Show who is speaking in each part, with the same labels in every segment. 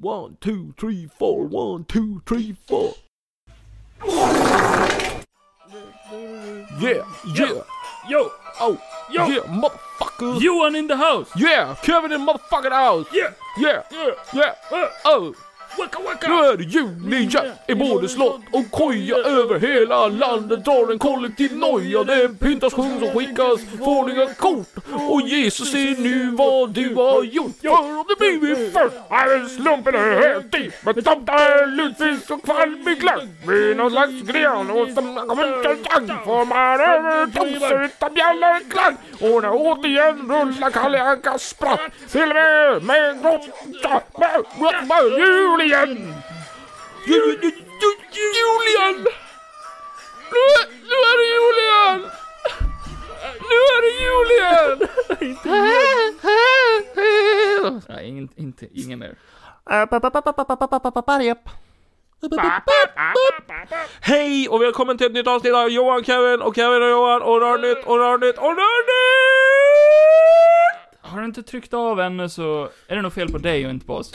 Speaker 1: One, two, three, four. One, two, three, four. Yeah, yeah,
Speaker 2: Yo,
Speaker 1: oh,
Speaker 2: Yo.
Speaker 1: yeah, motherfucker.
Speaker 2: Johan in the house!
Speaker 1: Yeah, Kevin in motherfucking house.
Speaker 2: Yeah,
Speaker 1: Yeah,
Speaker 2: yeah,
Speaker 1: yeah,
Speaker 2: uh,
Speaker 1: oh.
Speaker 2: waka waka!
Speaker 1: Nu är det julninja i både slott och koja över hela landet drar en kollektiv noja. Det pyntas, sjungs och skickas fåniga kort. Och Jesus ser nu vad du har gjort. För om du blivit först är det slumpen är helt i. Men tomtar är lutfisk och kvalm i glögg. Vid någon slags gren och som kommer till gang får man överdoser utan bjällor klang. Och när återigen rullar Kalle Anka spratt till mig med en grotta. Med- med- med Julien! Ju- ju- ju- Julian! Nu, nu är det Julian! Nu är det Julian!
Speaker 2: Nej, ingen, inte, ingen mer.
Speaker 1: Hej och välkommen till ett nytt avsnitt av Johan, Kevin och Kevin och Johan och Rörnytt och Rörnytt och Rörnytt!
Speaker 2: Har du inte tryckt av ännu så är det nog fel på dig och inte på oss.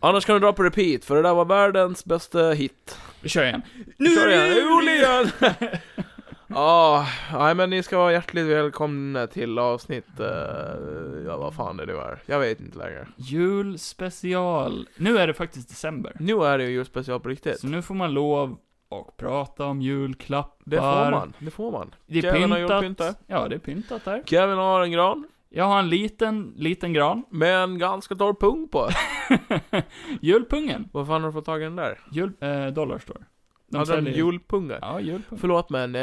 Speaker 1: Annars kan du dra på repeat för det där var världens bästa hit.
Speaker 2: Vi kör igen.
Speaker 1: Nu är det Julian! Ja, nej men ni ska vara hjärtligt välkomna till avsnitt, eh, ja vad fan det nu är. Jag vet inte längre.
Speaker 2: Julspecial. Nu är det faktiskt december.
Speaker 1: Nu är det ju julspecial på riktigt.
Speaker 2: Så nu får man lov och prata om julklappar.
Speaker 1: Det får man, det får man.
Speaker 2: Det är
Speaker 1: Kevin har
Speaker 2: pyntat.
Speaker 1: julpyntat.
Speaker 2: Ja, det är pyntat där.
Speaker 1: Kevin har en gran
Speaker 2: Jag har en liten, liten gran.
Speaker 1: med en ganska torr pung på.
Speaker 2: Julpungen.
Speaker 1: Vad fan har du fått tag i den där?
Speaker 2: Jul... Eh, Dollarstore. De
Speaker 1: Hade den
Speaker 2: säljer...
Speaker 1: julpunga?
Speaker 2: Ja, julpung.
Speaker 1: Förlåt men, eh,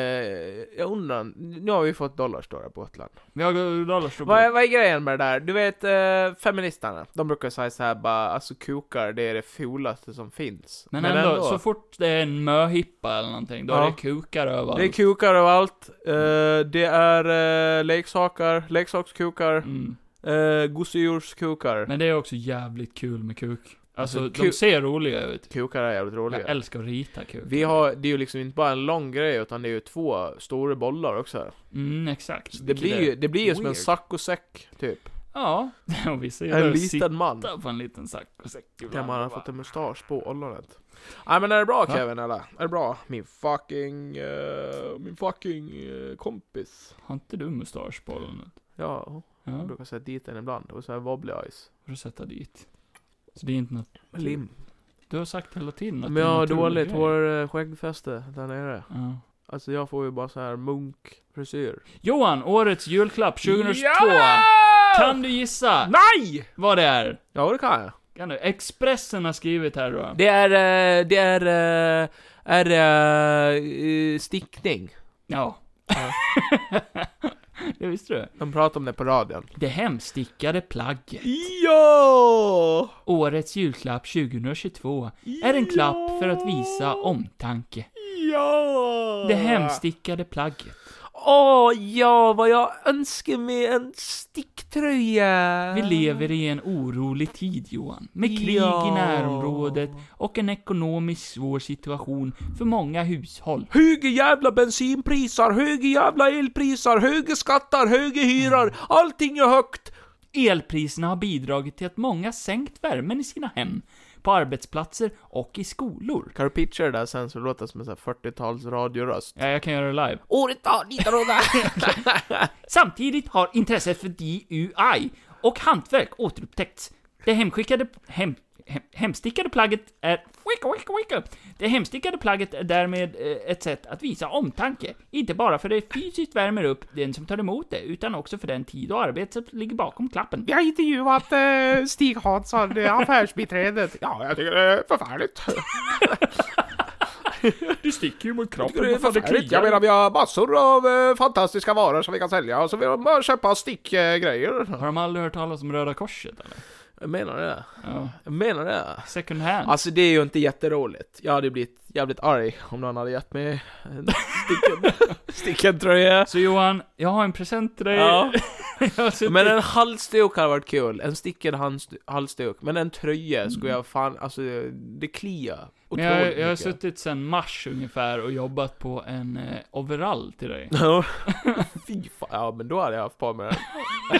Speaker 1: jag undrar, nu har vi fått dollarstore på Gotland.
Speaker 2: Vi har Dollarstore.
Speaker 1: Vad är, vad är grejen med det där? Du vet, eh, feministerna, de brukar säga så här bara, alltså kukar det är det fulaste som finns.
Speaker 2: Men, ändå, så fort det är en möhippa eller någonting, då
Speaker 1: Ja.
Speaker 2: är det kukar överallt.
Speaker 1: det är kukar och allt, eh, det är eh, leksaker, leksakskukar,
Speaker 2: mm.
Speaker 1: eh, gosedjurskukar.
Speaker 2: Men det är också jävligt kul med kuk. Alltså,
Speaker 1: Alltså,
Speaker 2: de
Speaker 1: ku-
Speaker 2: ser roliga ut.
Speaker 1: Kukar är jävligt roliga.
Speaker 2: Jag älskar att rita kuk.
Speaker 1: Vi har, det är ju liksom inte bara en lång grej utan det är ju två stora bollar också.
Speaker 2: Mm, exakt.
Speaker 1: Så det, blir ju, det blir ju som en
Speaker 2: Weird.
Speaker 1: saccosäck typ.
Speaker 2: Ja, och vi ser ju
Speaker 1: En
Speaker 2: där sitta
Speaker 1: liten man.
Speaker 2: på en liten sack och säck
Speaker 1: Där
Speaker 2: ibland.
Speaker 1: man har
Speaker 2: Bara,
Speaker 1: fått en mustasch på ollonet. Nej men är det bra
Speaker 2: Ja.
Speaker 1: Kevin eller? Är det bra? Min fucking, eh, min fucking eh, kompis.
Speaker 2: Har inte du mustasch på ollonet?
Speaker 1: Ja,
Speaker 2: Ja,
Speaker 1: jag
Speaker 2: får
Speaker 1: brukar säga dit den ibland. Och så här wobbly eyes.
Speaker 2: du sätta dit. Så det är inte något...
Speaker 1: Lim.
Speaker 2: Du har sagt hela tiden att
Speaker 1: Men
Speaker 2: det är
Speaker 1: jag
Speaker 2: en
Speaker 1: har
Speaker 2: naturlig
Speaker 1: dåligt
Speaker 2: grej.
Speaker 1: hår, eh, skäggfäste där nere.
Speaker 2: Ja.
Speaker 1: Alltså jag får ju bara så här munkfrisyr.
Speaker 2: Johan, årets julklapp 2022. Kan du gissa
Speaker 1: Nej!
Speaker 2: vad det är?
Speaker 1: Ja det kan jag.
Speaker 2: Kan du? Expressen har skrivit här då.
Speaker 1: Det är, eh, det är, eh, är eh, eh, stickning.
Speaker 2: Ja. det visste du.
Speaker 1: De pratar om det på radion.
Speaker 2: Det hemstickade plagget.
Speaker 1: Ja!
Speaker 2: Årets julklapp 2022 är en klapp för att visa omtanke.
Speaker 1: Ja!
Speaker 2: Det hemstickade plagget.
Speaker 1: Åh ja, vad jag önskar mig en sticktröja!
Speaker 2: Vi lever i en orolig tid, Johan. Med krig i
Speaker 1: Ja.
Speaker 2: närområdet och en ekonomiskt svår situation för många hushåll.
Speaker 1: Höga jävla bensinpriser, höga jävla elpriser, höga skatter, höga hyror. Allting är högt.
Speaker 2: Elpriserna har bidragit till att många sänkt värmen i sina hem, på arbetsplatser och i skolor.
Speaker 1: Kan du pitcha det där sen så det låter som en sån här 40-tals radioröst?
Speaker 2: Ja, jag kan göra det live.
Speaker 1: Året var 1900!
Speaker 2: Samtidigt har intresset för DUI och hantverk återupptäckts. Det hemskickade... Hem, hem, hemstickade plagget är... Wicka, wicka, wicka. Det hemstickade plagget är därmed eh, ett sätt att visa omtanke. Inte bara för det fysiskt värmer upp den som tar emot det, utan också för den tid och arbete som ligger bakom klappen.
Speaker 1: Vi har intervjuat eh, Stig Hansson, eh, affärsbiträdet. Ja, jag tycker det är förfärligt.
Speaker 2: Du sticker ju mot
Speaker 1: Jag tycker det är förfärligt. Jag menar, vi har massor av eh, fantastiska varor som vi kan sälja. Så vi har bara köpa stickgrejer.
Speaker 2: Har de aldrig hört talas om Röda Korset eller?
Speaker 1: Jag menar det.
Speaker 2: Ja.
Speaker 1: Jag menar det.
Speaker 2: Second hand.
Speaker 1: Alltså det är ju inte jätteroligt. Jag hade blivit jävligt arg om någon hade gett mig en sticken, sticken tröja.
Speaker 2: Så Johan, jag har en present till dig.
Speaker 1: Ja.
Speaker 2: Jag har suttit-
Speaker 1: Men en halsduk hade varit kul. En stickad hands- halsduk. Men en tröja skulle jag fan, alltså det kliar.
Speaker 2: Men jag, jag har
Speaker 1: otroligt mycket.
Speaker 2: suttit sen mars ungefär och jobbat på en eh, overall till dig.
Speaker 1: Ja. Fy fan, ja men då hade jag haft på mig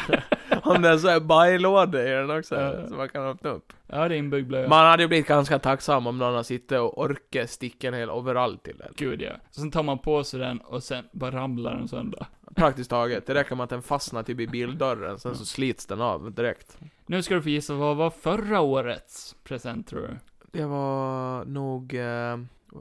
Speaker 1: den.
Speaker 3: Om det är så här bajlåda i den också, så man kan öppna upp.
Speaker 2: Ja, det är inbyggd blöja.
Speaker 3: Man hade ju blivit ganska tacksam om någon hade suttit och orkat sticka en hel overall till den.
Speaker 2: Gud ja. Sen tar man på sig den och sen bara ramlar den sönder.
Speaker 3: Praktiskt taget. Det räcker med att den fastnar typ i bildörren, sen så slits den av direkt.
Speaker 2: Nu ska du få gissa vad var förra årets present tror du?
Speaker 3: Det var nog... Eh,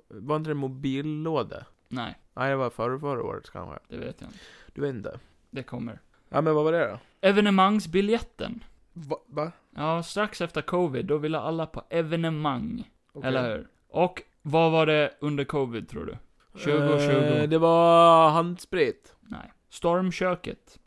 Speaker 3: var inte det en mobillåda?
Speaker 2: Nej,
Speaker 3: Nej, det var förra, förra året kanske.
Speaker 2: det vet jag inte.
Speaker 3: Du vet inte.
Speaker 2: Det kommer.
Speaker 3: Ja, men vad var det då?
Speaker 2: Evenemangsbiljetten.
Speaker 3: Va? va?
Speaker 2: Ja, strax efter covid, då ville alla på evenemang.
Speaker 3: Okej.
Speaker 2: Eller hur? Och vad var det under covid tror du? 20 och 20.
Speaker 3: Eh, det var handsprit.
Speaker 2: Nej. Stormköket.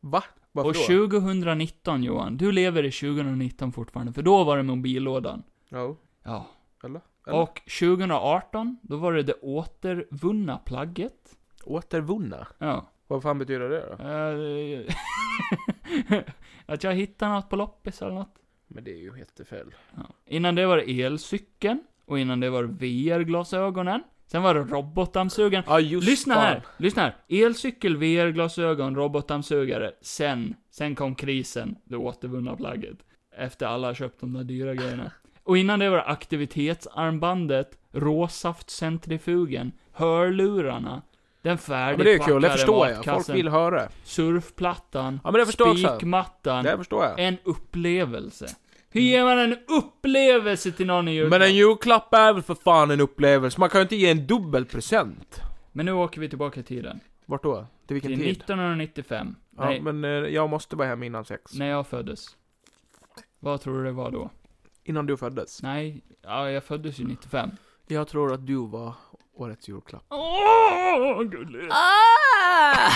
Speaker 3: Varför
Speaker 2: och
Speaker 3: då?
Speaker 2: 2019 Johan, du lever i 2019 fortfarande, för då var det mobillådan.
Speaker 3: Ja.
Speaker 2: Ja.
Speaker 3: Eller? Eller?
Speaker 2: Och 2018, då var det det återvunna plagget.
Speaker 3: Återvunna?
Speaker 2: Ja.
Speaker 3: Vad fan betyder det då?
Speaker 2: Eh, att jag hittade något på loppis eller något.
Speaker 3: Men det är ju jättefel.
Speaker 2: Ja. Innan det var det elcykeln, och innan det var det VR-glasögonen. Sen var det robotdammsugaren.
Speaker 3: Ja, just
Speaker 2: Lyssna
Speaker 3: fan.
Speaker 2: här, lyssna här. Elcykel, VR-glasögon, robotdammsugare. Sen, sen kom krisen, det återvunna plagget. Efter alla har köpt de där dyra grejerna. Och innan det var aktivitetsarmbandet, råsaftcentrifugen, hörlurarna, den
Speaker 3: Ja, men det är
Speaker 2: färdigpackade
Speaker 3: ju kul, det förstår jag. Folk
Speaker 2: matkassen,
Speaker 3: vill höra.
Speaker 2: surfplattan,
Speaker 3: Ja, men det förstår jag också.
Speaker 2: spikmattan.
Speaker 3: Det förstår jag.
Speaker 2: En upplevelse. Hur ger man en upplevelse till någon i julklapp?
Speaker 3: Men en julklapp är väl för fan en upplevelse? Man kan ju inte ge en dubbel present.
Speaker 2: Men nu åker vi tillbaka i tiden.
Speaker 3: Vart då? Till
Speaker 2: Till
Speaker 3: vilken tid?
Speaker 2: 1995.
Speaker 3: Ja,
Speaker 2: Nej,
Speaker 3: men eh, jag måste vara hem innan sex.
Speaker 2: när jag föddes. Vad tror du det var då?
Speaker 3: Innan du föddes.
Speaker 2: Nej, ja, jag föddes ju 95.
Speaker 3: Jag tror att du var årets julklapp.
Speaker 2: Åh, gulligt!
Speaker 3: Ah!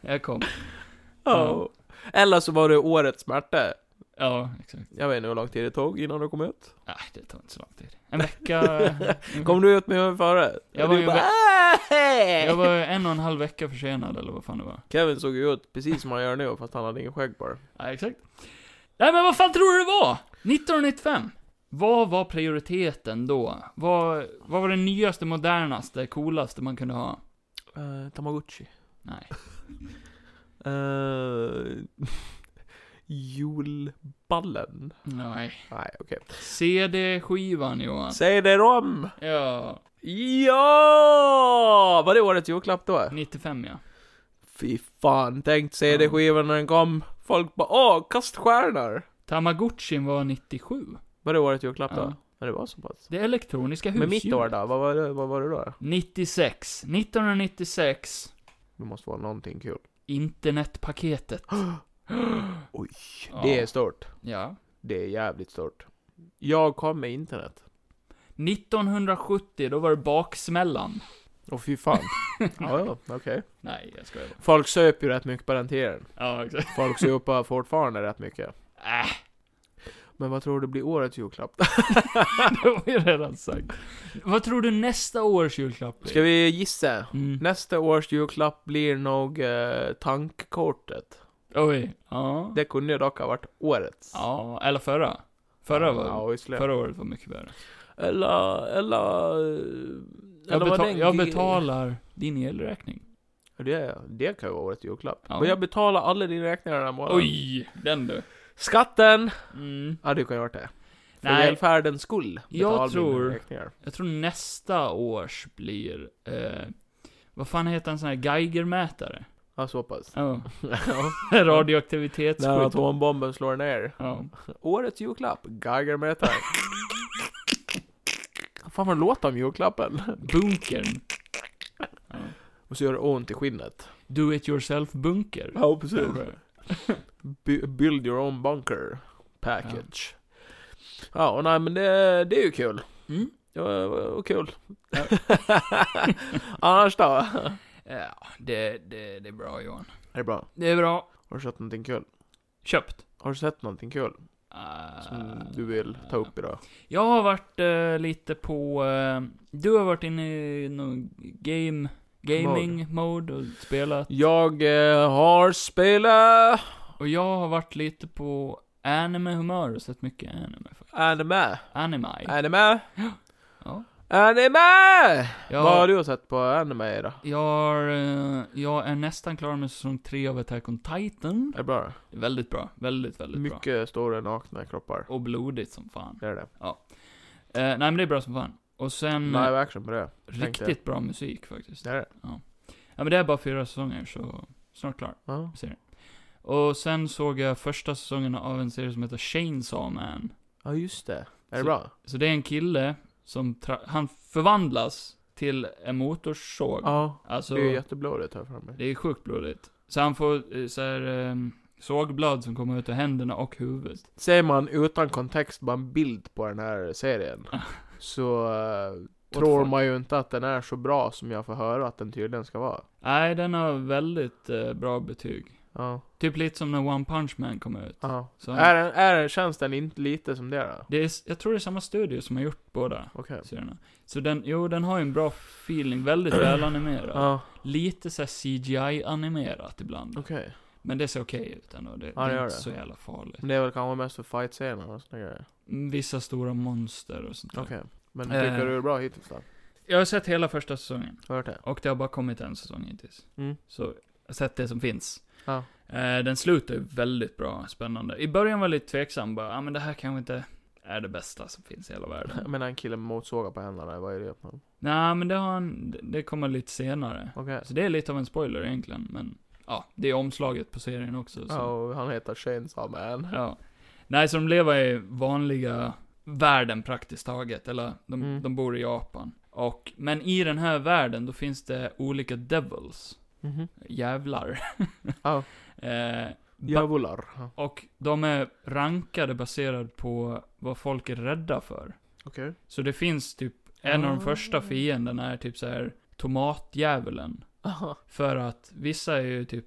Speaker 2: jag kom.
Speaker 3: Ja. Eller så var du årets smärta.
Speaker 2: Ja, exakt.
Speaker 3: Jag vet inte hur lång tid det tog innan du kom ut.
Speaker 2: Nej, det tar inte så lång tid. En vecka...
Speaker 3: Kom du ut med hur före?
Speaker 2: Jag
Speaker 3: Och
Speaker 2: var
Speaker 3: du
Speaker 2: ju
Speaker 3: bara,
Speaker 2: vä-
Speaker 3: "Ah, hej!"
Speaker 2: Jag var en och en halv vecka försenad, eller vad fan det var.
Speaker 3: Kevin såg ju ut precis som han gör nu, fast han hade ingen skägg bara.
Speaker 2: Ja, exakt. Nej, men vad fan tror du det var? 1995. Vad var prioriteten då? Vad, vad var det nyaste, modernaste, coolaste man kunde ha?
Speaker 3: Eh, Tamagotchi.
Speaker 2: Nej.
Speaker 3: Eh, julballen.
Speaker 2: Nej.
Speaker 3: Nej, okej.
Speaker 2: CD-skivan, Johan.
Speaker 3: Säg det om!
Speaker 2: Ja,
Speaker 3: Ja! Var det årets julklapp då?
Speaker 2: 95 ja.
Speaker 3: Fy fan, tänk CD-skivan när den kom. Folk bara åh, kaststjärnor!
Speaker 2: Tamagotchin var 97.
Speaker 3: Var det årets julklapp då?
Speaker 2: Ja.
Speaker 3: Ja, det var så pass.
Speaker 2: Det elektroniska
Speaker 3: Men
Speaker 2: husdjuret.
Speaker 3: mitt år då? Vad var det, vad var det då?
Speaker 2: 96. 1996.
Speaker 3: Det måste vara någonting kul.
Speaker 2: Internetpaketet.
Speaker 3: Oj,
Speaker 2: Ja.
Speaker 3: det är stort.
Speaker 2: Ja.
Speaker 3: Det är jävligt stort. Jag kom med internet.
Speaker 2: 1970, då var det baksmällan.
Speaker 3: Åh fy fan. ja, ja, okej.
Speaker 2: Nej, jag skojar bara.
Speaker 3: Folk söp ju rätt mycket på den tiden.
Speaker 2: Ja, exakt.
Speaker 3: Folk söpar fortfarande rätt mycket.
Speaker 2: Äh,
Speaker 3: Men vad tror du blir årets julklapp?
Speaker 2: det var ju redan sagt. Vad tror du nästa års julklapp blir?
Speaker 3: Ska vi Eh, gissa?
Speaker 2: Mm.
Speaker 3: Nästa års julklapp blir nog eh, tankkortet.
Speaker 2: Oj. Ja.
Speaker 3: Det kunde ju dock ha varit årets.
Speaker 2: Ja, eller förra. Förra var...
Speaker 3: Ja, visserligen.
Speaker 2: Förra året var mycket värre.
Speaker 3: Eller, eller... eh,
Speaker 2: Jag,
Speaker 3: eller vad
Speaker 2: beta-
Speaker 3: den-
Speaker 2: jag betalar din elräkning.
Speaker 3: Ja, Det, det kan ju vara årets julklapp.
Speaker 2: Ja.
Speaker 3: Men jag betalar alla dina räkningar den här månaden.
Speaker 2: Oj, den du.
Speaker 3: Skatten!
Speaker 2: Mm.
Speaker 3: Ja, det kan ju ha varit det. För
Speaker 2: Nej.
Speaker 3: välfärdens skull.
Speaker 2: Jag
Speaker 3: betalar
Speaker 2: tror-
Speaker 3: Mina räkningar.
Speaker 2: Jag tror nästa års blir... Eh, vad fan heter en sån här Geigermätare?
Speaker 3: Ja, så pass.
Speaker 2: Ja.
Speaker 3: Ja. När
Speaker 2: Radioaktivitetsskydd.
Speaker 3: atombomben slår ner.
Speaker 2: Ja.
Speaker 3: Årets julklapp. Geigermätare. Fan vad det låter om julklappen.
Speaker 2: Bunkern. Ja.
Speaker 3: Och så gör det ont i skinnet.
Speaker 2: Do it yourself-bunker.
Speaker 3: Ja, precis. Bu- build your own bunker package. Ja, och nej men det, det är ju kul.
Speaker 2: Mm.
Speaker 3: Ja, och kul. Annars då? Är
Speaker 2: Ja, det, det, det är bra Johan.
Speaker 3: det bra?
Speaker 2: Det är bra.
Speaker 3: Har du sett någonting kul?
Speaker 2: Köpt.
Speaker 3: Har du sett någonting kul
Speaker 2: Eh,
Speaker 3: som du vill ta upp idag?
Speaker 2: Jag har varit eh, lite på... eh, du har varit inne i någon game... Gaming-mode och spelat.
Speaker 3: Jag eh, har spelat
Speaker 2: Och jag har varit lite på anime-humör och sett mycket anime. faktiskt.
Speaker 3: anime.
Speaker 2: Anime.
Speaker 3: Anime.
Speaker 2: Ja.
Speaker 3: Anime!
Speaker 2: Jag,
Speaker 3: Vad har du sett på anime då?
Speaker 2: jag, har, eh, jag är nästan klar med säsong 3 av Attack on Titan.
Speaker 3: Det är bra.
Speaker 2: Väldigt bra, väldigt, väldigt bra.
Speaker 3: Mycket stora eh, nakna kroppar.
Speaker 2: Och blodigt som fan.
Speaker 3: Det är det.
Speaker 2: Eh, nej men det är bra som fan. Och sen,
Speaker 3: Live action på det. tänkte
Speaker 2: riktigt bra musik faktiskt.
Speaker 3: Det är det.
Speaker 2: Ja men det är bara fyra säsonger, så snart klar.
Speaker 3: Ja.
Speaker 2: serien. Och sen såg jag första säsongen av en serie som heter Chainsaw Man.
Speaker 3: Ja, just det.
Speaker 2: Så-
Speaker 3: Är det bra?
Speaker 2: Så det är en kille som, tra- han förvandlas till en motorsåg.
Speaker 3: Ja.
Speaker 2: alltså,
Speaker 3: Det är ju jätteblodigt här för mig.
Speaker 2: det är sjukt blodigt. Så han får eh, så här, ehm, sågblad som kommer ut ur händerna och huvudet.
Speaker 3: Ser man utan kontext bara en bild på den här serien
Speaker 2: Ah.
Speaker 3: så eh, tror
Speaker 2: folk.
Speaker 3: man ju inte att den är så bra som jag får höra att den tydligen ska vara.
Speaker 2: Nej, den har väldigt eh, bra betyg.
Speaker 3: Ja.
Speaker 2: Typ lite som när One Punch Man kom ut.
Speaker 3: ja.
Speaker 2: Så
Speaker 3: Är, den, är den, känns den inte lite som det då?
Speaker 2: det är, s- jag tror det är samma studio som har gjort båda
Speaker 3: Okej.
Speaker 2: serierna. Så den, jo, den har ju en bra feeling, väldigt välanimerad.
Speaker 3: Mm. Ja,
Speaker 2: lite så här CGI-animerat ibland.
Speaker 3: okej.
Speaker 2: Men det ser okej ut ändå. Det,
Speaker 3: Ja,
Speaker 2: det
Speaker 3: det
Speaker 2: är
Speaker 3: gör
Speaker 2: inte
Speaker 3: det.
Speaker 2: så jävla farligt.
Speaker 3: Men det är väl kanske mest för fight-scener och såna grejer.
Speaker 2: Mm, Vissa stora monster och sånt där.
Speaker 3: Okej. Men
Speaker 2: Eh.
Speaker 3: tycker du det är bra hittills då? Har
Speaker 2: Jag har sett hela första säsongen.
Speaker 3: du hört det?
Speaker 2: Och det har bara kommit en säsong hittills.
Speaker 3: Mm.
Speaker 2: Så jag har sett det som finns.
Speaker 3: Ja.
Speaker 2: Eh, den slutar ju väldigt bra, spännande. I början var jag lite tveksam bara, ja ah, men det här kanske inte är det bästa som finns i hela
Speaker 3: Jag
Speaker 2: världen.
Speaker 3: menar en kille med motorsågar på händerna, vad är det? Okej.
Speaker 2: Nej, men det har han, det kommer lite senare. Så Alltså, det är lite av en spoiler egentligen, men ja, det är omslaget på serien också. Så.
Speaker 3: Ja, och han heter Chainsaw Man.
Speaker 2: Ja. Nej, så de lever i vanliga världen praktiskt taget, eller de,
Speaker 3: Mm.
Speaker 2: de bor i Japan. Och, men i den här världen, då finns det olika devils,
Speaker 3: Mhm.
Speaker 2: jävlar.
Speaker 3: Ja.
Speaker 2: eh, ba-
Speaker 3: Djävular. Ja.
Speaker 2: och de är rankade baserat på vad folk är rädda för.
Speaker 3: Okej.
Speaker 2: Så det finns typ, en av de
Speaker 3: Ah.
Speaker 2: första fienderna är typ så här tomatdjävulen. För att vissa är ju typ,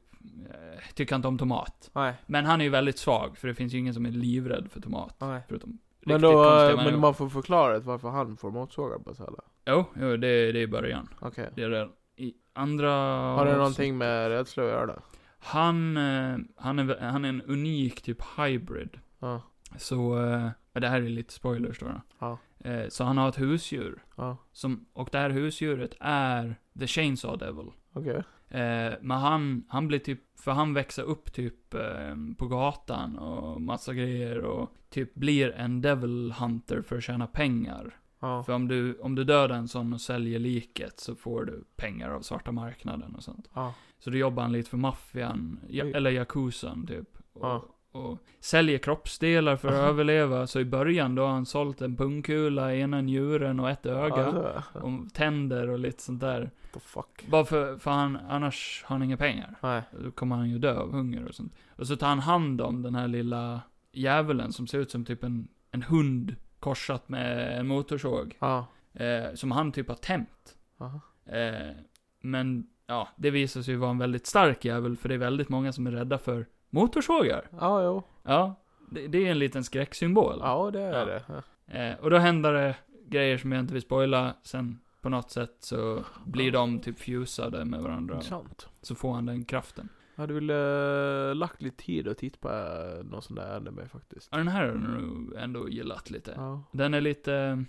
Speaker 2: eh, tycker inte om tomat.
Speaker 3: Nej,
Speaker 2: Men han är ju väldigt svag, för det finns ju ingen som är livrädd för tomat.
Speaker 3: nej.
Speaker 2: Förutom
Speaker 3: Men,
Speaker 2: riktigt
Speaker 3: då,
Speaker 2: konstiga
Speaker 3: eh, men
Speaker 2: människor.
Speaker 3: man får förklara varför han får motorsågar på sig eller?
Speaker 2: Jo, jo det, det är i början.
Speaker 3: Okej.
Speaker 2: Det är det. I andra...
Speaker 3: Har det någonting med rädsla att göra?
Speaker 2: Han, eh, han, är, han är en unik typ hybrid.
Speaker 3: Ja.
Speaker 2: Så, eh, det här är lite spoilers då. då.
Speaker 3: Ja.
Speaker 2: Eh, Så han har ett husdjur.
Speaker 3: Ja.
Speaker 2: Som, och det här husdjuret är The Chainsaw Devil.
Speaker 3: Okej.
Speaker 2: Eh, men han, han blir typ, för han växer upp typ eh, på gatan och massa grejer och typ blir en devil hunter för att tjäna pengar.
Speaker 3: Ja.
Speaker 2: För om du, om du dödar en sån och säljer liket så får du pengar av svarta marknaden och sånt.
Speaker 3: Ja.
Speaker 2: Så då jobbar han lite för maffian, ja,
Speaker 3: Oj.
Speaker 2: eller yakuzan typ. Och,
Speaker 3: Ja.
Speaker 2: och säljer kroppsdelar för att överleva. Så i början då har han sålt en pungkula, ena njuren och ett öga.
Speaker 3: Alltså, what
Speaker 2: Och tänder och lite sånt där.
Speaker 3: the fuck.
Speaker 2: Bara för, för han, annars har han inga pengar.
Speaker 3: Nej.
Speaker 2: Då kommer han ju dö av hunger och sånt. Och så tar han hand om den här lilla djävulen som ser ut som typ en, en hund korsat med en motorsåg.
Speaker 3: Ja.
Speaker 2: Eh, som han typ har tämt.
Speaker 3: Aha.
Speaker 2: Eh, men ja, det visar sig ju vara en väldigt stark jävel för det är väldigt många som är rädda för motorsågar.
Speaker 3: Ja, jo.
Speaker 2: Ja, det, det är en liten skräcksymbol.
Speaker 3: Ja, det är
Speaker 2: Ja.
Speaker 3: det. Ja.
Speaker 2: Eh, och då händer det grejer som jag inte vill spoila. Sen på något sätt så blir de typ fusade med varandra.
Speaker 3: Intressant.
Speaker 2: Så får han den kraften.
Speaker 3: Jag hade velat lagt lite tid och titta på eh, någon sån där anime faktiskt.
Speaker 2: Ja, den här har jag nog ändå gillat lite.
Speaker 3: Ja.
Speaker 2: Den är lite,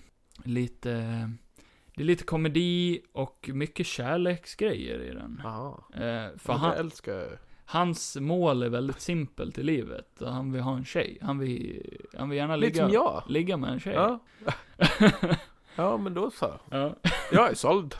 Speaker 2: lite, det är lite komedi och mycket kärleksgrejer i den.
Speaker 3: Jaha.
Speaker 2: Eh, för
Speaker 3: Fan. Jag
Speaker 2: han,
Speaker 3: älskar ju.
Speaker 2: Hans mål är väldigt simpelt i livet. Och Han vill ha en tjej. Han vill, han vill gärna
Speaker 3: Lite
Speaker 2: ligga,
Speaker 3: som jag.
Speaker 2: ligga med en tjej.
Speaker 3: Ja. ja, men då så.
Speaker 2: Ja.
Speaker 3: Jag är såld.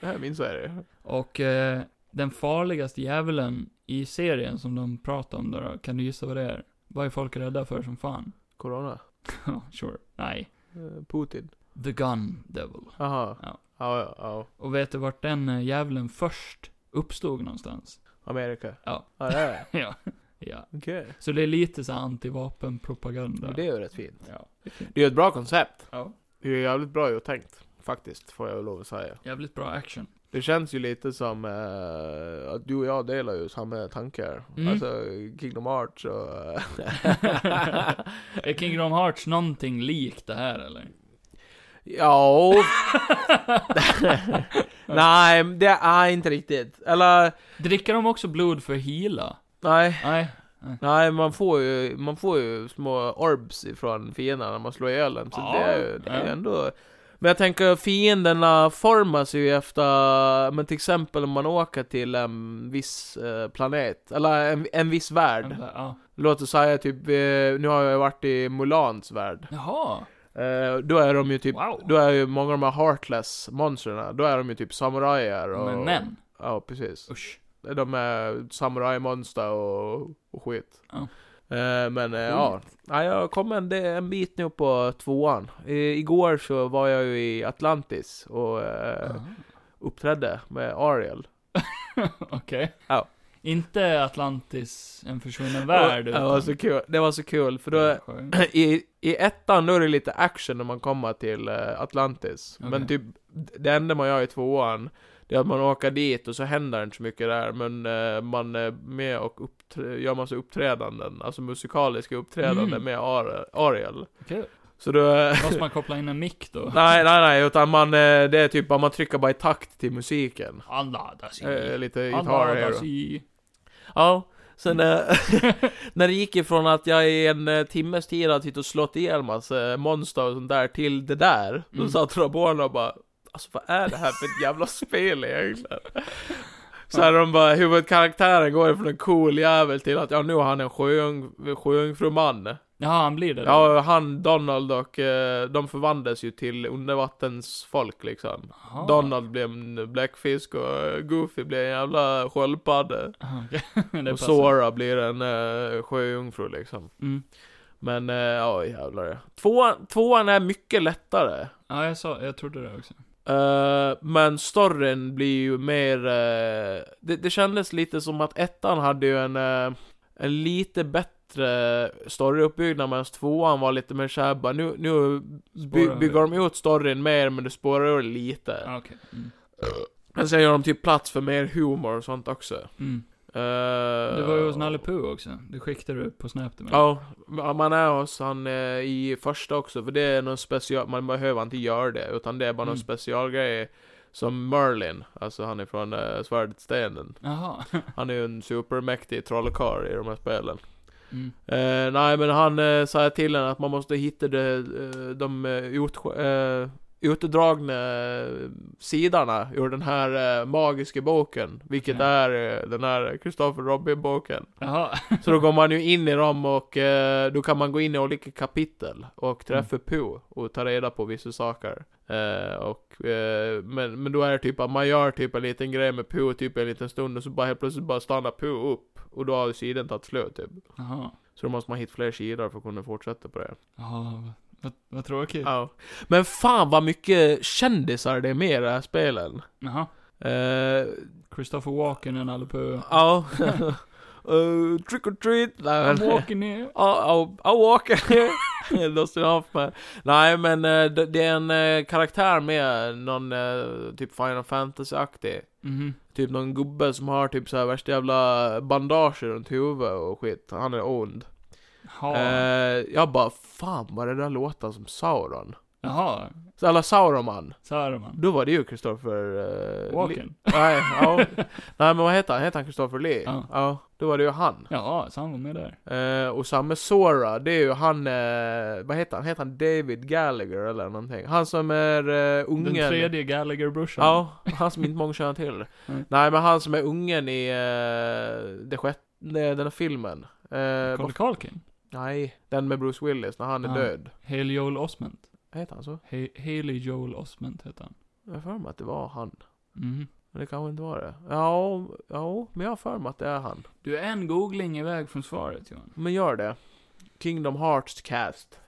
Speaker 3: Det här är min serie.
Speaker 2: Och eh, den farligaste djävulen i serien som de pratar om där, då, kan du gissa vad det är? Vad är folk rädda för som fan?
Speaker 3: Corona.
Speaker 2: Ja, sure. Nej.
Speaker 3: Eh, Putin.
Speaker 2: The Gun Devil.
Speaker 3: Jaha.
Speaker 2: Ja.
Speaker 3: Ja. Ja, ja.
Speaker 2: Och vet du vart den eh, djävulen först uppstod någonstans?
Speaker 3: Amerika.
Speaker 2: Ja.
Speaker 3: Ja, det är det.
Speaker 2: ja. ja.
Speaker 3: Okej.
Speaker 2: Så det är lite så här antivapenpropaganda.
Speaker 3: Men Mm. det är ju rätt fint.
Speaker 2: Ja.
Speaker 3: Det är ju ett bra koncept.
Speaker 2: ja.
Speaker 3: Det är ju jävligt bra gjort tänkt. Faktiskt, får jag lov att säga.
Speaker 2: Jävligt bra action.
Speaker 3: Det känns ju lite som eh, att du och jag delar ju samma tankar.
Speaker 2: Mm.
Speaker 3: Alltså, Kingdom Hearts och... eh,
Speaker 2: är Kingdom Hearts någonting likt det här eller?
Speaker 3: ja... nej, det är inte riktigt. Eller,
Speaker 2: Dricker de också blod för att heala?
Speaker 3: nej.
Speaker 2: Nej.
Speaker 3: Nej, man får ju, man får ju små orbs ifrån fienden när man slår ihjäl dem. Så
Speaker 2: Ja,
Speaker 3: det, är ju- det är ju
Speaker 2: ja.
Speaker 3: ändå... Men jag tänker fienderna formas ju efter, men till exempel om man åker till en viss eh, planet, eller en, en viss värld.
Speaker 2: Ja.
Speaker 3: Låt oss säga typ, eh, nu har jag varit i Mulans värld.
Speaker 2: Jaha.
Speaker 3: Eh, då är de ju typ,
Speaker 2: Wow.
Speaker 3: då är ju många av de här heartless monstren, då är de ju typ samurajer och...
Speaker 2: Men män.
Speaker 3: Ja, precis.
Speaker 2: Usch.
Speaker 3: De är samurajmonster och, och skit.
Speaker 2: Ja.
Speaker 3: Eh, men eh, ja, ja, jag kom en, det- en bit nu på tvåan. I, igår så var jag ju i Atlantis och eh,
Speaker 2: Aha.
Speaker 3: uppträdde med Ariel.
Speaker 2: Okej.
Speaker 3: Ja.
Speaker 2: Inte Atlantis, en försvunnen värld.
Speaker 3: Och, det, var så kul, det var så kul, för då,
Speaker 2: Skönt.
Speaker 3: i, i ettan då är det lite action när man kommer till eh, Atlantis.
Speaker 2: Okej.
Speaker 3: Men typ, det enda man gör i tvåan, det är att man åker dit och så händer inte så mycket där. Men eh, man är med och uppträ- gör massa uppträdanden, alltså musikaliska uppträdanden
Speaker 2: Mm.
Speaker 3: med Ar- Ariel.
Speaker 2: Okej.
Speaker 3: Så då... eh,
Speaker 2: Måste man koppla in en mick då?
Speaker 3: nej, nej, nej, utan man, eh, det är typ att man trycker bara i takt till musiken.
Speaker 2: Alla där ser vi.
Speaker 3: Eh, lite
Speaker 2: Alla Mm.
Speaker 3: gitarr
Speaker 2: där
Speaker 3: här då.
Speaker 2: ser vi.
Speaker 3: Ja, sen eh, när det gick ifrån att jag i en eh, timmes tid hade suttit och slått ihjäl massa eh, monster och sånt där till det där,
Speaker 2: Mm.
Speaker 3: då satt robotarna och bara Alltså vad är det här för ett jävla spel egentligen? Så här de bara, huvudkaraktären går från en cool jävel till att ja nu har han en sjöung- sjöjungfru man.
Speaker 2: Jaha, han blir det då?
Speaker 3: Ja, han, Donald och eh, de förvandlas ju till undervattensfolk liksom.
Speaker 2: Jaha.
Speaker 3: Donald blev en bläckfisk och eh, Goofy blev en jävla sköldpadda.
Speaker 2: Aha, okej. Det
Speaker 3: Och
Speaker 2: passar.
Speaker 3: Sora blir en uh, sjöjungfru liksom.
Speaker 2: Mm.
Speaker 3: Men eh, ja, jävlar tvåan, tvåan är mycket lättare.
Speaker 2: Ja, jag sa, jag trodde det också.
Speaker 3: Eh, men storyn blir ju mer... eh, det, det kändes lite som att ettan hade ju en, eh, en lite bättre storyuppbyggnad medan tvåan var lite mer såhär bara nu, nu by,
Speaker 2: Spårar
Speaker 3: bygger de ut storyn mer men det spårar ur lite.
Speaker 2: Ja, okej. Mm.
Speaker 3: Men sen gör de typ plats för mer humor och sånt också.
Speaker 2: Mm.
Speaker 3: Eh,
Speaker 2: Du var ju hos Nalle Puh också. Du skickade du på Snap till mig.
Speaker 3: Ja, man är hos han eh, i första också, för det är någon special, man behöver inte göra det, utan det är bara någon
Speaker 2: Mm.
Speaker 3: specialgrej som Merlin, alltså han är från eh, Svärdstenen.
Speaker 2: Jaha.
Speaker 3: Han är ju en supermäktig trollkarl i de här spelen.
Speaker 2: Mm.
Speaker 3: Eh, nej, men han eh, sa till en att man måste hitta de, eh, de eh, ut, eh, utdragna eh, sidorna ur den här eh, magiska boken, vilket
Speaker 2: Okej.
Speaker 3: är eh, den här Christopher Robin-boken.
Speaker 2: Jaha.
Speaker 3: Så då går man ju in i dem och eh, då kan man gå in i olika kapitel och träffa på och ta reda på vissa saker. Eh, och, eh, men, men då är det typ att man gör typ en liten grej med på typ en liten stund och så bara helt plötsligt bara stannar på upp och då har sidan tagit slut typ.
Speaker 2: Jaha.
Speaker 3: Så då måste man hitta fler sidor för att kunna fortsätta på det.
Speaker 2: Jaha. vad- Vad, vad tråkigt.
Speaker 3: Ja. Men fan vad mycket kändisar det är med i det här spelen.
Speaker 2: Jaha.
Speaker 3: Eh,
Speaker 2: Christopher Walken och Nalle Puh.
Speaker 3: ja. Eh, trick or treat. Nej, men-
Speaker 2: Han åker ner.
Speaker 3: I'll, I'll walk Lost it off man. Nej men eh, det det är en eh, karaktär med någon eh, typ Final Fantasy-aktig.
Speaker 2: Mhm.
Speaker 3: Typ någon gubbe som har typ så här värsta jävla bandager runt huvudet och skit. Han är ond.
Speaker 2: Jaha.
Speaker 3: Eh, jag bara fan vad det där låter som Sauron.
Speaker 2: Jaha.
Speaker 3: Så alla Sauroman.
Speaker 2: Saruman.
Speaker 3: Då var det ju Kristoffer... Eh, Lee.
Speaker 2: Walken.
Speaker 3: Nej, ja. Nej men vad heter han? Heter han Kristoffer Lee?
Speaker 2: Ja.
Speaker 3: ja. Då var det ju han.
Speaker 2: Jaha, så han var med där.
Speaker 3: Eh, och samma Sora, det är ju han, eh, vad heter han? Heter han David Gallagher eller någonting? Han som är eh, ungen...
Speaker 2: Den tredje Mm. Gallagher-brorsan.
Speaker 3: Ja, han som inte många känner till.
Speaker 2: Nej.
Speaker 3: Nej, men han som är ungen i eh, det sjätte, nej, den här filmen.
Speaker 2: Colin
Speaker 3: Eh, vad-
Speaker 2: Kalkin.
Speaker 3: nej, den med Bruce Willis när han är
Speaker 2: Ah.
Speaker 3: död.
Speaker 2: Haley Joel Osment.
Speaker 3: Heter han så?
Speaker 2: He- Haley Joel Osment heter han.
Speaker 3: Jag har för mig att det var han.
Speaker 2: Mhm.
Speaker 3: Men det kanske inte var det. Ja, ja, men jag har för mig att det är han.
Speaker 2: Du är en googling iväg från svaret Johan.
Speaker 3: Men gör det. Kingdom Hearts cast.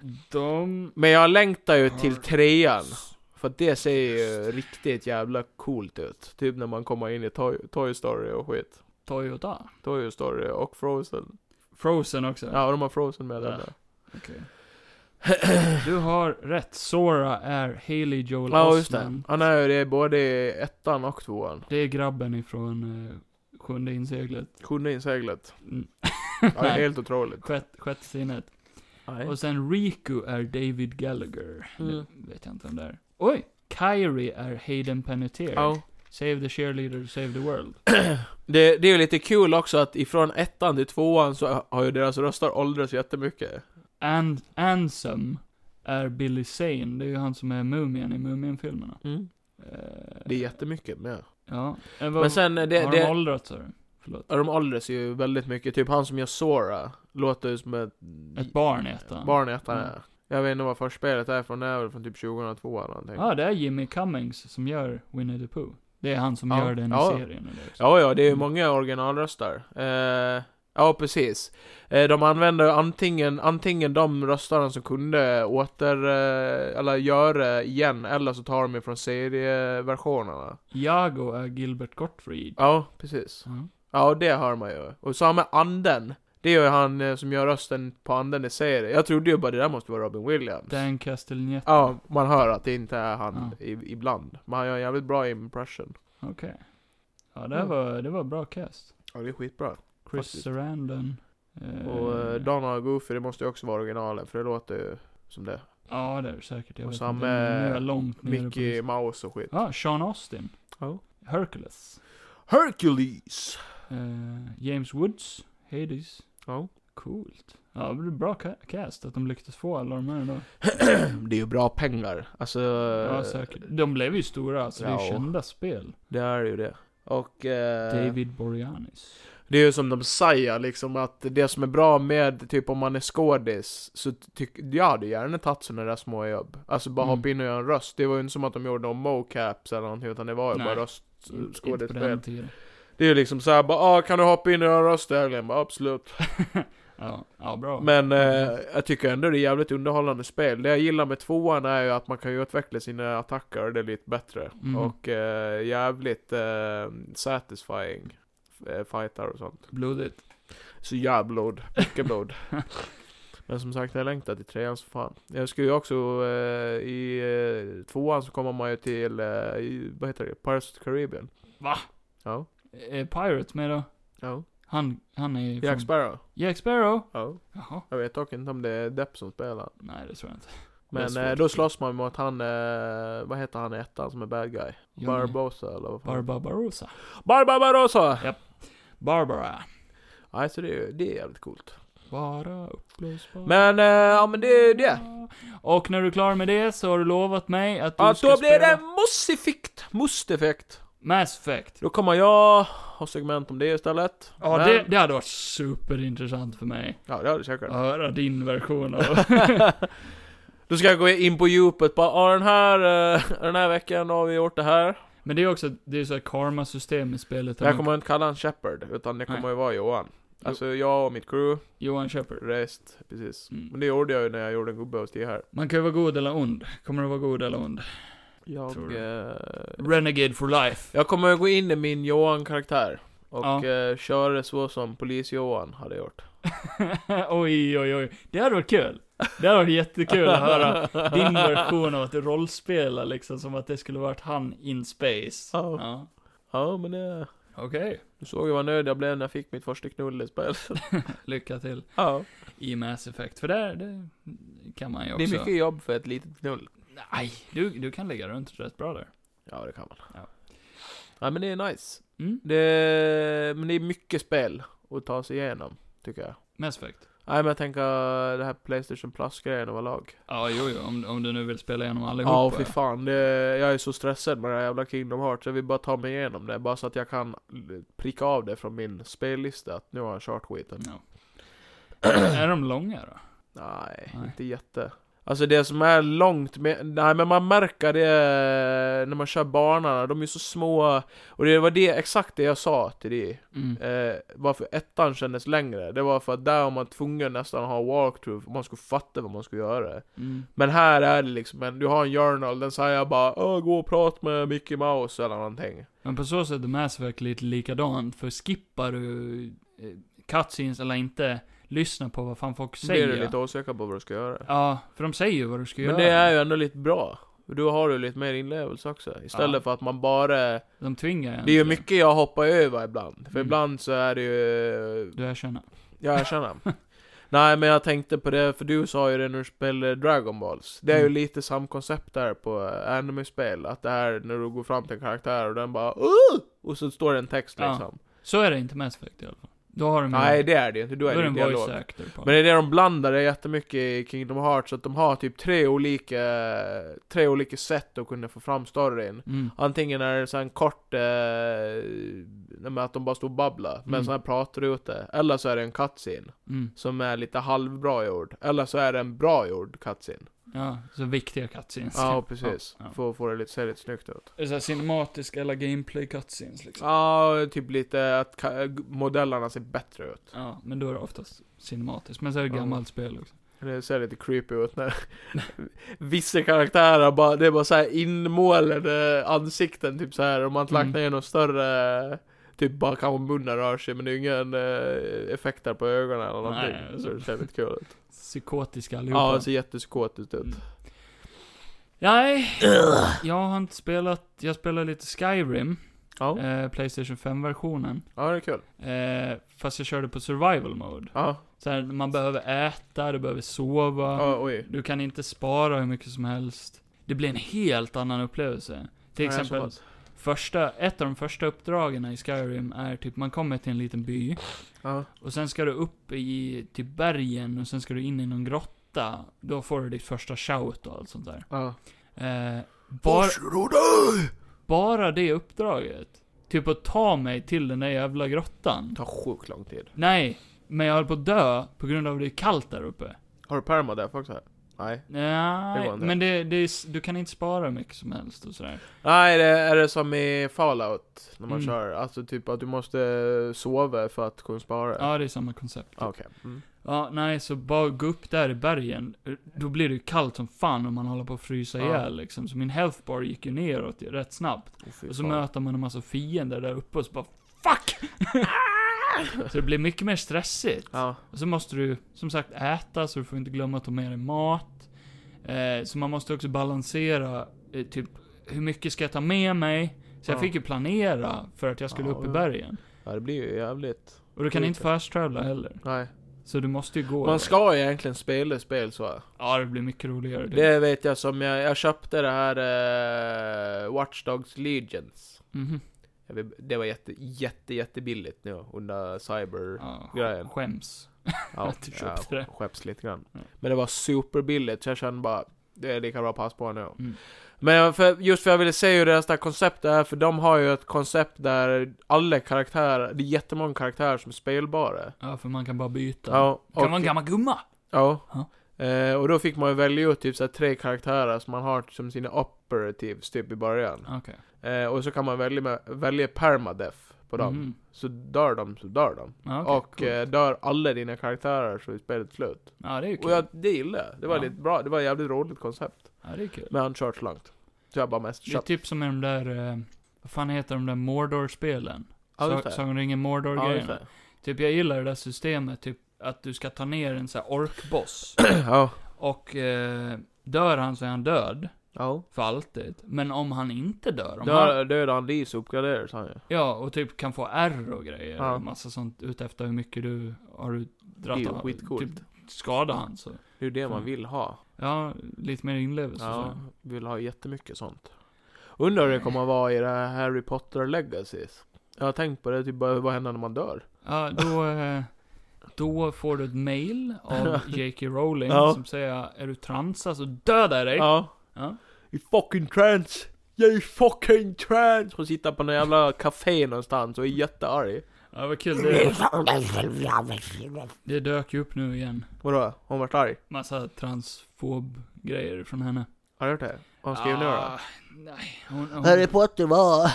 Speaker 2: Kingdom...
Speaker 3: Men jag längtar ju till
Speaker 2: Hearts.
Speaker 3: trean. För att det ser ju riktigt jävla coolt ut. Typ när man kommer in i Toy, Toy Story och skit.
Speaker 2: Toyota.
Speaker 3: Toy Story och Frozen.
Speaker 2: Frozen också.
Speaker 3: Ja, de har Frozen med den där.
Speaker 2: Okej. Du har rätt. Sora är Haley Joel
Speaker 3: Ja, just det.
Speaker 2: Osment.
Speaker 3: Han är ju det både i ettan och tvåan.
Speaker 2: Det är grabben ifrån eh, Sjunde inseglet.
Speaker 3: Sjunde inseglet.
Speaker 2: Mm.
Speaker 3: Ja, det är helt otroligt.
Speaker 2: Sjätte, sjätte sinnet.
Speaker 3: Nej.
Speaker 2: Och sen Riku är David Gallagher.
Speaker 3: Mm.
Speaker 2: Det vet jag inte om det är. Oj! Kyrie är Hayden Panettiere.
Speaker 3: Ja.
Speaker 2: Save the cheerleader, save the world.
Speaker 3: Det, det är ju lite kul också att ifrån ettan till tvåan så har ju deras röster åldrats jättemycket.
Speaker 2: And, Ansem är Billy Zane. Det är ju han som är mumien i Mumien-filmerna.
Speaker 3: Mm.
Speaker 2: Eh,
Speaker 3: Det är jättemycket med.
Speaker 2: Ja. Men,
Speaker 3: Men sen, eh, det,
Speaker 2: har de
Speaker 3: det,
Speaker 2: åldrats sa du? Förlåt.
Speaker 3: Ja, de åldras ju väldigt mycket. Typ han som gör Sora låter ju som ett...
Speaker 2: Ett barn i ettan.
Speaker 3: Barn i ettan,
Speaker 2: Mm.
Speaker 3: ja. Jag vet inte vad förspelet är från, det är väl från typ 2002 eller någonting.
Speaker 2: Ja, ah, det är Jimmy Cummings som gör Winnie the Pooh. Det är han som
Speaker 3: Ja.
Speaker 2: gör den i
Speaker 3: Ja.
Speaker 2: serien. eller också.
Speaker 3: Ja, ja, det är ju
Speaker 2: Mm.
Speaker 3: många originalröster. Eh, ja, precis. Eh, de använder antingen, antingen de rösterna som kunde åter, eh, eller göra igen, eller så tar de ifrån serieversionerna.
Speaker 2: Iago är Gilbert Gottfried.
Speaker 3: Ja, precis.
Speaker 2: Ja.
Speaker 3: Ja, det hör man ju. Och så har man anden. Det är ju han eh, som gör rösten på anden i serien. Jag trodde ju bara det där måste vara Robin Williams.
Speaker 2: Dan Castellaneta.
Speaker 3: Ja, man hör att det inte är han i, ibland. Men han gör en jävligt bra impression.
Speaker 2: Okej. Ja, det
Speaker 3: Mm.
Speaker 2: var, det var bra cast.
Speaker 3: Ja, det är skitbra.
Speaker 2: Chris
Speaker 3: Faktiskt.
Speaker 2: Sarandon. eh,
Speaker 3: Och eh, Donna och Goofy, det måste ju också vara originalen, för det låter ju som det.
Speaker 2: Ja, det är det säkert. Jag
Speaker 3: och
Speaker 2: vet
Speaker 3: samma
Speaker 2: inte. Nu är jag långt nere på
Speaker 3: Mickey
Speaker 2: listan.
Speaker 3: Mouse och skit.
Speaker 2: Ja, Sean Austin.
Speaker 3: Ja.
Speaker 2: Hercules.
Speaker 3: Hercules!
Speaker 2: Eh, James Woods. Hades.
Speaker 3: Ja.
Speaker 2: Coolt. Ja, det blir bra ca- cast att de lyckades få alla de här då.
Speaker 3: Det är ju bra pengar. Alltså,
Speaker 2: Ja, säkert. De blev ju stora, alltså. Det är ju
Speaker 3: ja.
Speaker 2: kända spel.
Speaker 3: det är ju det. Och eh,
Speaker 2: David Boreanaz.
Speaker 3: det är ju som de säger liksom att det som är bra med typ om man är skådis så tycker jag hade gärna tagit sådana där små jobb. Alltså bara
Speaker 2: Mm.
Speaker 3: hoppa in och göra en röst. Det var ju inte som att de gjorde någon mocaps eller någonting utan det var ju
Speaker 2: Nej.
Speaker 3: bara röst
Speaker 2: Inte på den
Speaker 3: skådespel.
Speaker 2: tiden.
Speaker 3: Det är ju liksom såhär bara ah, kan du hoppa in och göra en röst Erling? Bara, Absolut.
Speaker 2: Ja, ja bra.
Speaker 3: Men eh, jag tycker ändå det är jävligt underhållande spel. Det jag gillar med tvåan är ju att man kan ju utveckla sina attacker, det är lite bättre.
Speaker 2: Mm.
Speaker 3: Och eh, jävligt eh, satisfying eh, fighter och sånt.
Speaker 2: Blodigt.
Speaker 3: Så jävla blod, mycket blod. Men som sagt, jag längtar till trean så fan. Jag skulle ju också, eh, i eh, tvåan så kommer man ju till, eh, i, vad heter det, Pirates of the Caribbean.
Speaker 2: Va?
Speaker 3: Ja.
Speaker 2: Är Eh, Pirate med då?
Speaker 3: Ja.
Speaker 2: Han, han är
Speaker 3: Jack Sparrow.
Speaker 2: Jack Sparrow?
Speaker 3: Ja.
Speaker 2: Jaha.
Speaker 3: Jag vet dock inte om det är Depp som spelar.
Speaker 2: Nej, det tror jag inte. Det är
Speaker 3: Men
Speaker 2: svårt
Speaker 3: eh,
Speaker 2: att
Speaker 3: då
Speaker 2: se.
Speaker 3: slåss man mot han, eh, vad heter han i ettan som är bad guy?
Speaker 2: Johnny.
Speaker 3: Barbosa eller vad fan?
Speaker 2: Barbarossa.
Speaker 3: Barbarosa!
Speaker 2: Barbara.
Speaker 3: Nej, så det är, ju- det är jävligt coolt.
Speaker 2: Bara uppblåsbar.
Speaker 3: Men, eh, ja men det är ju det.
Speaker 2: Och när du är klar med det så har du lovat mig att du
Speaker 3: Att
Speaker 2: ska
Speaker 3: då blir
Speaker 2: spela
Speaker 3: det musteffekt, musteffekt.
Speaker 2: Mass Effect.
Speaker 3: Då kommer jag ha segment om det istället.
Speaker 2: Ja,
Speaker 3: Men-
Speaker 2: det, det hade varit superintressant för mig.
Speaker 3: Ja, det hade du säkert.
Speaker 2: Att höra din version av...
Speaker 3: Då ska jag gå in på djupet bara, ja den här, eh, den här veckan har vi gjort det här.
Speaker 2: Men det är också, det är så här karma-system i spelet.
Speaker 3: Jag kommer inte kalla han Shepard, utan det kommer
Speaker 2: Nej.
Speaker 3: ju vara Johan. Alltså jag och mitt crew,
Speaker 2: Johan Shepard.
Speaker 3: rest, precis.
Speaker 2: Mm.
Speaker 3: Men det gjorde jag ju när jag gjorde en gubbe hos det här.
Speaker 2: Man kan ju vara god eller ond. Kommer du vara god eller ond? Tror
Speaker 3: Jag,
Speaker 2: du?
Speaker 3: eh,
Speaker 2: Renegade for life.
Speaker 3: jag kommer gå in i min Johan-karaktär. Och
Speaker 2: Ja.
Speaker 3: eh, köra så som polis-Johan hade gjort.
Speaker 2: oj, oj, oj. Det hade varit kul. Det hade varit jättekul att höra din version av att du rollspelar liksom, som att det skulle varit han in space.
Speaker 3: Ja.
Speaker 2: Ja.
Speaker 3: Ja, men det...
Speaker 2: Okej.
Speaker 3: Du såg ju vad nöjd jag blev när jag fick mitt första knull i spel.
Speaker 2: Lycka till
Speaker 3: Ja.
Speaker 2: i Mass Effect, för där, det kan man ju
Speaker 3: Det
Speaker 2: också.
Speaker 3: är mycket jobb för ett litet knull.
Speaker 2: Nej, du, du kan lägga runt rätt bra där.
Speaker 3: Ja, det kan man.
Speaker 2: Ja.
Speaker 3: Ja, men det är nice.
Speaker 2: Mm.
Speaker 3: Det... Men det är mycket spel att ta sig igenom, tycker jag.
Speaker 2: Mass Effect.
Speaker 3: Nej, men jag tänker det här Playstation Plus-grejen överlag.
Speaker 2: Ja, jo, jo. Om, om du nu vill spela igenom allihopa.
Speaker 3: Ja, fy fan. Det... Eh, Jag är så stressad med det här jävla Kingdom Hearts. Jag vill bara ta mig igenom det, bara så att jag kan pricka av det från min spellista, att nu har jag kört skiten.
Speaker 2: Ja. är de långa då?
Speaker 3: Nej,
Speaker 2: Nej.
Speaker 3: inte jätte. Alltså det som är långt med, nej men man märker det när man kör banorna, de är så små. Och det var det, exakt det jag sa till dig.
Speaker 2: Mm.
Speaker 3: Eh, varför ettan kändes längre, det var för att där var man tvungen nästan att ha walkthrough, för man skulle fatta vad man skulle göra.
Speaker 2: Mm.
Speaker 3: Men här är det liksom en, du har en journal, den säger bara Åh, gå och prata med Mickey Mouse eller någonting.
Speaker 2: Men på så sätt är Mass Effect lite likadant, för skippar du eh, cutscenes eller inte, lyssna på vad fan folk
Speaker 3: Så blir
Speaker 2: säger.
Speaker 3: du lite osäker på vad du ska göra.
Speaker 2: Ja, för de säger ju vad du ska
Speaker 3: Men
Speaker 2: göra.
Speaker 3: det är ju ändå lite bra. Då har du lite mer inlevelse också. Istället
Speaker 2: Ja.
Speaker 3: för att man bara
Speaker 2: De tvingar en
Speaker 3: Det är ju
Speaker 2: till
Speaker 3: mycket jag hoppar över ibland. För
Speaker 2: Mm.
Speaker 3: ibland så är det ju...
Speaker 2: Du erkänner.
Speaker 3: Jag erkänner. Nej, men jag tänkte på det, för du sa ju det när du spelade Dragon Balls. Det är ju
Speaker 2: Mm.
Speaker 3: lite samma koncept där på eh, anime-spel. Att det här när du går fram till en karaktär och den bara "Åh!" Och så står det en text
Speaker 2: Ja.
Speaker 3: liksom.
Speaker 2: Så är det inte Mass Effect i alla fall. Då har de ju...
Speaker 3: Nej, det är det ju inte. Då
Speaker 2: då
Speaker 3: är
Speaker 2: är
Speaker 3: det
Speaker 2: det
Speaker 3: ju
Speaker 2: en
Speaker 3: dialog.
Speaker 2: voice actor på.
Speaker 3: Men det är det de blandar det jättemycket i Kingdom Hearts, så att de har typ tre olika, tre olika sätt att kunna få fram storyn.
Speaker 2: Mm.
Speaker 3: Antingen är det så här en kort, eh, nej, men att de bara står och babblar, med
Speaker 2: Mm.
Speaker 3: en sån här pratruta. Eller så är det en cutscene,
Speaker 2: Mm.
Speaker 3: som är lite halvbra gjord. Eller så är det en bra gjord cutscene.
Speaker 2: Ja, så viktiga cutscenes.
Speaker 3: Ja, precis.
Speaker 2: Ja, ja.
Speaker 3: För att få det lite, se lite snyggt ut.
Speaker 2: Är det så här cinematiska eller gameplay cutscenes liksom?
Speaker 3: Ja, typ lite att ka- modellerna ser bättre ut.
Speaker 2: Ja, men då är det oftast cinematiskt. Men så är det
Speaker 3: Ja.
Speaker 2: gammalt spel också.
Speaker 3: Det ser lite creepy ut när vissa karaktärer bara, det är bara så här inmålade ansikten typ så här. Om man inte lagt
Speaker 2: Mm.
Speaker 3: ner någon större, typ bara kanske munnen rör sig men det är ingen eh, effekt där på ögonen eller
Speaker 2: Nej,
Speaker 3: någonting.
Speaker 2: alltså.
Speaker 3: så det ser lite kul ut.
Speaker 2: Psykotiska allihopa.
Speaker 3: Ja, det ser jättepsikotiskt ut.
Speaker 2: Mm. Nej, jag har inte spelat, jag spelar lite Skyrim,
Speaker 3: Ja.
Speaker 2: eh, Playstation 5-versionen.
Speaker 3: ja, det är kul.
Speaker 2: Eh, fast jag körde på survival mode.
Speaker 3: Ja,
Speaker 2: Så här, man behöver äta, du behöver sova,
Speaker 3: ja oj.
Speaker 2: du kan inte spara hur mycket som helst. Det blir en helt annan upplevelse. Till
Speaker 3: Ja, så
Speaker 2: exempel,
Speaker 3: pass.
Speaker 2: första, ett av de första uppdragen i Skyrim är typ, man kommer till en liten by,
Speaker 3: Ja,
Speaker 2: och sen ska du upp i typ bergen, och sen ska du in i någon grotta. Då får du ditt första shout och allt sånt där.
Speaker 3: ja.
Speaker 2: Eh, bara, bara det uppdraget. Typ att ta mig till den där jävla grottan.
Speaker 3: Det tar sjukt lång tid.
Speaker 2: Nej, men jag höll på att dö på grund av att det är kallt där uppe.
Speaker 3: Har du perma där också? Nej. Det
Speaker 2: Nej,
Speaker 3: går inte.
Speaker 2: men det, det är, s- du kan inte spara hur mycket som helst och sådär.
Speaker 3: Nej, det är det som i Fallout när man
Speaker 2: Mm.
Speaker 3: kör. Alltså typ att du måste sova för att kunna spara.
Speaker 2: Ja, det är samma koncept.
Speaker 3: Ah, Okej. Mm.
Speaker 2: Ja, nej, så bara gå upp där i bergen. eh, Då blir det ju kallt som fan om man håller på att frysa
Speaker 3: Ja.
Speaker 2: ihjäl liksom. Så min health bar gick ju neråt rätt snabbt.
Speaker 3: Åh, fy
Speaker 2: Och så
Speaker 3: fan.
Speaker 2: möter man en massa fiender där uppe och så bara FUCK! så det blir mycket mer stressigt.
Speaker 3: Ja,
Speaker 2: Och så måste du, som sagt, äta så du får inte glömma att ta med dig mat. Eh, så man måste också balansera, eh, typ, hur mycket ska jag ta med mig? Så jag
Speaker 3: Ja.
Speaker 2: fick ju planera för att jag skulle
Speaker 3: Ja,
Speaker 2: upp i
Speaker 3: ja.
Speaker 2: bergen.
Speaker 3: ja det blir ju jävligt.
Speaker 2: Och du kan
Speaker 3: Just
Speaker 2: inte
Speaker 3: det.
Speaker 2: fast travela heller.
Speaker 3: Nej.
Speaker 2: Så du måste ju gå.
Speaker 3: Man ska ju egentligen spela spel så.
Speaker 2: Ja, det blir mycket roligare. Det.
Speaker 3: Det vet jag som jag, jag köpte det här eh, Watch Dogs Legions.
Speaker 2: Mhm.
Speaker 3: Jag vet- Det var jätte, jätte, jättebilligt nu under cyber...
Speaker 2: Ja,
Speaker 3: Grejen.
Speaker 2: sk- skäms.
Speaker 3: Ja,
Speaker 2: att du Typ köpte det.
Speaker 3: skäpps lite grann.
Speaker 2: Ja.
Speaker 3: Men det var superbilligt så jag kände bara, det är lika bra att passa på nu.
Speaker 2: Mm.
Speaker 3: Men för, just för jag ville se hur deras där koncept är, för de har ju ett koncept där alla karaktärer, det är jättemånga karaktärer som är spelbara.
Speaker 2: Ja, för man kan bara byta.
Speaker 3: Ja,
Speaker 2: Kan
Speaker 3: och-
Speaker 2: vara en gammal gumma.
Speaker 3: Ja.
Speaker 2: Ja.
Speaker 3: Eh, och då fick man ju välja ut typ så här tre karaktärer som man har som sina operatives typ i början.
Speaker 2: Ah, Okej.
Speaker 3: Eh, och så kan man välja, med, välja permadeath på dem.
Speaker 2: Mhm.
Speaker 3: Så dör de så dör de.
Speaker 2: Ja, okej,
Speaker 3: och
Speaker 2: coolt.
Speaker 3: eh, dör alla dina karaktärer så är spelet slut.
Speaker 2: Ja, det är ju kul.
Speaker 3: Och jag, det gillade jag. Det var
Speaker 2: Ja.
Speaker 3: lite bra. Det var ett jävligt roligt koncept.
Speaker 2: Ja, det är kul.
Speaker 3: Men han kört så långt. Så jag bara mest
Speaker 2: Det är
Speaker 3: köpt.
Speaker 2: typ som med de där, eh, vad fan heter de där Mordor-spelen?
Speaker 3: Ja, just
Speaker 2: Sa-
Speaker 3: det.
Speaker 2: Sagan om ringen
Speaker 3: Ja, just
Speaker 2: Mordor-grejerna.
Speaker 3: det.
Speaker 2: typ jag gillar det där systemet, typ att du ska ta ner en sån här orkboss.
Speaker 3: Ja.
Speaker 2: och eh, dör han så är han död.
Speaker 3: Ja.
Speaker 2: För alltid. Men om han inte dör, om han,
Speaker 3: Dör- Dödar han Lee så uppgraderas han ju.
Speaker 2: ja och typ kan få ärr och grejer.
Speaker 3: Ja.
Speaker 2: Och massa sånt utefter hur mycket du har du
Speaker 3: Det är
Speaker 2: dratt
Speaker 3: ju
Speaker 2: av.
Speaker 3: skitcoolt.
Speaker 2: Typ skadar han så.
Speaker 3: Det är ju det man
Speaker 2: Mm.
Speaker 3: vill ha.
Speaker 2: Ja, lite mer inlevelse och
Speaker 3: Ja,
Speaker 2: så.
Speaker 3: vill ha jättemycket sånt. Undrar hur det kommer att vara i det här Harry Potter Legacies. Jag har tänkt på det, typ bara, vad händer när man dör?
Speaker 2: Ja, då, eh, då får du ett mail av J.K. Rowling
Speaker 3: Ja.
Speaker 2: som säger Är du transa så dödar jag dig.
Speaker 3: Ja.
Speaker 2: Ja.
Speaker 3: I fucking trance! Jag är fucking trance! Hon sitter på någon jävla café någonstans och är jättearg.
Speaker 2: Ja, vad kul. Det, det dök ju upp nu igen.
Speaker 3: Vadå? Hon vart arg?
Speaker 2: Massa transfob-grejer från henne.
Speaker 3: Har du hört det? Vad hon skrev nu då?
Speaker 2: Ah, Nej, hon, hon,
Speaker 3: Potter var...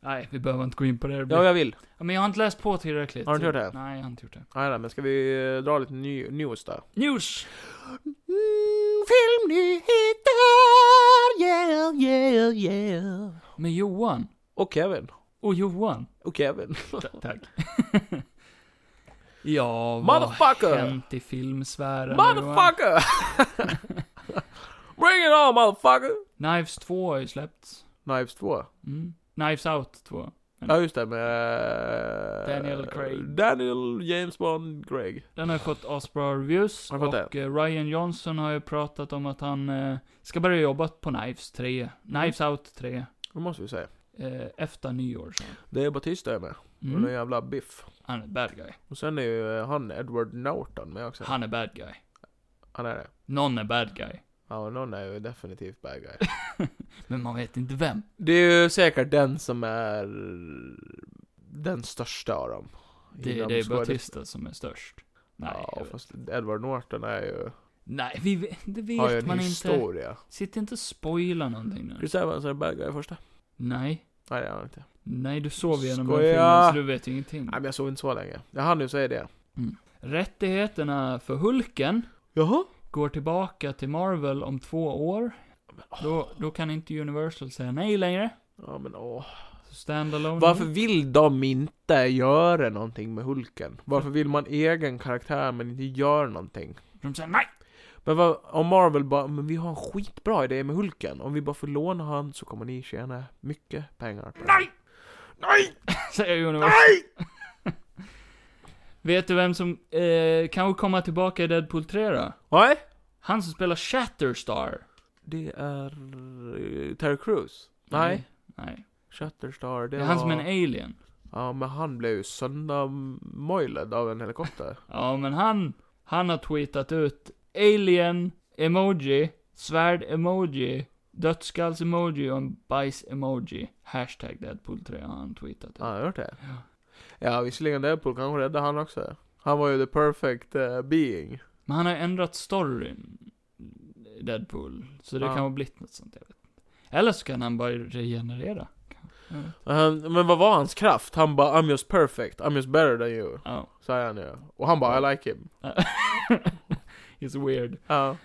Speaker 2: nej, vi behöver inte gå in på det. det blir...
Speaker 3: Ja, jag vill.
Speaker 2: ja, men jag har inte läst på tillräckligt.
Speaker 3: Har du inte gjort det?
Speaker 2: Nej, jag har inte gjort det.
Speaker 3: Nej, nej, men ska vi eh, dra lite ny- news då?
Speaker 2: News!
Speaker 3: Mm, filmnyheter! Yeah, yeah, yeah.
Speaker 2: Med Johan.
Speaker 3: Och Kevin.
Speaker 2: Och Johan.
Speaker 3: Och Kevin.
Speaker 2: Tack. ja, vad har
Speaker 3: Motherfucker!
Speaker 2: hänt i filmsfären? Johan?
Speaker 3: Motherfucker! Bring it on motherfucker!
Speaker 2: Knives 2 har ju släppts.
Speaker 3: Knives 2.
Speaker 2: Mm. Knives Out 2.
Speaker 3: Ja just det med...
Speaker 2: Daniel Craig.
Speaker 3: Daniel James Bond Craig.
Speaker 2: Den har ju fått asbra reviews.
Speaker 3: Har den fått
Speaker 2: och eh, Ryan Johnson har ju pratat om att han eh, ska börja jobba på Knives 3. Knives Out 3.
Speaker 3: Det måste vi säga.
Speaker 2: eh, efter nyår. Så.
Speaker 3: Det är Batista är med. Och den
Speaker 2: Mm.
Speaker 3: jävla Biff.
Speaker 2: Han är bad guy.
Speaker 3: Och sen är ju eh, han Edward Norton med också.
Speaker 2: Han är bad guy.
Speaker 3: Han är det.
Speaker 2: Någon är bad guy.
Speaker 3: Ja, och någon är ju definitivt bad guy.
Speaker 2: Men man vet inte vem.
Speaker 3: Det är ju säkert den som är den största av dem.
Speaker 2: Det,
Speaker 3: Inom
Speaker 2: det är
Speaker 3: skådespel-
Speaker 2: Batista som är störst. Nej,
Speaker 3: Ja,
Speaker 2: jag vet.
Speaker 3: fast Edward Norton är ju,
Speaker 2: Nej vi, vet- det
Speaker 3: har ju
Speaker 2: vet
Speaker 3: en
Speaker 2: man inte.
Speaker 3: historia.
Speaker 2: Sitt inte och spoila någonting nu.
Speaker 3: Chris Evans är bad guy i första.
Speaker 2: Nej.
Speaker 3: Nej, det är han inte.
Speaker 2: Nej, du sov igenom den
Speaker 3: Skoja.
Speaker 2: filmen så du vet ingenting.
Speaker 3: Nej, men jag såg inte så länge. Jag hann ju säga det.
Speaker 2: Rättigheterna för Hulken
Speaker 3: Jaha?
Speaker 2: går tillbaka till Marvel om två år. Då, då kan inte Universal säga nej längre.
Speaker 3: Ja, men åh.
Speaker 2: Så standalone.
Speaker 3: Varför vill de inte göra någonting med Hulken? Varför vill man egen karaktär men inte gör någonting?
Speaker 2: De säger nej!
Speaker 3: Men vad, om Marvel bara, men vi har en skitbra idé med Hulken. Om vi bara får låna han så kommer ni tjäna mycket pengar. på det."
Speaker 2: Nej!
Speaker 3: Nej!
Speaker 2: Säger Universal. Nej! vet du vem som eh, kanske kommer tillbaka i Deadpool 3 då?
Speaker 3: Nej!
Speaker 2: Han som spelar Shatterstar.
Speaker 3: Det är... eh, Terry Crews? Nej.
Speaker 2: Nej.
Speaker 3: Shatterstar, det
Speaker 2: Det är han som
Speaker 3: var-
Speaker 2: är en alien.
Speaker 3: Ja, men han blev ju söndermojlad av en helikopter.
Speaker 2: Ja, men han, han har tweetat ut alien emoji, svärd emoji, dödskalls emoji och en bajs emoji. Hashtag Deadpool 3 har han tweetat ut.
Speaker 3: Ja, har du hört det? Ja. visserligen Deadpool kanske räddade han också. Han var ju the perfect eh, being.
Speaker 2: Men han har ändrat storyn, Deadpool. Så det
Speaker 3: Ja.
Speaker 2: kan ha blivit något sånt, jag vet inte. Eller så kan han bara regenerera.
Speaker 3: Och Han, men vad var hans kraft? Han bara 'I'm just perfect, I'm just better than you'
Speaker 2: Ja.
Speaker 3: Säger han ju. Och han bara 'I like him'
Speaker 2: It's weird.
Speaker 3: Ja.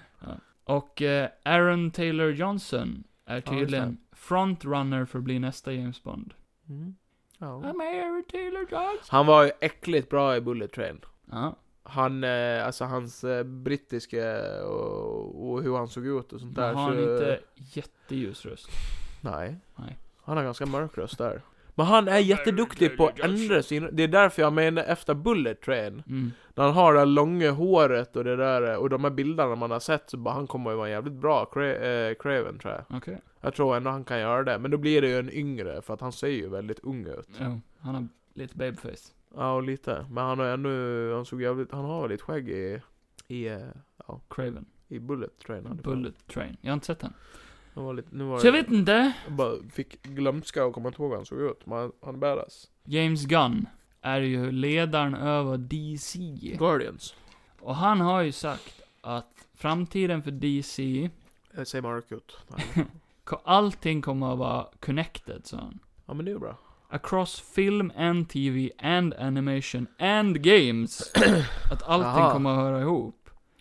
Speaker 2: Och eh, Aaron Taylor Johnson är
Speaker 3: Ja, just
Speaker 2: tydligen frontrunner för att bli nästa James Bond.
Speaker 3: Mm. ja.
Speaker 2: I'm Aaron Taylor Johnson.
Speaker 3: Han var ju äckligt bra i Bullet Train.
Speaker 2: Ja.
Speaker 3: Han, eh, alltså hans eh, brittiska och, och hur han såg ut och sånt där.
Speaker 2: Där har han
Speaker 3: så,
Speaker 2: inte jätteljus röst.
Speaker 3: Nej.
Speaker 2: Nej.
Speaker 3: Han har ganska mörk röst där. Men han är jätteduktig på att ändra sin... Det är därför jag menar efter Bullet Train.
Speaker 2: Mm.
Speaker 3: När han har det här långa håret och det där eh, och de här bilderna man har sett så bara han kommer ju vara en jävligt bra Cra- eh, Craven tror jag.
Speaker 2: Okej.
Speaker 3: Jag tror ändå han kan göra det. Men då blir det ju en yngre för att han ser ju väldigt ung ut.
Speaker 2: Ja, han har lite babyface.
Speaker 3: Ja, och lite. Men han har ändå... Han såg jävligt... Han har lite skägg i... I, eh, ja,
Speaker 2: Craven.
Speaker 3: i Bullet Train. hade jag.
Speaker 2: Bullet Train. Jag har inte sett den.
Speaker 3: Han var lite, nu var
Speaker 2: Så jag vet inte.
Speaker 3: jag bara fick glömska och komma inte ihåg hur han såg ut. Men han, han är badass.
Speaker 2: James Gunn är ju ledaren över DC.
Speaker 3: Guardians.
Speaker 2: Och han har ju sagt att framtiden för DC,
Speaker 3: Eh, Ser mörk ut. Nej.
Speaker 2: ko- allting kommer att vara connected, sa han.
Speaker 3: Ja men det är ju bra.
Speaker 2: Across film and TV and animation and games. Att allting
Speaker 3: Aha.
Speaker 2: kommer att höra ihop.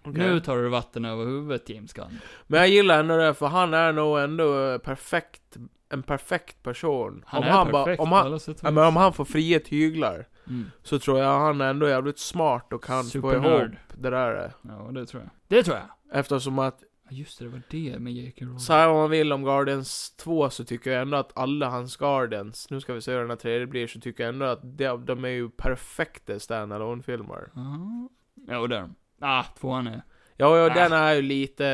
Speaker 2: Nu
Speaker 3: Nu-
Speaker 2: tar du vatten över huvudet, James Gunn.
Speaker 3: Men jag gillar ändå det för han är nog ändå eh, perfekt, en perfekt person.
Speaker 2: Han
Speaker 3: om
Speaker 2: är
Speaker 3: han
Speaker 2: perfekt
Speaker 3: om
Speaker 2: på
Speaker 3: han,
Speaker 2: alla sätt och
Speaker 3: ja,
Speaker 2: vis.
Speaker 3: men om han får fria tyglar
Speaker 2: Mm.
Speaker 3: så tror jag han är ändå jävligt smart och kan få
Speaker 2: Supernerd.
Speaker 3: ihop det där. eh.
Speaker 2: Ja, det tror jag. Det tror jag!
Speaker 3: Eftersom att,
Speaker 2: Ja, Just det, det var det med J.K. Rowling.
Speaker 3: säga vad man vill om Guardians 2 så tycker jag ändå att alla hans Guardians, nu ska vi se hur den här tredje blir, så tycker jag ändå att de, de är ju perfekta standalone filmer
Speaker 2: Ja, Ja, där. Ah, tvåan är...
Speaker 3: Ja, ja
Speaker 2: Ah.
Speaker 3: den är ju lite,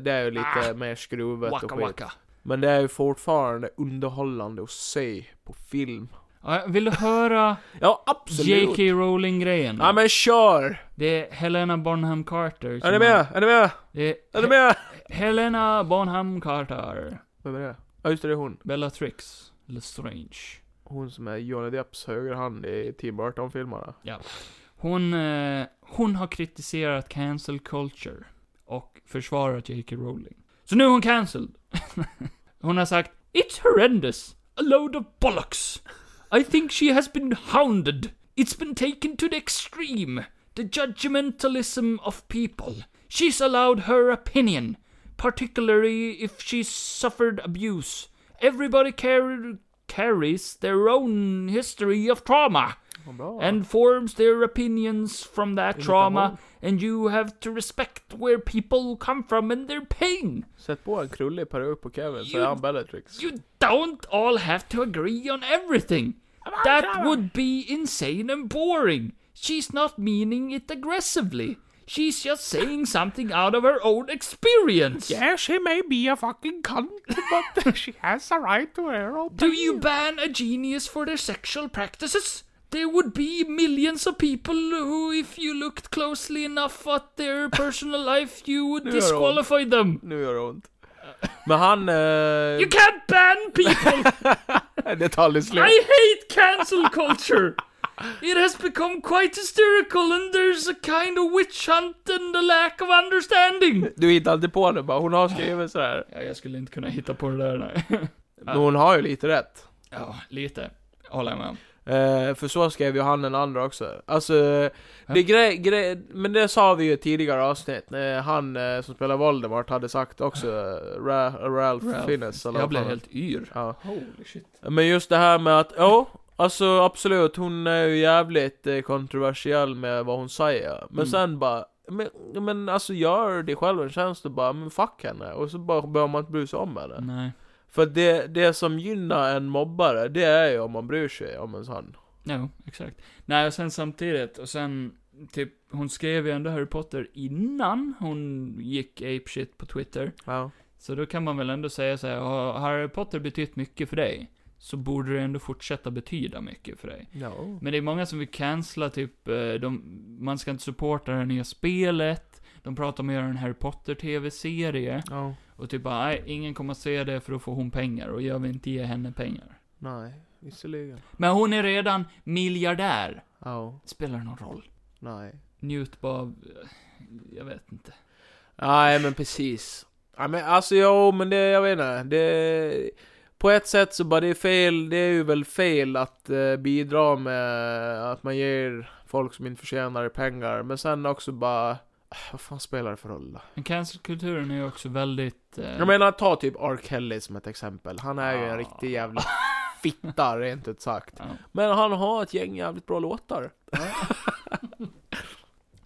Speaker 3: det är ju lite
Speaker 2: Ah.
Speaker 3: mer skruvet
Speaker 2: Waka
Speaker 3: och skit.
Speaker 2: waka.
Speaker 3: Men det är ju fortfarande underhållande att se på film.
Speaker 2: Ja, vill du höra
Speaker 3: Ja, absolut!
Speaker 2: J.K. Rowling-grejen?
Speaker 3: Ja men kör!
Speaker 2: Det är Helena Bonham Carter som
Speaker 3: Är ni
Speaker 2: har-
Speaker 3: med? Är ni med?
Speaker 2: Det är
Speaker 3: Är ni med?
Speaker 2: He- Helena Bonham Carter.
Speaker 3: Vem är det? Ja just det, det är hon.
Speaker 2: Bellatrix Lestrange.
Speaker 3: Hon som är Johnny Depps högra hand i Tim Burton-filmerna.
Speaker 2: Hon, eh, hon har kritiserat cancel culture och försvarat J.K. Rowling. Så nu är hon cancelled. hon har sagt It's horrendous. A load of bollocks. I think she has been hounded. It's been taken to the extreme. The judgmentalism of people. She's allowed her opinion, particularly if she's suffered abuse. Everybody car- carries their own history of trauma
Speaker 3: Vad bra.
Speaker 2: and forms their opinions from that
Speaker 3: Inget
Speaker 2: trauma,
Speaker 3: annat.
Speaker 2: and you have to respect where people come from and their pain.
Speaker 3: Sätt på en krullig peruk på Kevin så
Speaker 2: You-
Speaker 3: är han Bellatrix.
Speaker 2: You don't all have to agree on everything. That would be insane and boring. She's not meaning it aggressively. She's just saying something out of her own experience.
Speaker 3: Yeah, she may be a fucking cunt, but she has a right to her
Speaker 2: Do you ban a genius for their sexual practices? There would be millions of people who, if you looked closely enough at their personal life, you would
Speaker 3: gör det ont.
Speaker 2: disqualify them.
Speaker 3: Nu gör det ont. Men han... Eh,
Speaker 2: You can't ban people!
Speaker 3: det tar aldrig slut.
Speaker 2: I hate cancel culture. It has become quite hysterical, and there's a kind of witch hunt and a lack of understanding.
Speaker 3: Du hittar alltid på det bara, hon har skrivit sådär.
Speaker 2: Ja, jag skulle inte kunna hitta på det där, nej.
Speaker 3: Men hon har ju lite rätt.
Speaker 2: Ja, lite. Håller jag med om.
Speaker 3: Eh, för så skrev ju han den andra också. Alltså, det gre- gre- men det sa vi ju i ett tidigare avsnitt, när han eh, som spelar Voldemort hade sagt också, eh, Ra- Ralph,
Speaker 2: Ralph.
Speaker 3: Fiennes eller
Speaker 2: Jag
Speaker 3: vad
Speaker 2: blev
Speaker 3: fan
Speaker 2: helt yr.
Speaker 3: Ja.
Speaker 2: Holy shit.
Speaker 3: Men just det här med att, ja, alltså absolut, hon är ju jävligt eh, kontroversiell med vad hon säger. Men
Speaker 2: Mm.
Speaker 3: sen bara, men, men alltså gör det själv en tjänst och bara, men fuck henne. Och så bara behöver man inte bry sig om henne.
Speaker 2: Nej.
Speaker 3: För det, det som gynnar en mobbare, det är ju om man bryr sig om en sån.
Speaker 2: Jo, exakt. Nej, och sen samtidigt, och sen, typ, hon skrev ju ändå Harry Potter innan hon gick apeshit på Twitter.
Speaker 3: Ja.
Speaker 2: Så då kan man väl ändå säga så här, har Harry Potter betytt mycket för dig, så borde det ändå fortsätta betyda mycket för
Speaker 1: Mm.
Speaker 2: dig.
Speaker 3: Ja.
Speaker 2: Men det är många som vill cancella typ, eh, de, man ska inte supporta det här nya spelet, de pratar om att göra en Harry Potter TV-serie,
Speaker 3: Ja.
Speaker 2: och typ bara, nej, ingen kommer att se det för då får hon pengar, och jag vill inte ge henne pengar.
Speaker 3: Nej, visserligen.
Speaker 2: Men hon är redan miljardär.
Speaker 3: Ja.
Speaker 2: Spelar det någon roll?
Speaker 3: Nej.
Speaker 2: Njut bara av, eh, jag vet inte.
Speaker 3: Nej, men precis. Ja, men alltså jo, men det, jag vet inte. Det, på ett sätt så bara det är fel, det är ju väl fel att eh, bidra med att man ger folk som inte förtjänar pengar, men sen också bara, eh, vad fan spelar det för roll då?
Speaker 2: Men cancelkulturen är ju också väldigt... Eh,
Speaker 3: Jag menar, ta typ R. Kelly som ett exempel. Han är ju en
Speaker 2: Ja.
Speaker 3: riktig jävla fitta, rent ut sagt.
Speaker 2: Ja.
Speaker 3: Men han har ett gäng jävligt bra låtar.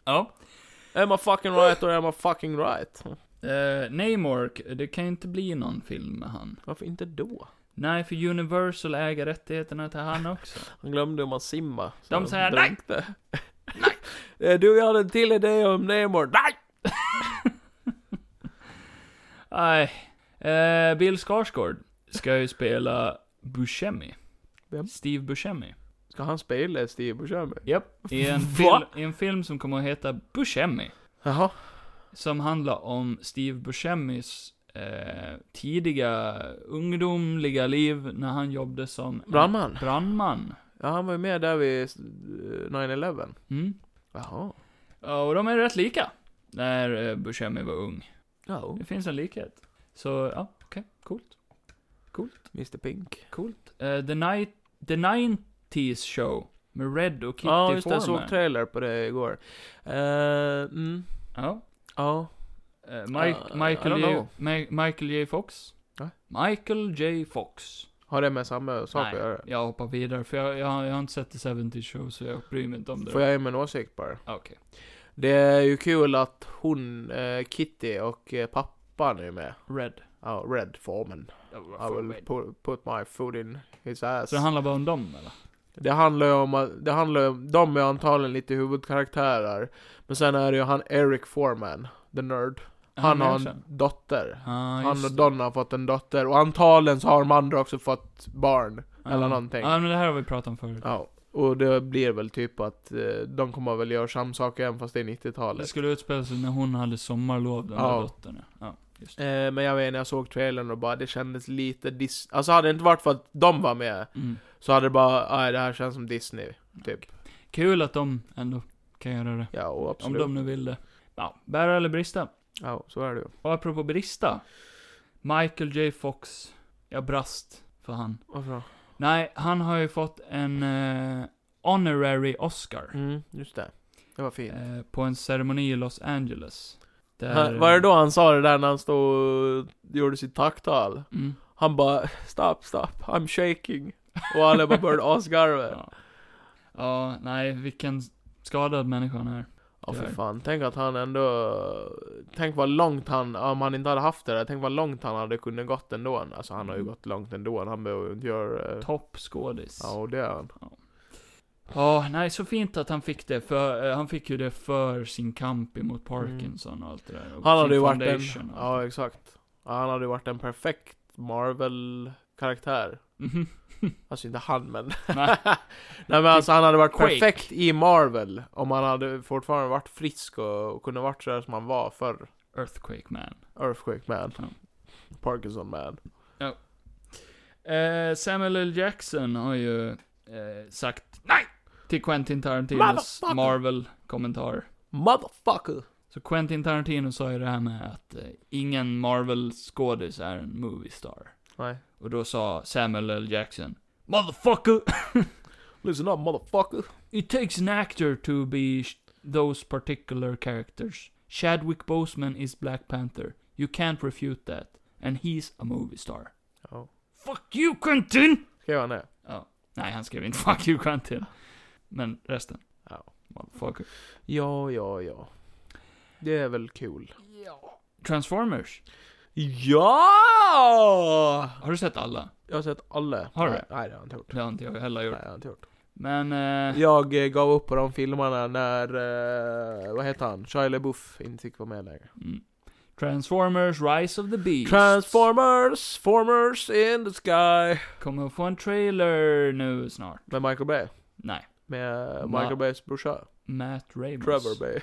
Speaker 2: ja.
Speaker 3: Är man fucking right or är man fucking right?
Speaker 2: Eh, Namor, det kan ju inte bli någon film med han.
Speaker 3: Varför inte då?
Speaker 2: Nej, för Universal äger rättigheterna till han också.
Speaker 3: Han glömde om att simma. så
Speaker 2: De
Speaker 3: han
Speaker 2: säger
Speaker 3: drunknade. Eh, Du, jag hade en till idé om Namor. Nej!
Speaker 2: Nej. Eh, Bill Skarsgård ska ju spela Buscemi.
Speaker 3: Vem?
Speaker 2: Steve Buscemi.
Speaker 3: Ska han spela Steve Buscemi?
Speaker 2: Japp. I en, fil-
Speaker 3: Va?
Speaker 2: I en film som kommer att heta Buscemi.
Speaker 3: Jaha.
Speaker 2: Som handlar om Steve Buscemis eh, tidiga ungdomliga liv när han jobbade som en
Speaker 3: Brandman?
Speaker 2: brandman.
Speaker 3: Ja, han var ju med där vid eh, 9-11.
Speaker 2: Mm.
Speaker 3: Jaha.
Speaker 2: Ja, Och de är rätt lika. När eh, Buscemi var ung.
Speaker 3: Ja,
Speaker 2: Det finns en likhet. Så, ja, okej, coolt.
Speaker 3: Mr Pink.
Speaker 2: Coolt. Eh, the, night, the 90s show. Med Red och Kitty
Speaker 3: Ja, just det. Jag såg
Speaker 2: Forman.
Speaker 3: trailer på det igår. Eh, mm.
Speaker 2: ja.
Speaker 3: Ja.
Speaker 2: Eh, Mike,
Speaker 3: Uh, I
Speaker 2: Michael,
Speaker 3: don't
Speaker 2: J,
Speaker 3: know.
Speaker 2: Ma- Michael J. Fox.
Speaker 3: Va?
Speaker 2: Michael J. Fox.
Speaker 3: Har det med samma sak
Speaker 2: Nej,
Speaker 3: att göra?
Speaker 2: jag hoppar vidare för jag, jag, har- jag har inte sett The 70 Show så jag bryr mig inte om det.
Speaker 3: Får jag ge mig en åsikt bara?
Speaker 2: Ah, Okej.
Speaker 3: Det är ju kul att hon, eh, Kitty och eh, pappan är med.
Speaker 2: Red.
Speaker 3: Ja, Red Foreman. I will
Speaker 2: Red.
Speaker 3: pu- put my foot in his ass.
Speaker 2: Så det handlar bara om dem eller?
Speaker 3: Det handlar ju om att, det handlar ju om, de är antagligen lite huvudkaraktärer. Men sen är det ju han Eric Foreman, the nerd. Han har en dotter.
Speaker 2: ah,
Speaker 3: han och
Speaker 2: just
Speaker 3: Donna har fått en dotter. Och antagligen så har de andra också fått barn.
Speaker 2: det.
Speaker 3: eller
Speaker 2: Ah.
Speaker 3: någonting.
Speaker 2: Ja, men det här har vi pratat om förut.
Speaker 3: Ja. Och det blir väl typ att eh, de kommer väl göra samma sak även fast det är
Speaker 2: Det
Speaker 3: 90-talet.
Speaker 2: skulle utspela sig när hon hade sommarlov, den
Speaker 3: Ja.
Speaker 2: där dottern. Ja, ah, just det.
Speaker 3: Eh, men jag vet när jag såg trailern och bara det kändes lite dis... Alltså hade det inte varit för att de var med
Speaker 2: Mm.
Speaker 3: så hade det bara, nej det här känns som Disney. Typ.
Speaker 2: Kul att de ändå kan göra det.
Speaker 3: Ja, och
Speaker 2: Om
Speaker 3: absolut.
Speaker 2: de nu vill det. Ja, bära eller brista.
Speaker 3: Ja, så är det ju.
Speaker 2: Och apropå brista. Michael J. Fox. Jag brast för han.
Speaker 3: Varför då?
Speaker 2: Nej, han har ju fått en eh, honorary Oscar.
Speaker 3: Mm, just det. Det var fint.
Speaker 2: eh, på en ceremoni i Los Angeles.
Speaker 3: Han, var det då han sa det där när han stod och gjorde sitt tacktal?
Speaker 2: Mm.
Speaker 3: Han bara 'Stop, stop, I'm shaking' Och alla bara började asgarva.
Speaker 2: Ja. ja, nej, vilken skadad människa han är.
Speaker 3: Ja för fan, tänk att han ändå... Tänk vad långt han, om han inte hade haft det där, tänk vad långt han hade kunnat gått ändå. Alltså han har ju
Speaker 2: Mm.
Speaker 3: gått långt ändå, han behöver ju inte göra... eh,
Speaker 2: Toppskådis.
Speaker 3: Ja och det är han.
Speaker 2: Ja, nej, så fint att han fick det, för eh, han fick ju det för sin kamp emot Parkinson och allt det där. Och
Speaker 3: Mm. Han
Speaker 2: sin
Speaker 3: hade ju varit
Speaker 2: foundation alltså.
Speaker 3: en,
Speaker 2: och-
Speaker 3: ja exakt. Ja, Han hade ju varit en perfekt Marvel-karaktär.
Speaker 2: Mhm.
Speaker 3: Alltså inte han men.
Speaker 2: Nej.
Speaker 3: Nej men alltså han hade varit
Speaker 2: Quake.
Speaker 3: perfekt i Marvel. Om han hade fortfarande varit frisk och, och kunde varit sådär som han var förr.
Speaker 2: Earthquake Man.
Speaker 3: Earthquake man.
Speaker 2: Ja.
Speaker 3: Parkinson man.
Speaker 2: Eh, Samuel L. Jackson har ju eh, sagt nej till Quentin Tarantinos
Speaker 3: Motherfucker.
Speaker 2: Marvel-kommentar.
Speaker 3: Motherfucker!
Speaker 2: Så Quentin Tarantino sa ju det här med att eh, ingen Marvel-skådis är en movie star.
Speaker 3: Nej.
Speaker 2: Och då sa Samuel L. Jackson Motherfucker!
Speaker 3: Listen up motherfucker!
Speaker 2: It takes an actor to be sh- those particular characters. Chadwick Boseman is Black Panther. You can't refute that. And he's a movie star.
Speaker 3: Ja.
Speaker 2: Fuck you Quentin!
Speaker 3: Skrev han det?
Speaker 2: Ja. Nej, han skrev inte 'fuck you Quentin'. Men resten.
Speaker 3: Ja.
Speaker 2: Motherfucker.
Speaker 3: Ja, ja, ja. Det är väl kul.
Speaker 2: Transformers.
Speaker 3: Ja!
Speaker 2: Har du sett alla?
Speaker 3: Jag har sett alla.
Speaker 2: Har du?
Speaker 3: Nej, nej, det har jag inte gjort.
Speaker 2: Det har inte jag heller gjort.
Speaker 3: Nej, det har jag inte gjort.
Speaker 2: Men... Eh,
Speaker 3: Jag eh, gav upp på de filmerna när, eh, vad heter han, Shia LaBeouf inte fick vara med längre.
Speaker 2: mm. Transformers Rise of the Beast.
Speaker 3: Transformers, Formers in the sky.
Speaker 2: Kommer få en trailer nu snart.
Speaker 3: Med Michael Bay.
Speaker 2: Nej.
Speaker 3: Med eh,
Speaker 2: Ma-
Speaker 3: Michael Bays brorsa,
Speaker 2: Matt Ramos.
Speaker 3: Trevor Bay.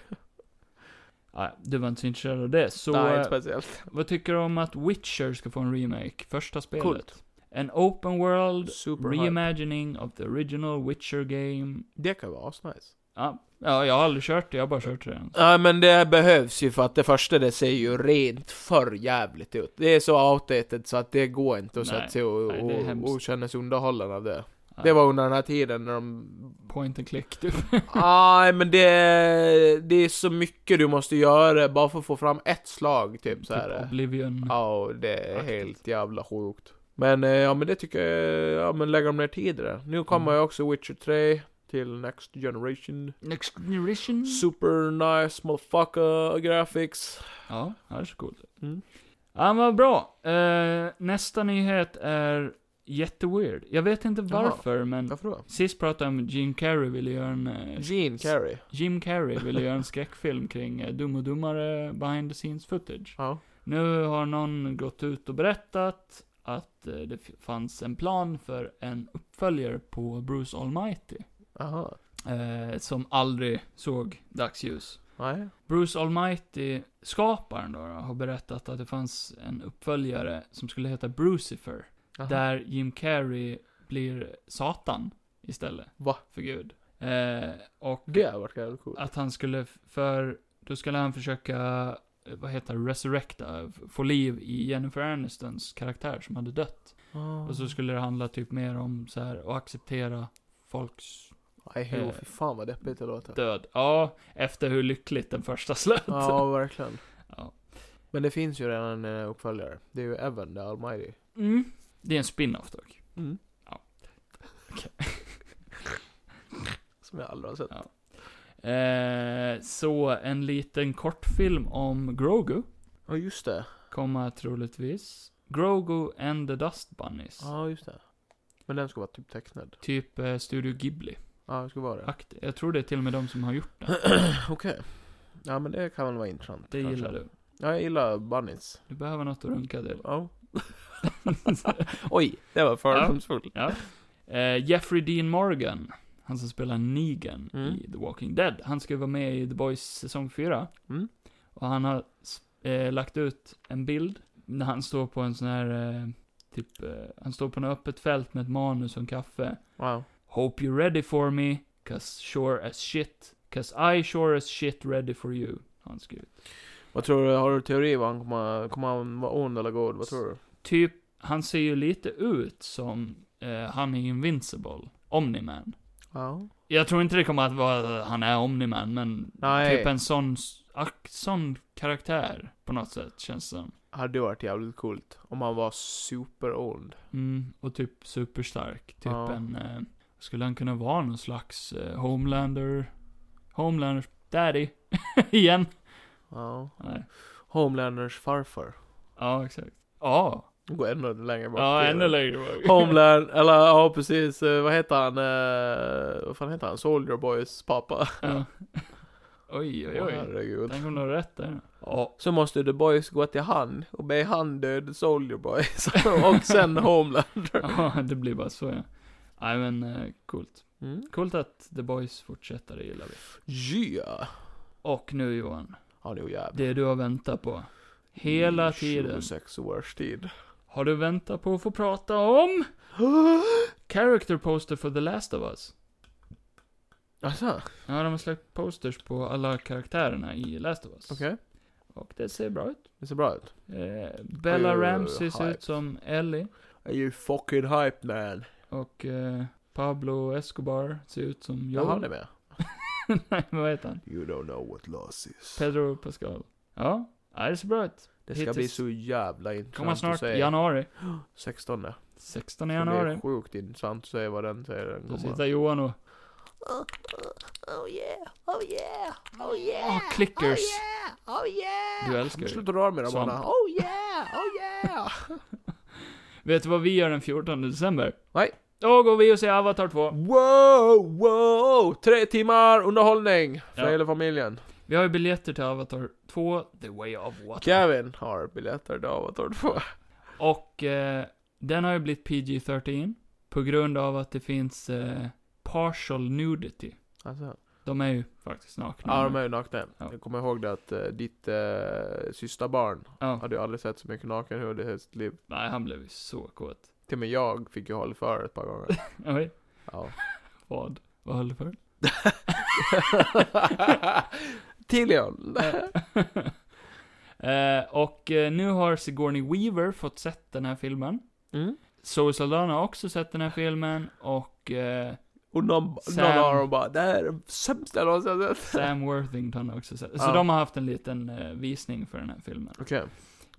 Speaker 2: Nej, du var inte så intresserad av det, så...
Speaker 3: Nej, inte
Speaker 2: eh,
Speaker 3: speciellt.
Speaker 2: vad tycker du om att Witcher ska få en remake? Första spelet.
Speaker 3: Coolt.
Speaker 2: En open world
Speaker 3: Super hype.
Speaker 2: reimagining of the original Witcher game.
Speaker 3: Det kan vara asnice.
Speaker 2: Ja, ja, jag har aldrig kört det, jag har bara kört det.
Speaker 3: Ja men det behövs ju för att det första det ser ju rent för jävligt ut. Det är så outdated så att det går inte att
Speaker 2: Nej,
Speaker 3: sätta sig och,
Speaker 2: nej, det är
Speaker 3: och,
Speaker 2: hemskt.
Speaker 3: och känna sig underhållen av det.
Speaker 2: Nej.
Speaker 3: Det var under den här tiden när de
Speaker 2: Point and click, typ.
Speaker 3: Nej, men det, det är så mycket du måste göra bara för att få fram ett slag, typ så här.
Speaker 2: Oblivion.
Speaker 3: Ja, och det är
Speaker 2: Aktigt.
Speaker 3: helt jävla sjukt. Men eh, ja, men det tycker jag, ja men lägger de ner tid i det. Nu kommer
Speaker 2: Mm.
Speaker 3: ju också Witcher 3 till Next Generation.
Speaker 2: Next generation.
Speaker 3: Super nice motherfucker eh, graphics.
Speaker 2: Ja, det är så coolt.
Speaker 3: Mm.
Speaker 2: Ja, vad bra. Eh, nästa nyhet är jätteweird. Jag vet inte
Speaker 3: Jaha.
Speaker 2: varför, men
Speaker 3: Varför då?
Speaker 2: sist pratade jag om Jim Carrey ville göra en... eh,
Speaker 3: Gene Carrey.
Speaker 2: Jim Carrey ville göra en skräckfilm kring eh, Dum och Dummare behind the scenes footage.
Speaker 3: Ja.
Speaker 2: Nu har någon gått ut och berättat att eh, det f- fanns en plan för en uppföljare på Bruce Almighty.
Speaker 3: Aha.
Speaker 2: Eh, som aldrig såg dagsljus.
Speaker 3: Nej.
Speaker 2: Bruce Almighty, skaparen då, då, har berättat att det fanns en uppföljare som skulle heta Brucifer.
Speaker 3: Aha.
Speaker 2: Där Jim Carrey blir Satan istället.
Speaker 3: Va?
Speaker 2: För Gud. Eh, och
Speaker 3: Det har varit jävligt coolt.
Speaker 2: att han skulle, för då skulle han försöka, eh, vad heter det, resurrecta, f- få liv i Jennifer Anistons karaktär som hade dött.
Speaker 3: Ah.
Speaker 2: Och så skulle det handla typ mer om så här, att acceptera folks
Speaker 3: Nej, jo,
Speaker 2: eh,
Speaker 3: fy fan vad deppigt det låter.
Speaker 2: död. Ja, efter hur lyckligt den första slöt.
Speaker 3: Ja, verkligen.
Speaker 2: Ja.
Speaker 3: Men det finns ju redan en eh, uppföljare. Det är ju Evan, the Almighty.
Speaker 2: Mm. Det är en spin-off dock.
Speaker 3: Mm.
Speaker 2: Ja. Okej.
Speaker 3: Som jag aldrig har sett.
Speaker 2: Eh, så en liten kortfilm om Grogu
Speaker 3: Ja, just det.
Speaker 2: kommer troligtvis. Grogu and the Dust Bunnies.
Speaker 3: Ja, just det. Men den ska vara typ tecknad.
Speaker 2: Typ eh, Studio Ghibli.
Speaker 3: Ja, det ska vara det.
Speaker 2: Akt. Jag tror det är till och med de som har gjort den.
Speaker 3: Okej. Ja, men det kan väl vara intressant.
Speaker 2: Det
Speaker 3: kanske.
Speaker 2: gillar du.
Speaker 3: Ja, jag gillar bunnies.
Speaker 2: Du behöver något att runka till.
Speaker 3: Ja. Oj, det var fördomsfullt.
Speaker 2: Ja. Eh, Jeffrey Dean Morgan, han som spelar Negan
Speaker 3: Mm.
Speaker 2: i The Walking Dead, han ska ju vara med i The Boys säsong 4.
Speaker 3: Mm.
Speaker 2: Och han har s- eh, lagt ut en bild när han står på en sån här, eh, typ, eh, han står på något öppet fält med ett manus och en kaffe.
Speaker 3: Wow.
Speaker 2: Hope you're ready for me, 'cause sure as shit, 'cause I sure as shit ready for you, har han skrivit.
Speaker 3: Vad tror du, har du teori vad han kommer, kommer han vara ond eller god? Vad tror du?
Speaker 2: Typ, han ser ju lite ut som eh, han i Invincible, Omni-Man.
Speaker 3: Ja.
Speaker 2: Jag tror inte det kommer att vara han är Omni-Man, men
Speaker 3: Nej.
Speaker 2: typ en sån, ak, sån karaktär på något sätt känns det som.
Speaker 3: Hade varit jävligt coolt om han var superond.
Speaker 2: Mm, och typ superstark. Typ
Speaker 3: Ja.
Speaker 2: en, eh, skulle han kunna vara någon slags eh, Homelander, Homelanders daddy? Igen?
Speaker 3: Ja.
Speaker 2: Nej.
Speaker 3: Homelanders farfar.
Speaker 2: Ja, exakt. Ja,
Speaker 3: Gå ännu längre bak.
Speaker 2: Ja,
Speaker 3: till.
Speaker 2: ännu längre bak.
Speaker 3: Homeland, eller ja precis, eh, vad heter han? eh, Vad fan heter han? Soldier Boys pappa.
Speaker 2: Ja. Oj, oj,
Speaker 3: Åh,
Speaker 2: oj.
Speaker 3: herregud.
Speaker 2: Den kom nog rätt där.
Speaker 3: Ja. Så måste The Boys gå till han och be han döda Soldier Boys. och sen Homeland.
Speaker 2: Ja, det blir bara så ja. Nej men, eh, coolt.
Speaker 3: Mm.
Speaker 2: Coolt att The Boys fortsätter, det gillar vi.
Speaker 3: Yeah.
Speaker 2: Och nu Johan,
Speaker 3: Ja, nu jävlar.
Speaker 2: det du har väntat på. Hela
Speaker 3: Mm,
Speaker 2: tiden
Speaker 3: 26 års tid.
Speaker 2: har du väntat på att få prata om Character Poster for The Last of Us.
Speaker 3: Alltså,
Speaker 2: Ja, de har släppt posters på alla karaktärerna i Last of Us.
Speaker 3: okej.
Speaker 2: Och det ser bra ut.
Speaker 3: Det ser bra ut.
Speaker 2: Eh, Bella
Speaker 3: Oj, oj, oj,
Speaker 2: Ramsey ser
Speaker 3: hype.
Speaker 2: ut som Ellie.
Speaker 3: Are you fucking hype man?
Speaker 2: Och eh, Pablo Escobar ser ut som
Speaker 3: Jag har
Speaker 2: Joel.
Speaker 3: det med.
Speaker 2: Nej, vad heter han?
Speaker 3: You don't know what loss is.
Speaker 2: Pedro Pascal. Ja, ja det ser bra ut.
Speaker 3: Det ska
Speaker 2: Hittills.
Speaker 3: bli så jävla intressant
Speaker 2: Kommer
Speaker 3: att
Speaker 2: snart
Speaker 3: se.
Speaker 2: januari.
Speaker 3: 16.
Speaker 2: 16
Speaker 3: eh, Det blir
Speaker 2: januari.
Speaker 3: sjukt intressant att se vad den säger. Den
Speaker 2: Då
Speaker 3: kommer.
Speaker 2: sitter Johan och...
Speaker 4: Oh, oh yeah, oh yeah, oh
Speaker 2: Ah,
Speaker 4: yeah.
Speaker 2: clickers.
Speaker 4: Oh yeah, oh yeah.
Speaker 2: Du älskar ju.
Speaker 3: Sluta röra mig där
Speaker 2: Svamp.
Speaker 3: bara.
Speaker 4: Oh yeah, oh yeah.
Speaker 2: Vet du vad vi gör den 14 december?
Speaker 3: Nej.
Speaker 2: Då går vi och ser Avatar 2.
Speaker 3: Wow, wow! Tre timmar underhållning för
Speaker 2: Ja.
Speaker 3: hela familjen.
Speaker 2: Vi har ju biljetter till Avatar 2, The Way of Water.
Speaker 3: Kevin har biljetter till Avatar 2.
Speaker 2: Och eh, den har ju blivit PG-13 på grund av att det finns eh, partial nudity.
Speaker 3: Alltså,
Speaker 2: De är ju faktiskt nakna.
Speaker 3: ja, de är ju nakna.
Speaker 2: Mm. Ja.
Speaker 3: Jag kommer ihåg det att eh, ditt eh, sista barn
Speaker 2: Ja.
Speaker 3: hade ju aldrig sett så mycket nakenhud i hela sitt liv.
Speaker 2: Nej, han blev ju så kåt.
Speaker 3: Till och med jag fick ju hålla för ett par gånger.
Speaker 2: Oj,
Speaker 3: Ja.
Speaker 2: vad? Vad höll du för?
Speaker 3: Tillion!
Speaker 2: Eh, och eh, nu har Sigourney Weaver fått sett den här filmen.
Speaker 3: Mm.
Speaker 2: Zoe Saldana har också sett den här filmen och eh,
Speaker 3: Och någon, någon
Speaker 2: Sam.
Speaker 3: av dem bara, det här är det sämsta jag någonsin har sett.
Speaker 2: Sam Worthington har också sett Så
Speaker 3: Ja.
Speaker 2: de har haft en liten eh, visning för den här filmen.
Speaker 3: Okej.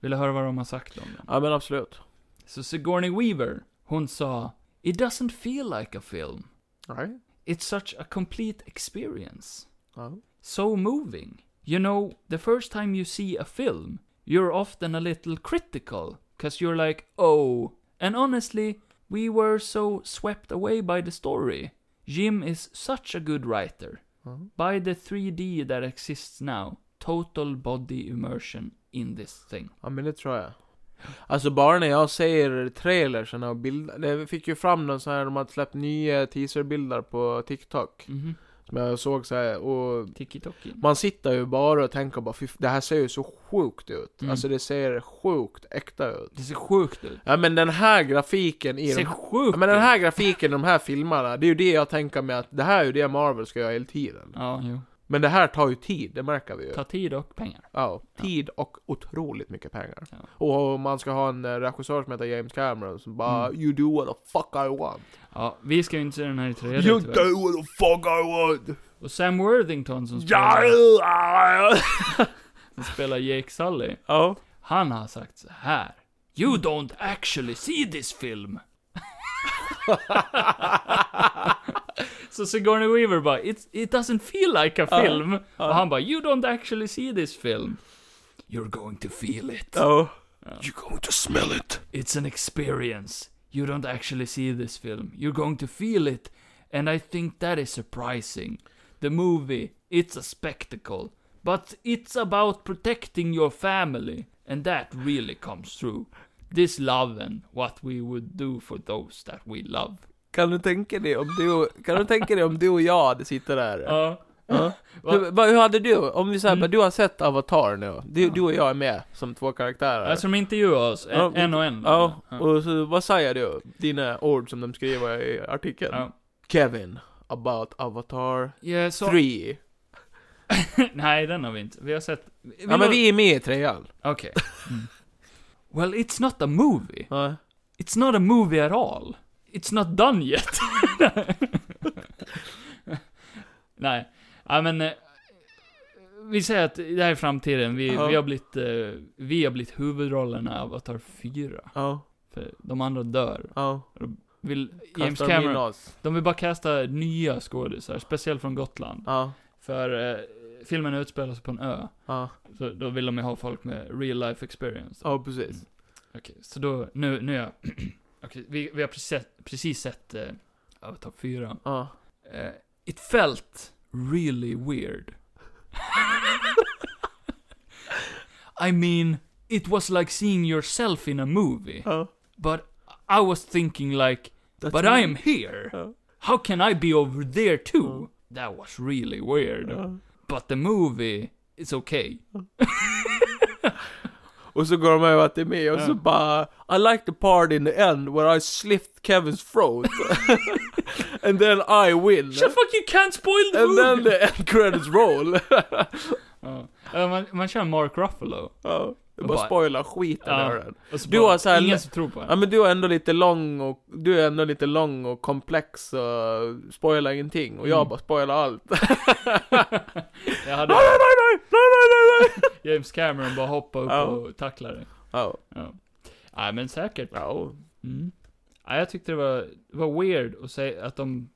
Speaker 2: Vill du höra vad de har sagt om den?
Speaker 3: Ja men absolut.
Speaker 2: Så Sigourney Weaver, hon sa It doesn't feel like a film.
Speaker 3: Nej.
Speaker 2: It's such a complete experience.
Speaker 3: Ja.
Speaker 2: So moving. You know, the first time you see a film, you're often a little critical, cause you're like, oh. And honestly, we were so swept away by the story. Jim is such a good writer.
Speaker 3: Mhm.
Speaker 2: By the 3D that exists now, total body immersion in this thing.
Speaker 3: Ja men det tror jag. Alltså bara när jag ser trailersen och bilder, det fick ju fram någon sån här, de hade släppt nya teaserbilder på TikTok.
Speaker 2: Mhm.
Speaker 3: Som jag såg så här, och
Speaker 2: Tiki-toki.
Speaker 3: man sitter ju bara och tänker bara "Fy f- det här ser ju så sjukt ut.
Speaker 2: Mm.
Speaker 3: Alltså det ser sjukt äkta ut.
Speaker 2: Det ser sjukt ut.
Speaker 3: Ja men den här grafiken i
Speaker 2: Det ser
Speaker 3: de,
Speaker 2: sjukt
Speaker 3: ja, men den
Speaker 2: ut.
Speaker 3: här grafiken i de här filmerna, det är ju det jag tänker mig att det här är ju det Marvel ska göra hela tiden.
Speaker 2: Ja, jo.
Speaker 3: Men det här tar ju tid, det märker vi ju.
Speaker 2: Ta tid och pengar.
Speaker 3: Ja, tid och otroligt mycket pengar.
Speaker 2: Ja.
Speaker 3: Och man ska ha en eh, regissör som heter James Cameron som bara
Speaker 2: Mm.
Speaker 3: You do what the fuck I want.
Speaker 2: Ja, vi ska ju inte se den här i 3D
Speaker 3: you
Speaker 2: tyvärr.
Speaker 3: do what the fuck I want.
Speaker 2: Och Sam Worthington som
Speaker 3: Ja!
Speaker 2: spelar, som spelar Jake Sully.
Speaker 3: Ja.
Speaker 2: Han har sagt så här. You don't actually see this film. Så Sigourney Weaver bara, it, it doesn't feel like a film. Och han bara, you don't actually see this film. You're going to feel it.
Speaker 3: Ja.
Speaker 1: You're going to smell it.
Speaker 2: It's an experience. You don't actually see this film. You're going to feel it. And I think that is surprising. The movie, it's a spectacle. But it's about protecting your family. And that really comes through. This love and what we would do for those that we love.
Speaker 3: Kan du tänka dig om du, kan du tänka dig om du och jag hade sitter där?
Speaker 2: Ja.
Speaker 3: Ja. Du, vad- hur hade du, om vi säger bara, du har sett Avatar nu, du, du och jag är med som två karaktärer.
Speaker 2: Alltså de intervjuar oss, en,
Speaker 3: Ja,
Speaker 2: en och en.
Speaker 3: Uh, ja, och så, vad säger du? Dina ord som de skriver i artikeln?
Speaker 2: Ja.
Speaker 3: Kevin, about Avatar
Speaker 2: Ja, så,
Speaker 3: 3.
Speaker 2: nej, den har vi inte. Vi har sett... vi
Speaker 3: Ja men
Speaker 2: har-
Speaker 3: vi är med i trean.
Speaker 2: Okej. Mm. Well, it's not a movie.
Speaker 3: Ja.
Speaker 2: It's not a movie at all. It's not done yet. Nej, ja, men... eh, Vi säger att det här är framtiden. Vi,
Speaker 3: Ja.
Speaker 2: vi, har blivit, eh, vi har blivit huvudrollerna i Avatar 4.
Speaker 3: Ja,
Speaker 2: För de andra dör.
Speaker 3: ja.
Speaker 2: Vill,
Speaker 3: Kastar
Speaker 2: James
Speaker 3: de in
Speaker 2: Cameron,
Speaker 3: oss?
Speaker 2: de vill bara kasta nya skådisar, speciellt från Gotland.
Speaker 3: Ja,
Speaker 2: För eh, filmen utspelar sig på en ö.
Speaker 3: ja,
Speaker 2: Så då vill de ju ha folk med real life experience.
Speaker 3: ja precis.
Speaker 2: Okej, så då, nu, nu är jag... Okej, vi, vi har precis, sett- precis sett eh, Avatar 4.
Speaker 3: Ja.
Speaker 2: Eh, it felt really weird. I mean, it was like seeing yourself in a movie.
Speaker 3: Ja.
Speaker 2: But I was thinking like,
Speaker 3: That's
Speaker 2: but
Speaker 3: right. Uh-huh.
Speaker 2: I am here.
Speaker 3: Ja.
Speaker 2: How can I be over there too? That was really weird.
Speaker 3: Ja.
Speaker 2: But the movie is okay.
Speaker 3: Och så går de över till mig och så
Speaker 2: Ja.
Speaker 3: bara I like the part in the end where I slipped Kevin's throat. And then I win.
Speaker 2: Shut fuck, you can't spoil the
Speaker 3: And
Speaker 2: movie!
Speaker 3: then the end credits roll.
Speaker 2: Ja. Ja, man, man kör Mark Ruffalo.
Speaker 3: ja. Det
Speaker 2: Bara-
Speaker 3: bara spoilar skiten
Speaker 2: Ja.
Speaker 3: ur den.
Speaker 2: Och så
Speaker 3: Du
Speaker 2: bara,
Speaker 3: har så här-
Speaker 2: ingen som tror på
Speaker 3: Ja
Speaker 2: honom.
Speaker 3: men du är ändå lite lång och, du är ändå lite lång och komplex och spoilar ingenting. Och jag
Speaker 2: Mm.
Speaker 3: bara spoilar allt.
Speaker 2: Jag
Speaker 3: nej,
Speaker 2: hade
Speaker 3: nej, nej, nej, nej, nej, nej.
Speaker 2: James Cameron bara hoppa upp
Speaker 3: Ja.
Speaker 2: och tackla det.
Speaker 3: Ja.
Speaker 2: Nej men säkert.
Speaker 3: Ja.
Speaker 2: Mm. Ja, jag tyckte det var, det var weird att säga att de...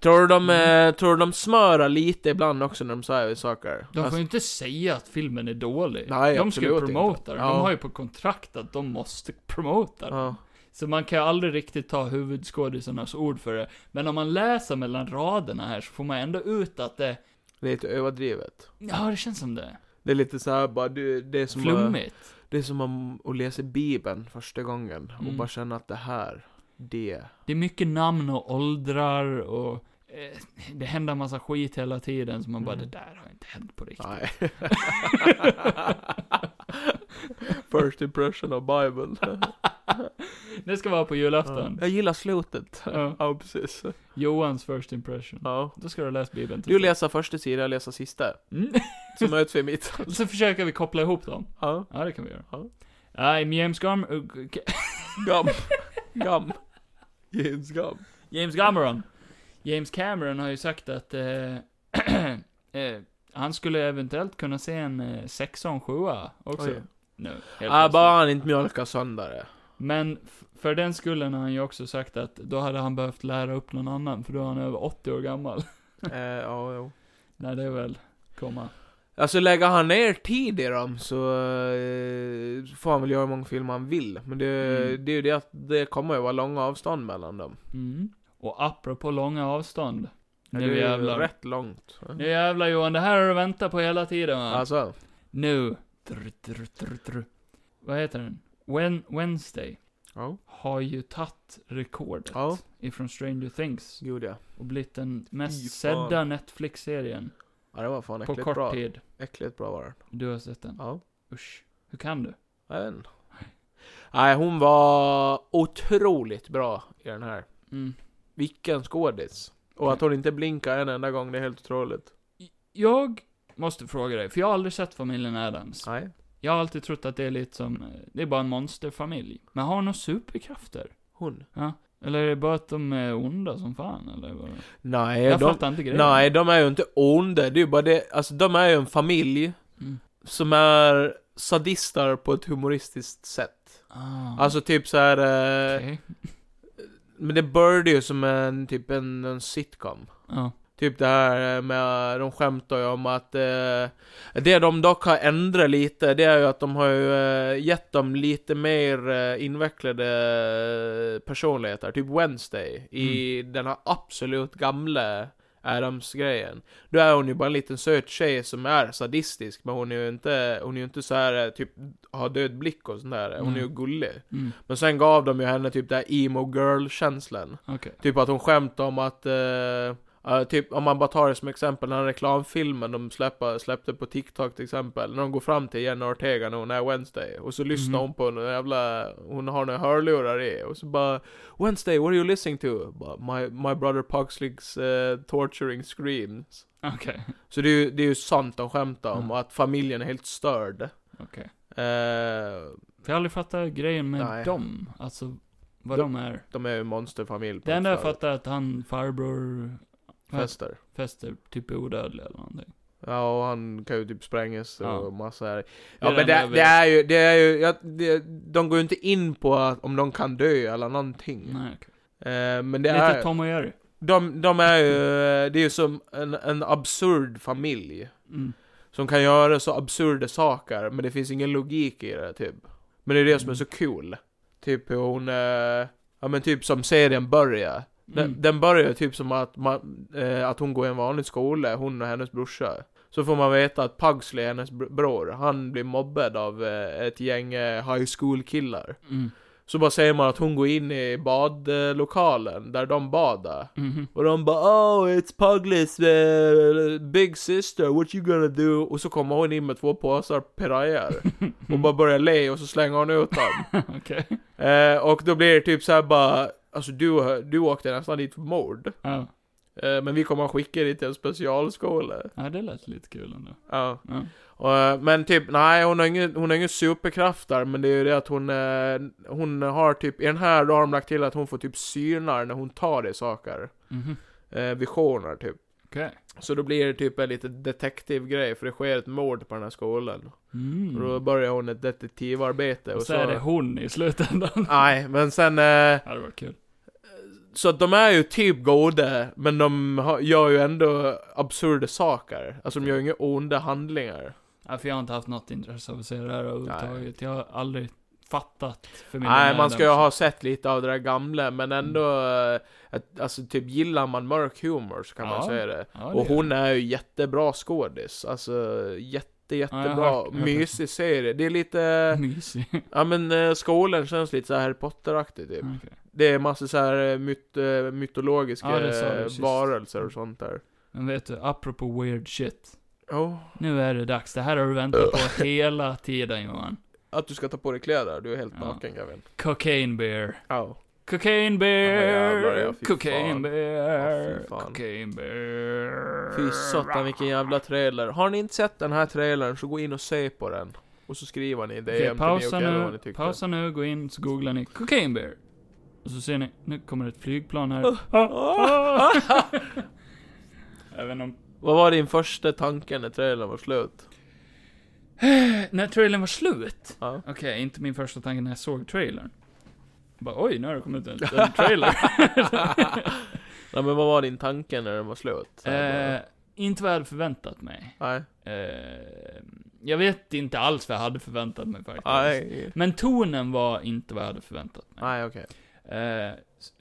Speaker 3: Tror du de,
Speaker 2: Mm.
Speaker 3: eh, tror du de smörar lite ibland också när de säger saker?
Speaker 2: De får
Speaker 3: Alltså,
Speaker 2: ju inte säga att filmen är dålig.
Speaker 3: Nej,
Speaker 2: de ska ju
Speaker 3: absolut inte.
Speaker 2: promota den. De
Speaker 3: Ja.
Speaker 2: har ju på kontrakt att de måste promota den.
Speaker 3: ja.
Speaker 2: Så man kan ju aldrig riktigt ta huvudskådisarnas ord för det. Men om man läser mellan raderna här så får man ändå ut att det...
Speaker 3: Lite överdrivet.
Speaker 2: Ja, det känns som det.
Speaker 3: Det är lite så här bara, du, det är som att,
Speaker 2: Flummigt.
Speaker 3: det är som om att läsa Bibeln första gången och
Speaker 2: Mm.
Speaker 3: bara känna att det här, det.
Speaker 2: Det är mycket namn och åldrar och... Eh, det händer en massa skit hela tiden som man bara,
Speaker 3: Mm.
Speaker 2: det där har inte hänt på riktigt.
Speaker 3: Nej. First impression of Bibeln.
Speaker 2: Det ska vara på julafton.
Speaker 3: Jag gillar slutet.
Speaker 2: Ja.
Speaker 3: Ja, precis.
Speaker 2: Johans first impression.
Speaker 3: Ja.
Speaker 2: Då ska du läsa Bibeln.
Speaker 3: Du läser första sidan, jag läser sista.
Speaker 2: Mm.
Speaker 3: Så möts vi mitt.
Speaker 2: Så försöker vi koppla ihop dem.
Speaker 3: Ja.
Speaker 2: Ja, det kan vi göra.
Speaker 3: Ja.
Speaker 2: Nej, men James Gam... uh,
Speaker 3: Gam. Gam. James Gam.
Speaker 2: James Cameron. James Cameron har ju sagt att eh, eh, han skulle eventuellt kunna se en eh, sexa och en sjua också.
Speaker 3: Oj.
Speaker 2: Nu, helt
Speaker 3: Ja,
Speaker 2: plötsligt.
Speaker 3: Äh, bara han inte mjölkar sönder det.
Speaker 2: Men f- för den skullen har han ju också sagt att då hade han behövt lära upp någon annan, för då är han över 80 år gammal.
Speaker 3: Eh, ja, jo.
Speaker 2: När det väl komma.
Speaker 3: Alltså lägger han ner tid i dem så eh, får han väl göra hur många filmer han vill. Men det,
Speaker 2: Mm.
Speaker 3: det är ju det att det kommer ju vara långa avstånd mellan dem.
Speaker 2: Mm. Och apropå långa avstånd.
Speaker 3: det är
Speaker 2: Nu
Speaker 3: ju
Speaker 2: jävlar.
Speaker 3: rätt långt.
Speaker 2: Nu jävlar Johan, det här har du väntat på hela tiden va?
Speaker 3: Alltså,
Speaker 2: Nu. Drr, drr, drr, drr. Vad heter den? Wen Wednesday
Speaker 3: ja.
Speaker 2: har ju tagit rekordet
Speaker 3: Ja.
Speaker 2: ifrån Stranger Things
Speaker 3: Gud ja.
Speaker 2: och blivit den
Speaker 3: Fy
Speaker 2: mest
Speaker 3: fan.
Speaker 2: sedda Netflix-serien
Speaker 3: Ja, det var fan
Speaker 2: på
Speaker 3: äckligt
Speaker 2: kort
Speaker 3: bra.
Speaker 2: tid.
Speaker 3: Äckligt bra var den.
Speaker 2: Du har sett den?
Speaker 3: Ja,
Speaker 2: Usch. Hur kan du?
Speaker 3: jag vet inte. Nej, hon var otroligt bra i den här.
Speaker 2: Mm.
Speaker 3: Vilken skådis. Och att hon inte blinkar en enda gång, det är helt otroligt.
Speaker 2: Jag måste fråga dig, för jag har aldrig sett familjen Adams.
Speaker 3: Nej.
Speaker 2: Jag har alltid trott att det är lite som, eh, det är bara en monsterfamilj. Men har hon några superkrafter?
Speaker 3: Hon?
Speaker 2: Eller är det bara att de är onda som fan, eller? vad?
Speaker 3: Nej,
Speaker 2: Jag
Speaker 3: de,
Speaker 2: fattar inte grejen.
Speaker 3: nej, de är ju inte onda. Det är ju bara det, alltså de är ju en familj
Speaker 2: Mm.
Speaker 3: som är sadister på ett humoristiskt sätt.
Speaker 2: Ah,
Speaker 3: Alltså typ så här. Eh,
Speaker 2: okej.
Speaker 3: Men det började ju som en, typ en, en sitcom.
Speaker 2: Ja.
Speaker 3: Typ det här eh, med, de skämtar ju om att eh, Det de dock har ändrat lite, det är ju att de har ju eh, gett dem lite mer eh, invecklade eh, personligheter. Typ Wednesday, i den här absolut gamla Adams-grejen. Då är hon ju bara en liten söt tjej som är sadistisk, men hon är ju inte, hon är ju inte så här eh, typ, har död blick och sånt där. Hon är ju
Speaker 2: Mm.
Speaker 3: gullig.
Speaker 2: Mm,
Speaker 3: Men sen gav de ju henne typ den här emo girl-känslan.
Speaker 2: okej.
Speaker 3: Typ att hon skämtar om att, eh, eh, typ om man bara tar det som exempel, den här reklamfilmen de släppa, släppte på TikTok till exempel, när de går fram till Jenna Ortega när hon är Wednesday, och så lyssnar
Speaker 2: Mhm.
Speaker 3: hon på en jävla, hon har några hörlurar i, och så bara Wednesday, what are you listening to? Bara, My, my brother Puxleys eh, torturing screams.
Speaker 2: Okej.
Speaker 3: Så det är ju, det är ju sant de skämtar om,
Speaker 2: Mm.
Speaker 3: och att familjen är helt störd.
Speaker 2: Okej.
Speaker 3: Eh,
Speaker 2: För jag har aldrig fattat grejen med
Speaker 3: Nej.
Speaker 2: dem. Alltså, vad de,
Speaker 3: De-
Speaker 2: är.
Speaker 3: de är ju en monsterfamilj. på
Speaker 2: Det enda
Speaker 3: ett
Speaker 2: jag
Speaker 3: ställe.
Speaker 2: fattar är att han farbror...
Speaker 3: Fester.
Speaker 2: Fester typ är odödlig eller någonting.
Speaker 3: Ja, och han kan ju typ sprängas och
Speaker 2: Ja.
Speaker 3: massa här.
Speaker 2: är
Speaker 3: Ja,
Speaker 2: den
Speaker 3: men det,
Speaker 2: över-
Speaker 3: det är ju, det är ju, jag, det, de går ju inte in på att, om de kan dö eller någonting.
Speaker 2: Nej, okej.
Speaker 3: Eh, men Mm. det
Speaker 2: Lite
Speaker 3: är,
Speaker 2: Tom och Jerry.
Speaker 3: de, de är ju, det är ju som en, en absurd familj.
Speaker 2: Mm.
Speaker 3: Som kan göra så absurda saker, men det finns ingen logik i det, typ. Men det är det som är så kul. Typ hur hon, eh, ja men typ som serien börjar. Den,
Speaker 2: Mm.
Speaker 3: den börjar typ som att, man, eh, att hon går i en vanlig skola, hon och hennes brorsa. Så får man veta att Pugsley, hennes br- bror, han blir mobbad av eh, ett gäng eh, high school-killar.
Speaker 2: Mm.
Speaker 3: Så bara säger man att hon går in i badlokalen där de badar.
Speaker 2: Mhm.
Speaker 3: Och de bara oh it's Pugleys eh, big sister, what you gonna do? Och så kommer hon in med två påsar pirayor. Och bara börjar le och så slänger hon ut dem.
Speaker 2: Okej.
Speaker 3: eh, och då blir det typ såhär bara, alltså du, du åkte nästan dit för mord.
Speaker 2: Ja.
Speaker 3: Eh, men vi kommer att skicka dig till en specialskola.
Speaker 2: ja, det lät lite kul ändå.
Speaker 3: Ja.
Speaker 2: Ja.
Speaker 3: Och, eh, men typ, nej hon har ingen, hon har ingen superkraft där, men det är ju det att hon, eh, hon har typ, i den här då har de lagt till att hon får typ synar när hon tar i saker.
Speaker 2: Mhm.
Speaker 3: Eh, visioner typ.
Speaker 2: Okej.
Speaker 3: Så då blir det typ en liten detektivgrej, för det sker ett mord på den här skolan.
Speaker 2: Mm.
Speaker 3: Och då börjar hon ett detektivarbete.
Speaker 2: Och så är det hon i slutändan.
Speaker 3: Nej, men sen... Eh,
Speaker 2: Ja, det var kul.
Speaker 3: så att de är ju typ goda, men de har, gör ju ändå absurda saker. Alltså de gör ju inga onda handlingar.
Speaker 2: Ja, för jag har inte haft något intresse av att se det här överhuvudtaget. Jag har aldrig fattat för min
Speaker 3: Nej,
Speaker 2: egen
Speaker 3: man ska ju
Speaker 2: ödens-
Speaker 3: ha sett lite av det där gamla, men ändå... eh, Att, alltså typ, gillar man mörk humor så kan man
Speaker 2: Ja.
Speaker 3: säga det.
Speaker 2: Ja, det
Speaker 3: Och
Speaker 2: är-
Speaker 3: hon är ju jättebra skådis. Alltså, jätte,
Speaker 2: har
Speaker 3: jättebra.
Speaker 2: hört- hört det.
Speaker 3: Mysig serie. Det är lite...
Speaker 2: Mysig.
Speaker 3: Ja men eh, skolan känns lite så här Harry Potter-aktig typ.
Speaker 2: Okej.
Speaker 3: Det är massa så här eh, myt, eh, mytologiska
Speaker 2: Ja, det sa du
Speaker 3: eh,
Speaker 2: sist.
Speaker 3: varelser och sånt där.
Speaker 2: Men vet du, apropå weird shit.
Speaker 3: Oh.
Speaker 2: Nu är det dags. Det här har du väntat på hela tiden Johan.
Speaker 3: Att du ska ta på dig kläder, du är helt
Speaker 2: Ja.
Speaker 3: naken Gavin.
Speaker 2: Cocaine bear.
Speaker 3: Ja.
Speaker 2: Cocaine
Speaker 3: Ja, jävlar,
Speaker 2: bear.
Speaker 3: ja, fy
Speaker 2: cocaine
Speaker 3: fan. Ja,
Speaker 2: bear.
Speaker 3: fy fan.
Speaker 2: cocaine bear.
Speaker 3: Fy satan vilken jävla trailer. Har ni inte sett den här trailern så gå in och se på den. Och så skriver ni
Speaker 2: Okej,
Speaker 3: DM till
Speaker 2: pausa
Speaker 3: Neo Gallo vad ni
Speaker 2: nu,
Speaker 3: tyckte.
Speaker 2: pausa nu, gå in, så googlar ni 'Cocaine Bear' Och så ser ni, nu kommer ett flygplan här.
Speaker 3: Oh.
Speaker 2: Ah, Jag vet inte om...
Speaker 3: Vad var din första tanke när trailern var slut?
Speaker 2: När trailern var slut?
Speaker 3: Ja.
Speaker 2: Okej, inte min första tanke när jag såg trailern. Bara oj, nu har det kommit en, en trailer.
Speaker 3: Nej men vad var din tanke när den var slut? Så här
Speaker 2: eh, inte vad jag hade förväntat mig.
Speaker 3: bara, Nej.
Speaker 2: Eh, jag vet inte alls vad jag hade förväntat mig faktiskt.
Speaker 3: Nej.
Speaker 2: Men tonen var inte vad jag hade förväntat mig.
Speaker 3: Nej okej.
Speaker 2: Eh,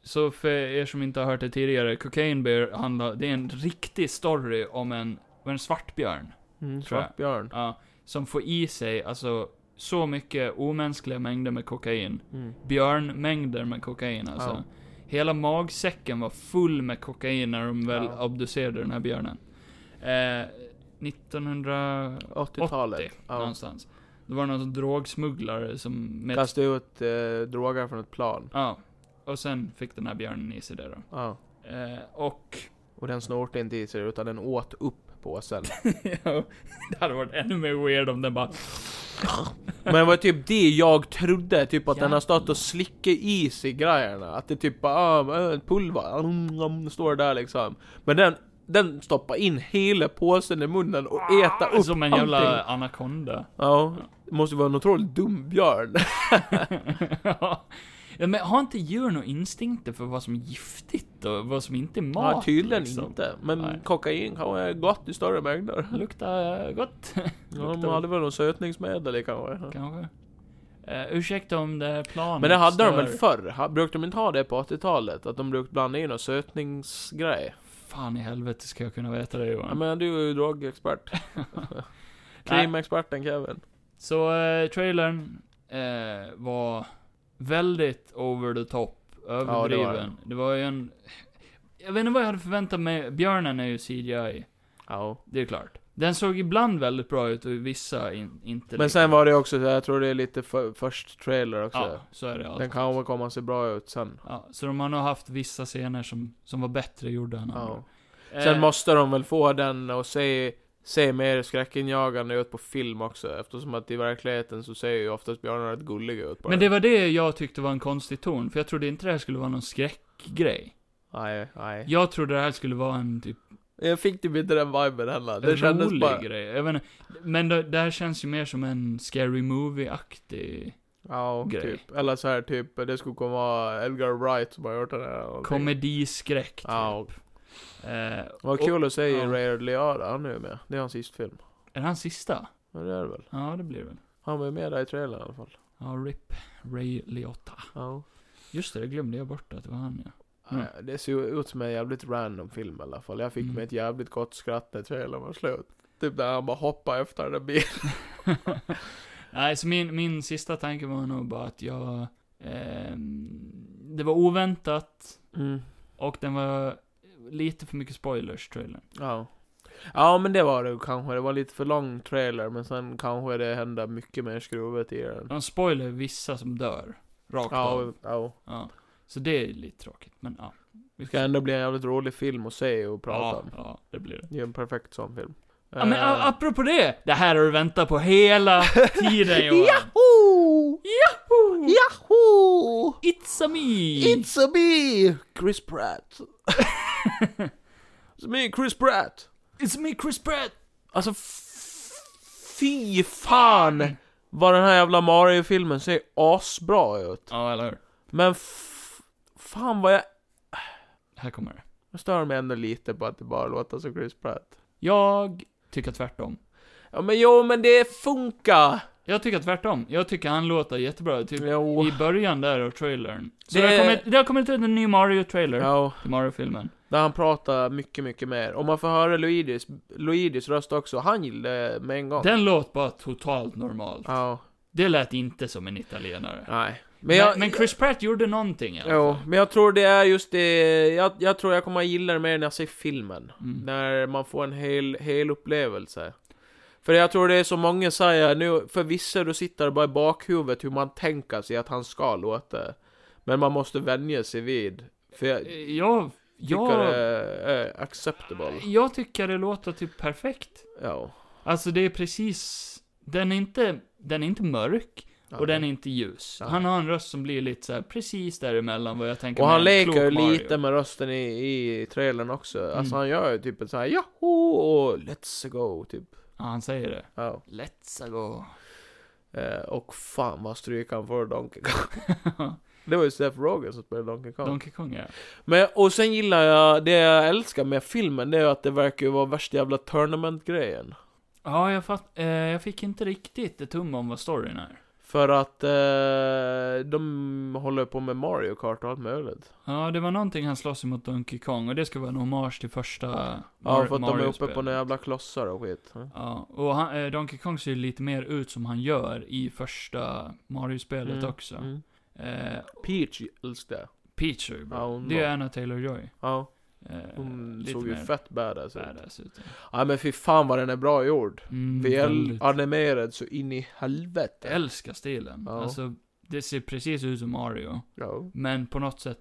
Speaker 2: Så för er som inte har hört det tidigare, Cocaine Bear handlar, det är en riktig story om en, om en svartbjörn.
Speaker 3: Mm,
Speaker 2: Tror jag.
Speaker 3: Svartbjörn.
Speaker 2: Ja, som får i sig, alltså, så mycket omänskliga mängder med kokain.
Speaker 3: Mm.
Speaker 2: Björnmängder med kokain alltså.
Speaker 3: Ja.
Speaker 2: Hela magsäcken var full med kokain när de väl
Speaker 3: Ja.
Speaker 2: obducerade den här björnen. Eh, 1980
Speaker 3: 80-talet. Ja.
Speaker 2: någonstans. Då var det någon drogsmugglare som... Med
Speaker 3: Kasta ut eh, droger från ett plan.
Speaker 2: Ja. Och sen fick den här björnen i sig det då.
Speaker 3: Ja.
Speaker 2: Eh, och...
Speaker 3: Och den snortade inte i sig utan den åt upp påsen.
Speaker 2: Ja, det hade varit ännu mer weird om den bara...
Speaker 3: Men det var typ det jag trodde, typ att den
Speaker 2: Jävlar.
Speaker 3: har stått och slickat i sig grejerna. Att det typ bara, ah, äh, pulver, mm, mm, står där liksom. Men den, den stoppar in hela påsen i munnen och äter upp
Speaker 2: Som en jävla
Speaker 3: allting.
Speaker 2: anakonda.
Speaker 3: Ja, det måste vara en otroligt dum björn.
Speaker 2: ja. Men har inte djur några instinkter för vad som är giftigt och vad som inte är mat?
Speaker 3: Ja, tydligen
Speaker 2: liksom?
Speaker 3: inte. Men
Speaker 2: Nej.
Speaker 3: kokain kan vara gott i större mängder.
Speaker 2: Det Luktar eh, gott.
Speaker 3: Ja, de
Speaker 2: Luktar
Speaker 3: hade väl något sötningsmedel i kanske.
Speaker 2: Kanske. Eh, ursäkta om det här planet
Speaker 3: Men det hade de
Speaker 2: stör.
Speaker 3: väl förr? Ha- Brukade de inte ha det på 80-talet? Att de brukade blanda in någon sötningsgrej?
Speaker 2: Fan i helvete ska jag kunna veta det Johan.
Speaker 3: Ja, men du är ju drogexpert. Krimexperten Kevin.
Speaker 2: Så eh, trailern eh, var väldigt over the top, överdriven.
Speaker 3: Ja, det var
Speaker 2: det,
Speaker 3: den.
Speaker 2: var ju en... Jag vet inte vad jag hade förväntat mig. Björnen är ju CGI,
Speaker 3: Ja.
Speaker 2: det är klart. Den såg ibland väldigt bra ut och vissa in, inte
Speaker 3: Men sen var det också, så här, jag tror det är lite för, först trailer också.
Speaker 2: Ja, så Mm. är det
Speaker 3: Den
Speaker 2: alltid.
Speaker 3: kan väl komma att se bra ut sen.
Speaker 2: Ja, så de har nog haft vissa scener som, som var bättre gjorda än
Speaker 3: Ja.
Speaker 2: andra.
Speaker 3: Sen
Speaker 2: Eh,
Speaker 3: måste de väl få den och se, se mer skräckinjagande ut på film också. Eftersom att i verkligheten så ser ju oftast björnar rätt gulliga ut bara.
Speaker 2: Men det var det jag tyckte var en konstig ton, för jag trodde inte det här skulle vara någon skräckgrej.
Speaker 3: Nej, nej.
Speaker 2: Jag trodde det här skulle vara en typ
Speaker 3: Jag fick typ inte den viben heller. Det
Speaker 2: Det
Speaker 3: kändes
Speaker 2: rolig
Speaker 3: bara...
Speaker 2: grej. Jag vet inte, men det, det här känns ju mer som en scary movie-aktig
Speaker 3: Ja,
Speaker 2: grej.
Speaker 3: typ. Eller så här typ, det skulle komma vara Edgar Wright som har gjort den här. eller någonting.
Speaker 2: komediskräck. Typ.
Speaker 3: Ja.
Speaker 2: Eh,
Speaker 3: Vad
Speaker 2: och-
Speaker 3: kul att se
Speaker 2: ja.
Speaker 3: Ray Liotta, han är ju med. Det är hans sista film.
Speaker 2: Är det hans sista?
Speaker 3: Men det är det väl?
Speaker 2: Ja, det blir det väl.
Speaker 3: Han var ju med där i trailern i alla fall.
Speaker 2: Ja, RIP. Ray Liotta.
Speaker 3: Ja.
Speaker 2: Just det, det glömde jag bort att det var han ja. Mm.
Speaker 3: Eh, Det ser ju ut som en jävligt random film i alla fall. Jag fick
Speaker 2: Mm.
Speaker 3: mig ett jävligt gott skratt när trailern var slut. Typ när han bara hoppade efter den där bilen.
Speaker 2: Nej, så min, min sista tanke var nog bara att jag... ehm, det var oväntat och den var lite för mycket spoilers, trailern.
Speaker 3: Ja. Ja men det var det kanske. Det var lite för lång trailer men sen kanske det hände mycket mer skruvet i den.
Speaker 2: De spoilar vissa som dör. Rakt
Speaker 3: Ja,
Speaker 2: av.
Speaker 3: ja.
Speaker 2: Ja. Så det är lite tråkigt, men ja.
Speaker 3: Det ska ändå bli en jävligt rolig film att se och prata
Speaker 2: Ja,
Speaker 3: om.
Speaker 2: ja, det blir det.
Speaker 3: Det är en perfekt sån film.
Speaker 2: Ja, men a-
Speaker 3: Eh,
Speaker 2: apropå det! Det här har du väntat på hela tiden Johan! Oh!
Speaker 3: Yahoo!
Speaker 2: Yahoo!
Speaker 3: Yahoo!
Speaker 2: It's a me!
Speaker 3: It's a me! Chris Pratt. It's me, Chris Pratt.
Speaker 2: It's me Chris Pratt!
Speaker 3: Alltså, f- fy fan! Vad den här jävla Mario-filmen ser asbra ut.
Speaker 2: Ja, eller hur?
Speaker 3: Men f- fan vad jag...
Speaker 2: Här kommer det.
Speaker 3: Jag stör mig ändå lite på att det bara låter som Chris Pratt.
Speaker 2: Jag tycker tvärtom.
Speaker 3: Ja men jo, men det funkar!
Speaker 2: Jag tycker tvärtom. Jag tycker han låter jättebra, typ
Speaker 3: Jo.
Speaker 2: i början där av trailern. Så
Speaker 3: Oh. Det-
Speaker 2: det, har kommit, det har kommit ut en ny Mario-trailer
Speaker 3: Ja,
Speaker 2: till Mario-filmen.
Speaker 3: där han pratar mycket, mycket mer. Om man får höra Luigis, Luigis röst också, han gillade det med en gång.
Speaker 2: Den låter bara totalt normalt.
Speaker 3: Ja,
Speaker 2: Det lät inte som en italienare.
Speaker 3: nej.
Speaker 2: Men,
Speaker 3: Men jag...
Speaker 2: men Chris Pratt gjorde någonting i alla
Speaker 3: Jo,
Speaker 2: fall.
Speaker 3: men jag tror det är just det, jag, jag tror jag kommer att gilla det mer när jag ser filmen.
Speaker 2: Mm.
Speaker 3: När man får en hel, hel upplevelse. För jag tror det är så många säger nu, förvisso då sitter det bara i bakhuvudet hur man tänker sig att han ska låta. Men man måste vänja sig vid. För jag tycker
Speaker 2: Jag,
Speaker 3: det
Speaker 2: jag,
Speaker 3: är acceptable.
Speaker 2: jag tycker det låter typ perfekt.
Speaker 3: Ja.
Speaker 2: Alltså det är precis, den är inte, den är inte mörk. Och den är inte ljus.
Speaker 3: Nej.
Speaker 2: Han har en röst som blir lite så här precis däremellan vad jag tänker
Speaker 3: Och
Speaker 2: mig
Speaker 3: han
Speaker 2: en
Speaker 3: leker ju
Speaker 2: klok Mario.
Speaker 3: lite med rösten i, i trailern också. Alltså
Speaker 2: Mm.
Speaker 3: han gör ju typ en sån här Yahoo! och Let's go! typ.
Speaker 2: Ja, han säger det.
Speaker 3: Ja.
Speaker 2: Let's go.
Speaker 3: Eh, och fan vad stryk han får Donkey Kong. det var ju Seth Rogen som spelade Donkey Kong.
Speaker 2: Donkey Kong ja.
Speaker 3: Men, och sen gillar jag, det jag älskar med filmen, det är att det verkar ju vara värsta jävla tournament-grejen.
Speaker 2: Ja, jag fatt, eh, jag fick inte riktigt ett tum om vad storyn är.
Speaker 3: För att eh, de håller på med Mario Kart och allt möjligt.
Speaker 2: Ja, det var någonting han slåss emot Donkey Kong och det ska vara en hommage till första
Speaker 3: Ja,
Speaker 2: Mar-
Speaker 3: för att de är uppe
Speaker 2: Mario-spelet.
Speaker 3: på några jävla klossar och skit. Ja.
Speaker 2: Ja, och han, eh, Donkey Kong ser ju lite mer ut som han gör i första Mario-spelet
Speaker 3: Mm,
Speaker 2: också.
Speaker 3: mm.
Speaker 2: Eh,
Speaker 3: Peach älskar jag.
Speaker 2: Peach är ju bra.
Speaker 3: Ja, hon
Speaker 2: det
Speaker 3: var-
Speaker 2: är Anna Taylor-Joy.
Speaker 3: Ja,
Speaker 2: Eh,
Speaker 3: hon
Speaker 2: lite
Speaker 3: såg ju
Speaker 2: mer
Speaker 3: fett badass ut.
Speaker 2: badass ut.
Speaker 3: Ja men fy fan vad den är bra gjord.
Speaker 2: Mm,
Speaker 3: Väl
Speaker 2: väldigt. Eh,
Speaker 3: animerad så in i
Speaker 2: Jag
Speaker 3: helvete.
Speaker 2: älskar stilen.
Speaker 3: Ja.
Speaker 2: Alltså, det ser precis ut som Mario.
Speaker 3: Ja.
Speaker 2: Men på något sätt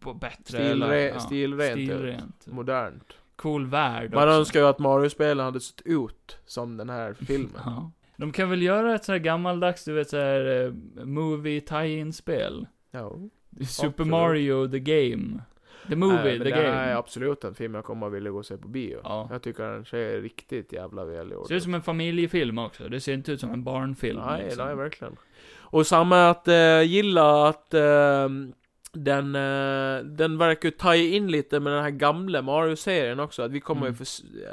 Speaker 2: på bättre.
Speaker 3: Stilre- stilrent ut.
Speaker 2: stilrent.
Speaker 3: Modernt.
Speaker 2: Cool värld
Speaker 3: Man
Speaker 2: också.
Speaker 3: önskar ju att Mario-spelen hade sett ut som den här filmen.
Speaker 2: Ja. De kan väl göra ett sånt här gammaldags, du vet såhär, eh, movie tie-in spel?
Speaker 3: ja.
Speaker 2: Super
Speaker 3: Absolut.
Speaker 2: Mario the Game. The
Speaker 3: Nej,
Speaker 2: movie,
Speaker 3: Eh, men
Speaker 2: the
Speaker 3: det här är
Speaker 2: game.
Speaker 3: absolut en film jag kommer att vilja gå och se på bio.
Speaker 2: Ja.
Speaker 3: Jag tycker den ser riktigt jävla välgjord
Speaker 2: Ser ut som en familjefilm också. Det ser inte ut som en barnfilm.
Speaker 3: Nej,
Speaker 2: liksom.
Speaker 3: nej, verkligen. Och samma att eh, gilla att eh, den, eh, den verkar ju ta in lite med den här gamla Mario-serien också. Att vi kommer
Speaker 2: Mm.
Speaker 3: ju för,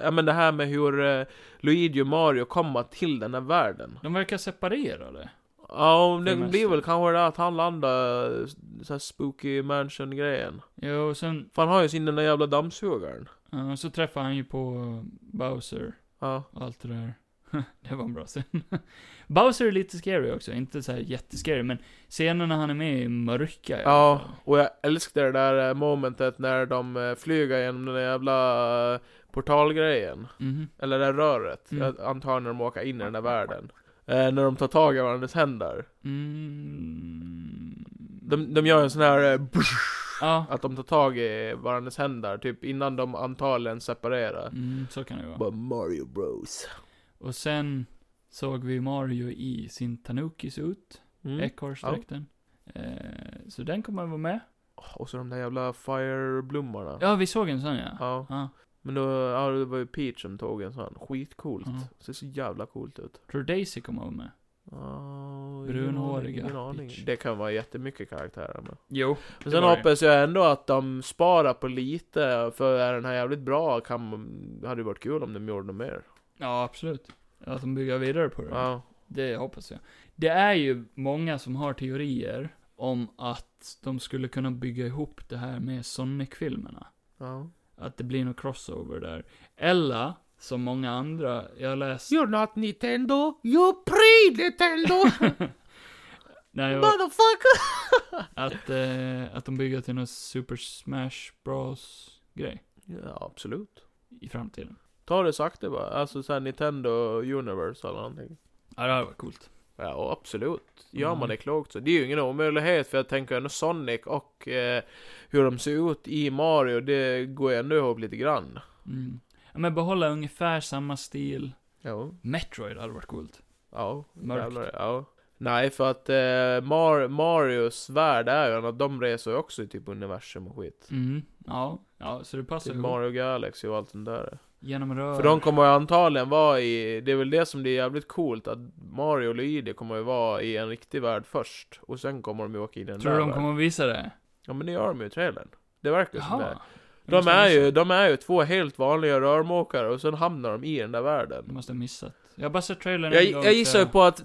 Speaker 3: ja men det här med hur eh, Luigi och Mario kommer till den här världen.
Speaker 2: De verkar separerade.
Speaker 3: Ja, och det
Speaker 2: För det
Speaker 3: blir
Speaker 2: mesta.
Speaker 3: väl kanske det att han landar eh, så här spooky mansion-grejen.
Speaker 2: Jo, och sen,
Speaker 3: För han har ju sin den där jävla dammsugaren.
Speaker 2: eh, så träffar han ju på Bowser.
Speaker 3: Ja.
Speaker 2: och allt det där. det var en bra scen. Bowser är lite scary också, inte så här jättescary, men scenen när han är med är mörka. i alla
Speaker 3: Ja,
Speaker 2: fall.
Speaker 3: och jag älskade det där eh, momentet när de eh, flyger genom den där jävla eh, portalgrejen.
Speaker 2: Mhm.
Speaker 3: Eller det där röret.
Speaker 2: Mm.
Speaker 3: Jag antar när de åker in i den där världen. Eh, när de tar tag i varandras händer.
Speaker 2: Mm.
Speaker 3: De, de gör en sån här... Eh,
Speaker 2: Ja.
Speaker 3: att de tar tag i varandras händer, typ innan de antagligen separerar.
Speaker 2: Mm, så kan det vara.
Speaker 3: Bara Mario Bros.
Speaker 2: Och sen såg vi Mario i sin Tanuki-suit,
Speaker 3: Mm.
Speaker 2: ekorrsdräkten. Eh, så den kommer att vara med.
Speaker 3: Och så de där jävla fireblommorna.
Speaker 2: Ja, vi såg en sån ja.
Speaker 3: Ja.
Speaker 2: Ja.
Speaker 3: Men då, ja, det var ju Peach som tog en sån. Skitcoolt.
Speaker 2: Ja.
Speaker 3: Ser så jävla coolt ut.
Speaker 2: Tror Daisy kommer att vara med?
Speaker 3: Oh,
Speaker 2: Brunhåriga bitch.
Speaker 3: Det kan vara jättemycket karaktärer med.
Speaker 2: Jo.
Speaker 3: Men sen
Speaker 2: var det.
Speaker 3: hoppas jag ändå att de sparar på lite, för är den här jävligt bra kan, hade det varit kul om de gjorde något mer.
Speaker 2: Ja, absolut. Att de bygger vidare på det.
Speaker 3: Ja.
Speaker 2: Det hoppas jag. Det är ju många som har teorier om att de skulle kunna bygga ihop det här med Sonic-filmerna.
Speaker 3: Ja.
Speaker 2: Att det blir någon crossover där. Eller, som många andra, jag läste...
Speaker 3: You're not Nintendo, you pre Nintendo,
Speaker 2: när jag,
Speaker 3: motherfucker!
Speaker 2: att, eh, att de bygger till någon Super Smash Bros-grej
Speaker 3: Ja, absolut.
Speaker 2: i framtiden.
Speaker 3: Ta det sakta bara, alltså såhär Nintendo Universe eller någonting.
Speaker 2: Ja, det hade varit coolt.
Speaker 3: Ja, och absolut. Gör
Speaker 2: Mm.
Speaker 3: man det klokt så. Det är ju ingen omöjlighet för jag tänker ändå Sonic och eh, hur de ser ut i Mario, det går jag ändå ihop lite grann.
Speaker 2: Mm. Ja, men behålla ungefär samma stil.
Speaker 3: Jo.
Speaker 2: Metroid hade varit coolt.
Speaker 3: Ja.
Speaker 2: Mörkt.
Speaker 3: jävlar, Ja. Nej, för att eh, Mar Marios värld är ju att de reser ju också i typ universum och skit.
Speaker 2: Mm. Ja, ja, så det passar
Speaker 3: Typ
Speaker 2: ihop.
Speaker 3: Mario Galaxy och allt det där.
Speaker 2: Genom rör.
Speaker 3: För de kommer ju antagligen vara i, det är väl det som det är jävligt coolt att Mario och Luigi kommer ju vara i en riktig värld först. Och sen kommer de ju åka in i den
Speaker 2: Tror
Speaker 3: där
Speaker 2: du de
Speaker 3: världen.
Speaker 2: kommer att visa det?
Speaker 3: Ja men det gör de ju i trailern. Det verkar som det.
Speaker 2: Jaha. Jag
Speaker 3: De
Speaker 2: måste ha
Speaker 3: är, ju,
Speaker 2: missat.
Speaker 3: de är ju två helt vanliga rörmokare och sen hamnar de i den där
Speaker 2: Jag
Speaker 3: världen.
Speaker 2: måste ha missat. Jag har bara sett trailern
Speaker 3: Jag,
Speaker 2: en gång.
Speaker 3: jag gissar ju
Speaker 2: så-
Speaker 3: på att...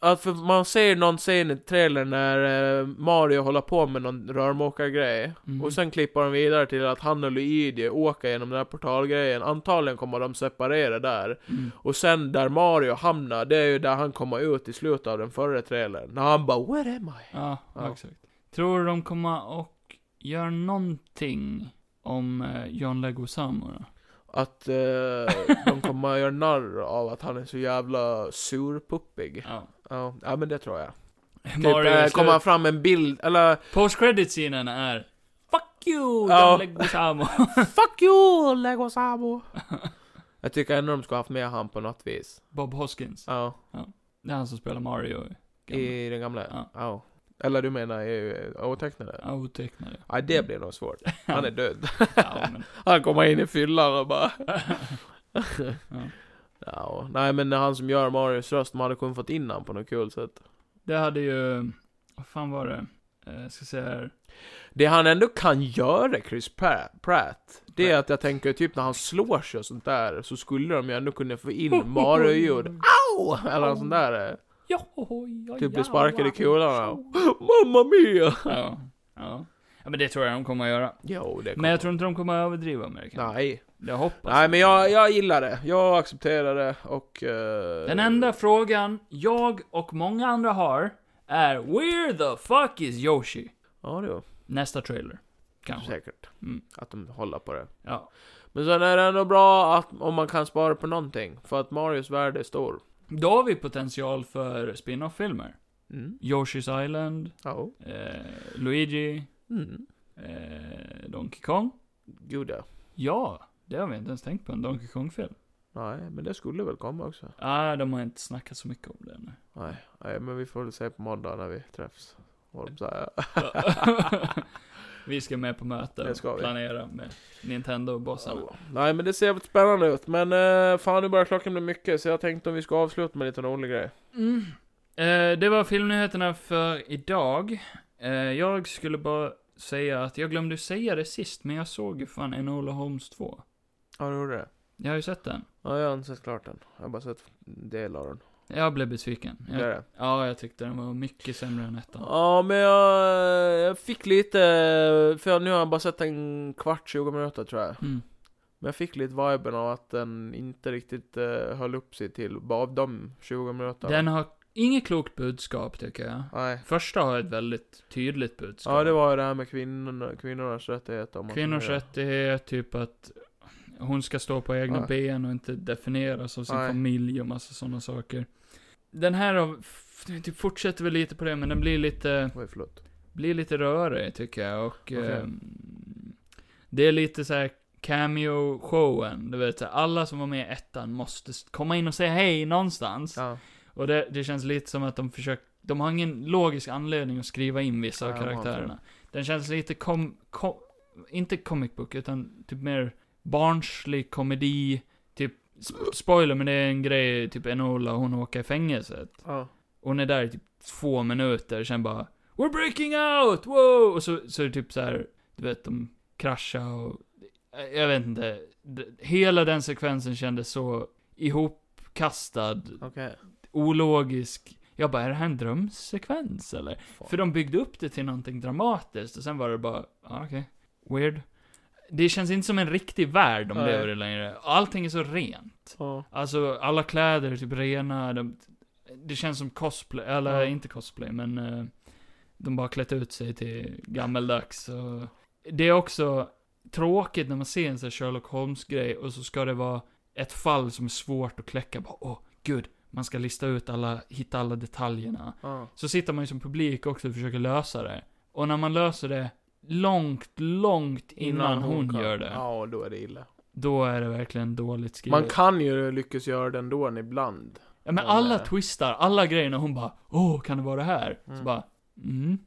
Speaker 3: Att för man ser någon scen i trailern när eh, Mario håller på med någon rörmokargrej.
Speaker 2: Mhm.
Speaker 3: Och sen klipper de vidare till att han och Luigi åker genom den här portalgrejen. Antagligen kommer de separera där.
Speaker 2: Mm.
Speaker 3: Och sen där Mario hamnar, det är ju där han kommer ut i slutet av den förra trailern. När han bara 'Where am I?'
Speaker 2: Ja,
Speaker 3: Ja.
Speaker 2: exakt. Tror du de kommer och gör någonting om eh, John Leguizamo då?
Speaker 3: Att eh, de kommer att göra narr av att han är så jävla surpuppig.
Speaker 2: Ja.
Speaker 3: Ja, ja men det tror jag. Typ,
Speaker 2: Mario
Speaker 3: eh,
Speaker 2: är
Speaker 3: kommer han
Speaker 2: slut.
Speaker 3: fram en bild, eller
Speaker 2: Post credit scenen är Fuck you,
Speaker 3: Ja.
Speaker 2: John Leguizamo.
Speaker 3: 'Fuck you, Lego Sabo! jag tycker ändå de skulle haft med han på något vis.
Speaker 2: Bob Hoskins.
Speaker 3: Ja,
Speaker 2: Det är han som spelar Mario. Gamla.
Speaker 3: i den gamla.
Speaker 2: Ja.
Speaker 3: Ja. Eller du menar i otecknade?
Speaker 2: Ja, Otecknade.
Speaker 3: Ja, det blir nog svårt. Han är död.
Speaker 2: Ja, men,
Speaker 3: Han kommer in i fyllan och bara...
Speaker 2: Ja.
Speaker 3: ja, nej men han som gör Marios röst, man hade kunnat fått in han på något kul sätt.
Speaker 2: det hade ju... Vad fan var det? Eh, ska säga här.
Speaker 3: Det han ändå kan göra, Chris Pra- Pratt, det är att jag tänker typ när han slår sig och sånt där, så skulle de ju ändå kunna få in Mario-ljud. Au! Eller något sånt där.
Speaker 2: Johohoj,
Speaker 3: Typ bli sparkad i
Speaker 2: jajamän.
Speaker 3: kulorna. Mamma mia!
Speaker 2: Ja, ja. Ja, men det tror jag de kommer att göra.
Speaker 3: Jo, det kommer.
Speaker 2: Men jag tror inte de kommer att överdriva med det kanske.
Speaker 3: Nej.
Speaker 2: Jag hoppas
Speaker 3: Nej,
Speaker 2: inte.
Speaker 3: men jag, jag gillar det. Jag accepterar det och... eh,
Speaker 2: Den enda frågan jag och många andra har är Where the fuck is Yoshi?
Speaker 3: Ja, det var
Speaker 2: Nästa trailer. Kanske.
Speaker 3: säkert.
Speaker 2: Mm.
Speaker 3: Att de håller på det.
Speaker 2: Ja.
Speaker 3: Men sen är det ändå bra att, om man kan spara på någonting. För att Marios värde är stor.
Speaker 2: Då har vi potential för spin-off-filmer.
Speaker 3: Mm.
Speaker 2: Yoshi's Island,
Speaker 3: Ja.
Speaker 2: eh, Luigi,
Speaker 3: Mm.
Speaker 2: eh, Donkey Kong.
Speaker 3: Gud ja.
Speaker 2: Ja, det har vi inte ens tänkt på, en Donkey Kong-film.
Speaker 3: Nej, men det skulle väl komma också.
Speaker 2: Ah, de har inte snackat så mycket om det ännu.
Speaker 3: Nej, nej, men vi får väl se på måndag när vi träffs. Vad de säger.
Speaker 2: vi ska med på möte
Speaker 3: Det ska
Speaker 2: och
Speaker 3: vi.
Speaker 2: planera med Nintendo-bossarna.
Speaker 3: Nej, men det ser jävligt spännande ut. Men eh, fan, nu börjar klockan bli mycket, så jag tänkte om vi ska avsluta med lite rolig grej.
Speaker 2: Mm. Eh, det var filmnyheterna för idag. Eh, jag skulle bara säga att jag glömde säga det sist, men jag såg ju fan Enola Holmes 2.
Speaker 3: Ja, du gjorde det?
Speaker 2: Jag har ju sett den.
Speaker 3: Ja, jag har inte sett klart den. Jag har bara sett en del av den.
Speaker 2: Jag blev besviken.
Speaker 3: Det är
Speaker 2: Jag,
Speaker 3: det.
Speaker 2: ja, jag tyckte den var mycket sämre än ettan.
Speaker 3: Ja, men jag, jag fick lite... För nu har jag bara sett en kvart, 20 minuter tror jag.
Speaker 2: Mm.
Speaker 3: Men jag fick lite viben av att den inte riktigt eh, höll upp sig till bara av de 20 minuterna.
Speaker 2: Den har inget klokt budskap, tycker jag.
Speaker 3: Nej.
Speaker 2: Första har ett väldigt tydligt budskap.
Speaker 3: Ja, det var ju det här med kvinnorna, kvinnornas rättigheter. om man
Speaker 2: Kvinnors
Speaker 3: säger.
Speaker 2: rättighet, typ att hon ska stå på egna
Speaker 3: Nej.
Speaker 2: ben och inte definieras av sin
Speaker 3: Nej.
Speaker 2: familj och massa sådana saker. Den här har, f- typ fortsätter väl lite på det, men den blir lite,
Speaker 3: Oj, förlåt.
Speaker 2: blir lite rörig tycker jag och
Speaker 3: Okej.
Speaker 2: ehm, det är lite så här cameo-showen, du vet så här, alla som var med i ettan måste s- komma in och säga hej någonstans.
Speaker 3: Ja.
Speaker 2: Och det, det känns lite som att de försöker, de har ingen logisk anledning att skriva in vissa av
Speaker 3: Nej, de har inte
Speaker 2: karaktärerna. Den känns lite kom, kom, inte comic book, utan typ mer barnslig komedi, typ, sp- spoiler men det är en grej, typ Enola, hon åker i fängelset.
Speaker 3: Ja.
Speaker 2: Hon är där i typ två minuter, sen bara We're breaking out! Wow! Och så, så är det typ så här, du vet, de kraschar och... Jag vet inte. D- Hela den sekvensen kändes så ihopkastad
Speaker 3: Okej.
Speaker 2: ologisk. Jag bara, är det här en drömsekvens eller? För de byggde upp det till någonting dramatiskt och sen var det bara, ah, okej, weird. Det känns inte som en riktig värld de
Speaker 3: Nej.
Speaker 2: lever i längre. Allting är så rent.
Speaker 3: Ja.
Speaker 2: Alltså, alla kläder är typ rena. De, det känns som cosplay, eller
Speaker 3: Ja.
Speaker 2: inte cosplay, men eh, de bara klätt ut sig till gammeldags. Och det är också tråkigt när man ser en sån här Sherlock Holmes-grej och så ska det vara ett fall som är svårt att kläcka. Bara, åh, gud, man ska lista ut alla, hitta alla detaljerna.
Speaker 3: Ja.
Speaker 2: Så sitter man ju som publik också och försöker lösa det. Och när man löser det långt, långt innan, hon,
Speaker 3: kan-
Speaker 2: gör det,
Speaker 3: Ja, då är det illa.
Speaker 2: då är det verkligen dåligt skrivet.
Speaker 3: Man kan ju lyckas göra den då ibland.
Speaker 2: Ja, men
Speaker 3: Men,
Speaker 2: alla
Speaker 3: eh,
Speaker 2: twistar, alla grejerna, hon bara Åh, kan det vara det här? Så
Speaker 3: Mm.
Speaker 2: bara, mm.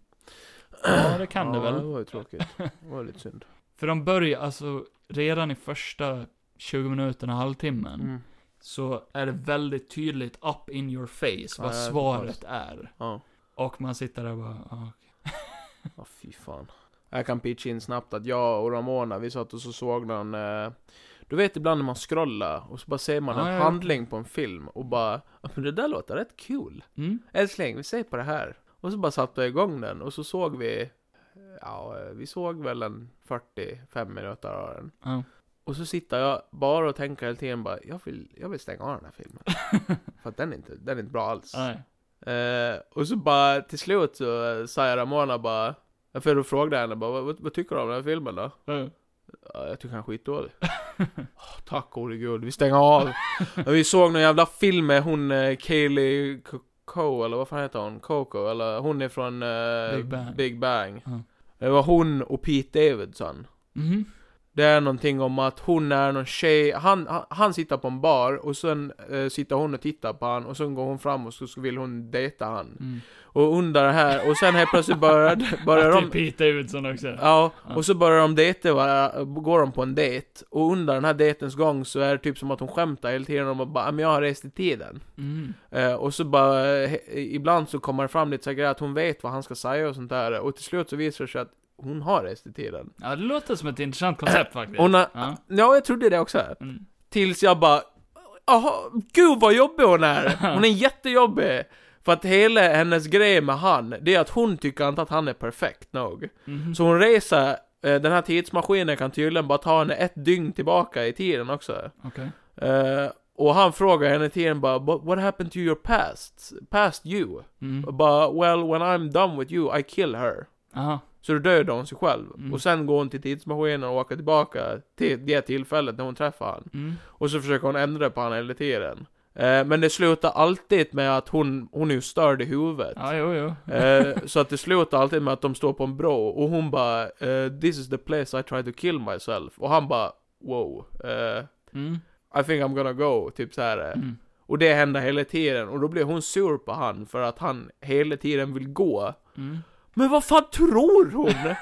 Speaker 2: Ja, det kan det
Speaker 3: ja, det
Speaker 2: väl.
Speaker 3: var ju tråkigt. Det var lite synd.
Speaker 2: För de börjar, alltså, redan i första 20 minuterna, halvtimmen,
Speaker 3: Mm.
Speaker 2: så är det väldigt tydligt up in your face vad
Speaker 3: Ja, jag
Speaker 2: svaret
Speaker 3: hoppas.
Speaker 2: är.
Speaker 3: Ja.
Speaker 2: Och man sitter där och bara, "Ja,
Speaker 3: Ja, fy fan. Jag kan pitcha in snabbt att jag och Ramona, vi satt och så såg någon... Eh, du vet ibland när man scrollar och så bara ser man
Speaker 2: Ja,
Speaker 3: en
Speaker 2: ja, ja.
Speaker 3: handling på en film och bara "Ja, men det där låter rätt kul.
Speaker 2: mm,
Speaker 3: Älskling, vi ser på det här. Och så bara satte jag igång den och så såg vi... Ja, eh, vi såg väl en 45 minuter av den.
Speaker 2: ja.
Speaker 3: Och så sitter jag bara och tänker hela tiden bara, jag vill, jag vill stänga av den här filmen. För att den är inte, den är inte bra alls.
Speaker 2: Nej.
Speaker 3: Eh, och så bara till slut så eh, sa jag Ramona bara, för då frågade jag henne bara, "Vad- vad, vad tycker du om den här filmen då?
Speaker 2: Ja.
Speaker 3: "Ja, jag tycker den är skitdålig. "Åh, tack gode gud, vi stänger av. Men vi såg någon jävla film med hon eh, Kaylee Coco, eller vad fan heter hon? Coco, eller hon är från eh,
Speaker 2: Big Bang.
Speaker 3: Big Bang.
Speaker 2: Ja.
Speaker 3: Det var hon och Pete Davidson.
Speaker 2: Mhm.
Speaker 3: Det är någonting om att hon är någon tjej, han, han, han sitter på en bar och sen eh, sitter hon och tittar på han och sen går hon fram och så så vill hon dejta han.
Speaker 2: Mm.
Speaker 3: Och under det här, och sen helt plötsligt börjar, börjar
Speaker 2: Att typ
Speaker 3: de...
Speaker 2: det är Pete Davidson också.
Speaker 3: Ja, och så börjar de dejta, varandra, går de på en dejt. Och under den här dejtens gång så är det typ som att hon skämtar hela tiden om att bara, "Ah, men jag har rest i tiden.
Speaker 2: Mm.
Speaker 3: Eh, och så bara, eh, he- ibland så kommer det fram lite så här grejer att hon vet vad han ska säga och sånt där. Och till slut så visar det sig att hon har rest i tiden.
Speaker 2: Ja, det låter som ett intressant koncept faktiskt.
Speaker 3: Hon har,
Speaker 2: Ja.
Speaker 3: ja. jag trodde det också.
Speaker 2: Mm.
Speaker 3: Tills jag bara, jaha, gud vad jobbig hon är! Hon är jättejobbig! För att hela hennes grej med han, det är att hon tycker inte att han är perfekt nog.
Speaker 2: Mhm.
Speaker 3: Så hon reser, eh, den här tidsmaskinen kan tydligen bara ta henne ett dygn tillbaka i tiden också.
Speaker 2: Okej.
Speaker 3: Eh, och han frågar henne till en bara, "But what happened to your past? Past you?
Speaker 2: Mm.
Speaker 3: Och bara, well when I'm done with you I kill her.
Speaker 2: Aha.
Speaker 3: Så då dödar hon sig själv.
Speaker 2: Mm.
Speaker 3: Och sen går hon till tidsmaskinen och åker tillbaka till det tillfället när hon träffar han.
Speaker 2: Mm.
Speaker 3: Och så försöker hon ändra på han hela tiden. Eh, men det slutar alltid med att hon, hon är ju störd i huvudet.
Speaker 2: Ja, jo, jo.
Speaker 3: Eh, så att det slutar alltid med att de står på en bro och hon bara eh, 'This is the place I tried to kill myself' och han bara 'Wow, eh,
Speaker 2: Mm.
Speaker 3: I think I'm gonna go' typ så här. eh.
Speaker 2: Mm.
Speaker 3: Och det händer hela tiden och då blir hon sur på han för att han hela tiden vill gå.
Speaker 2: Mm.
Speaker 3: Men vad fan tror hon?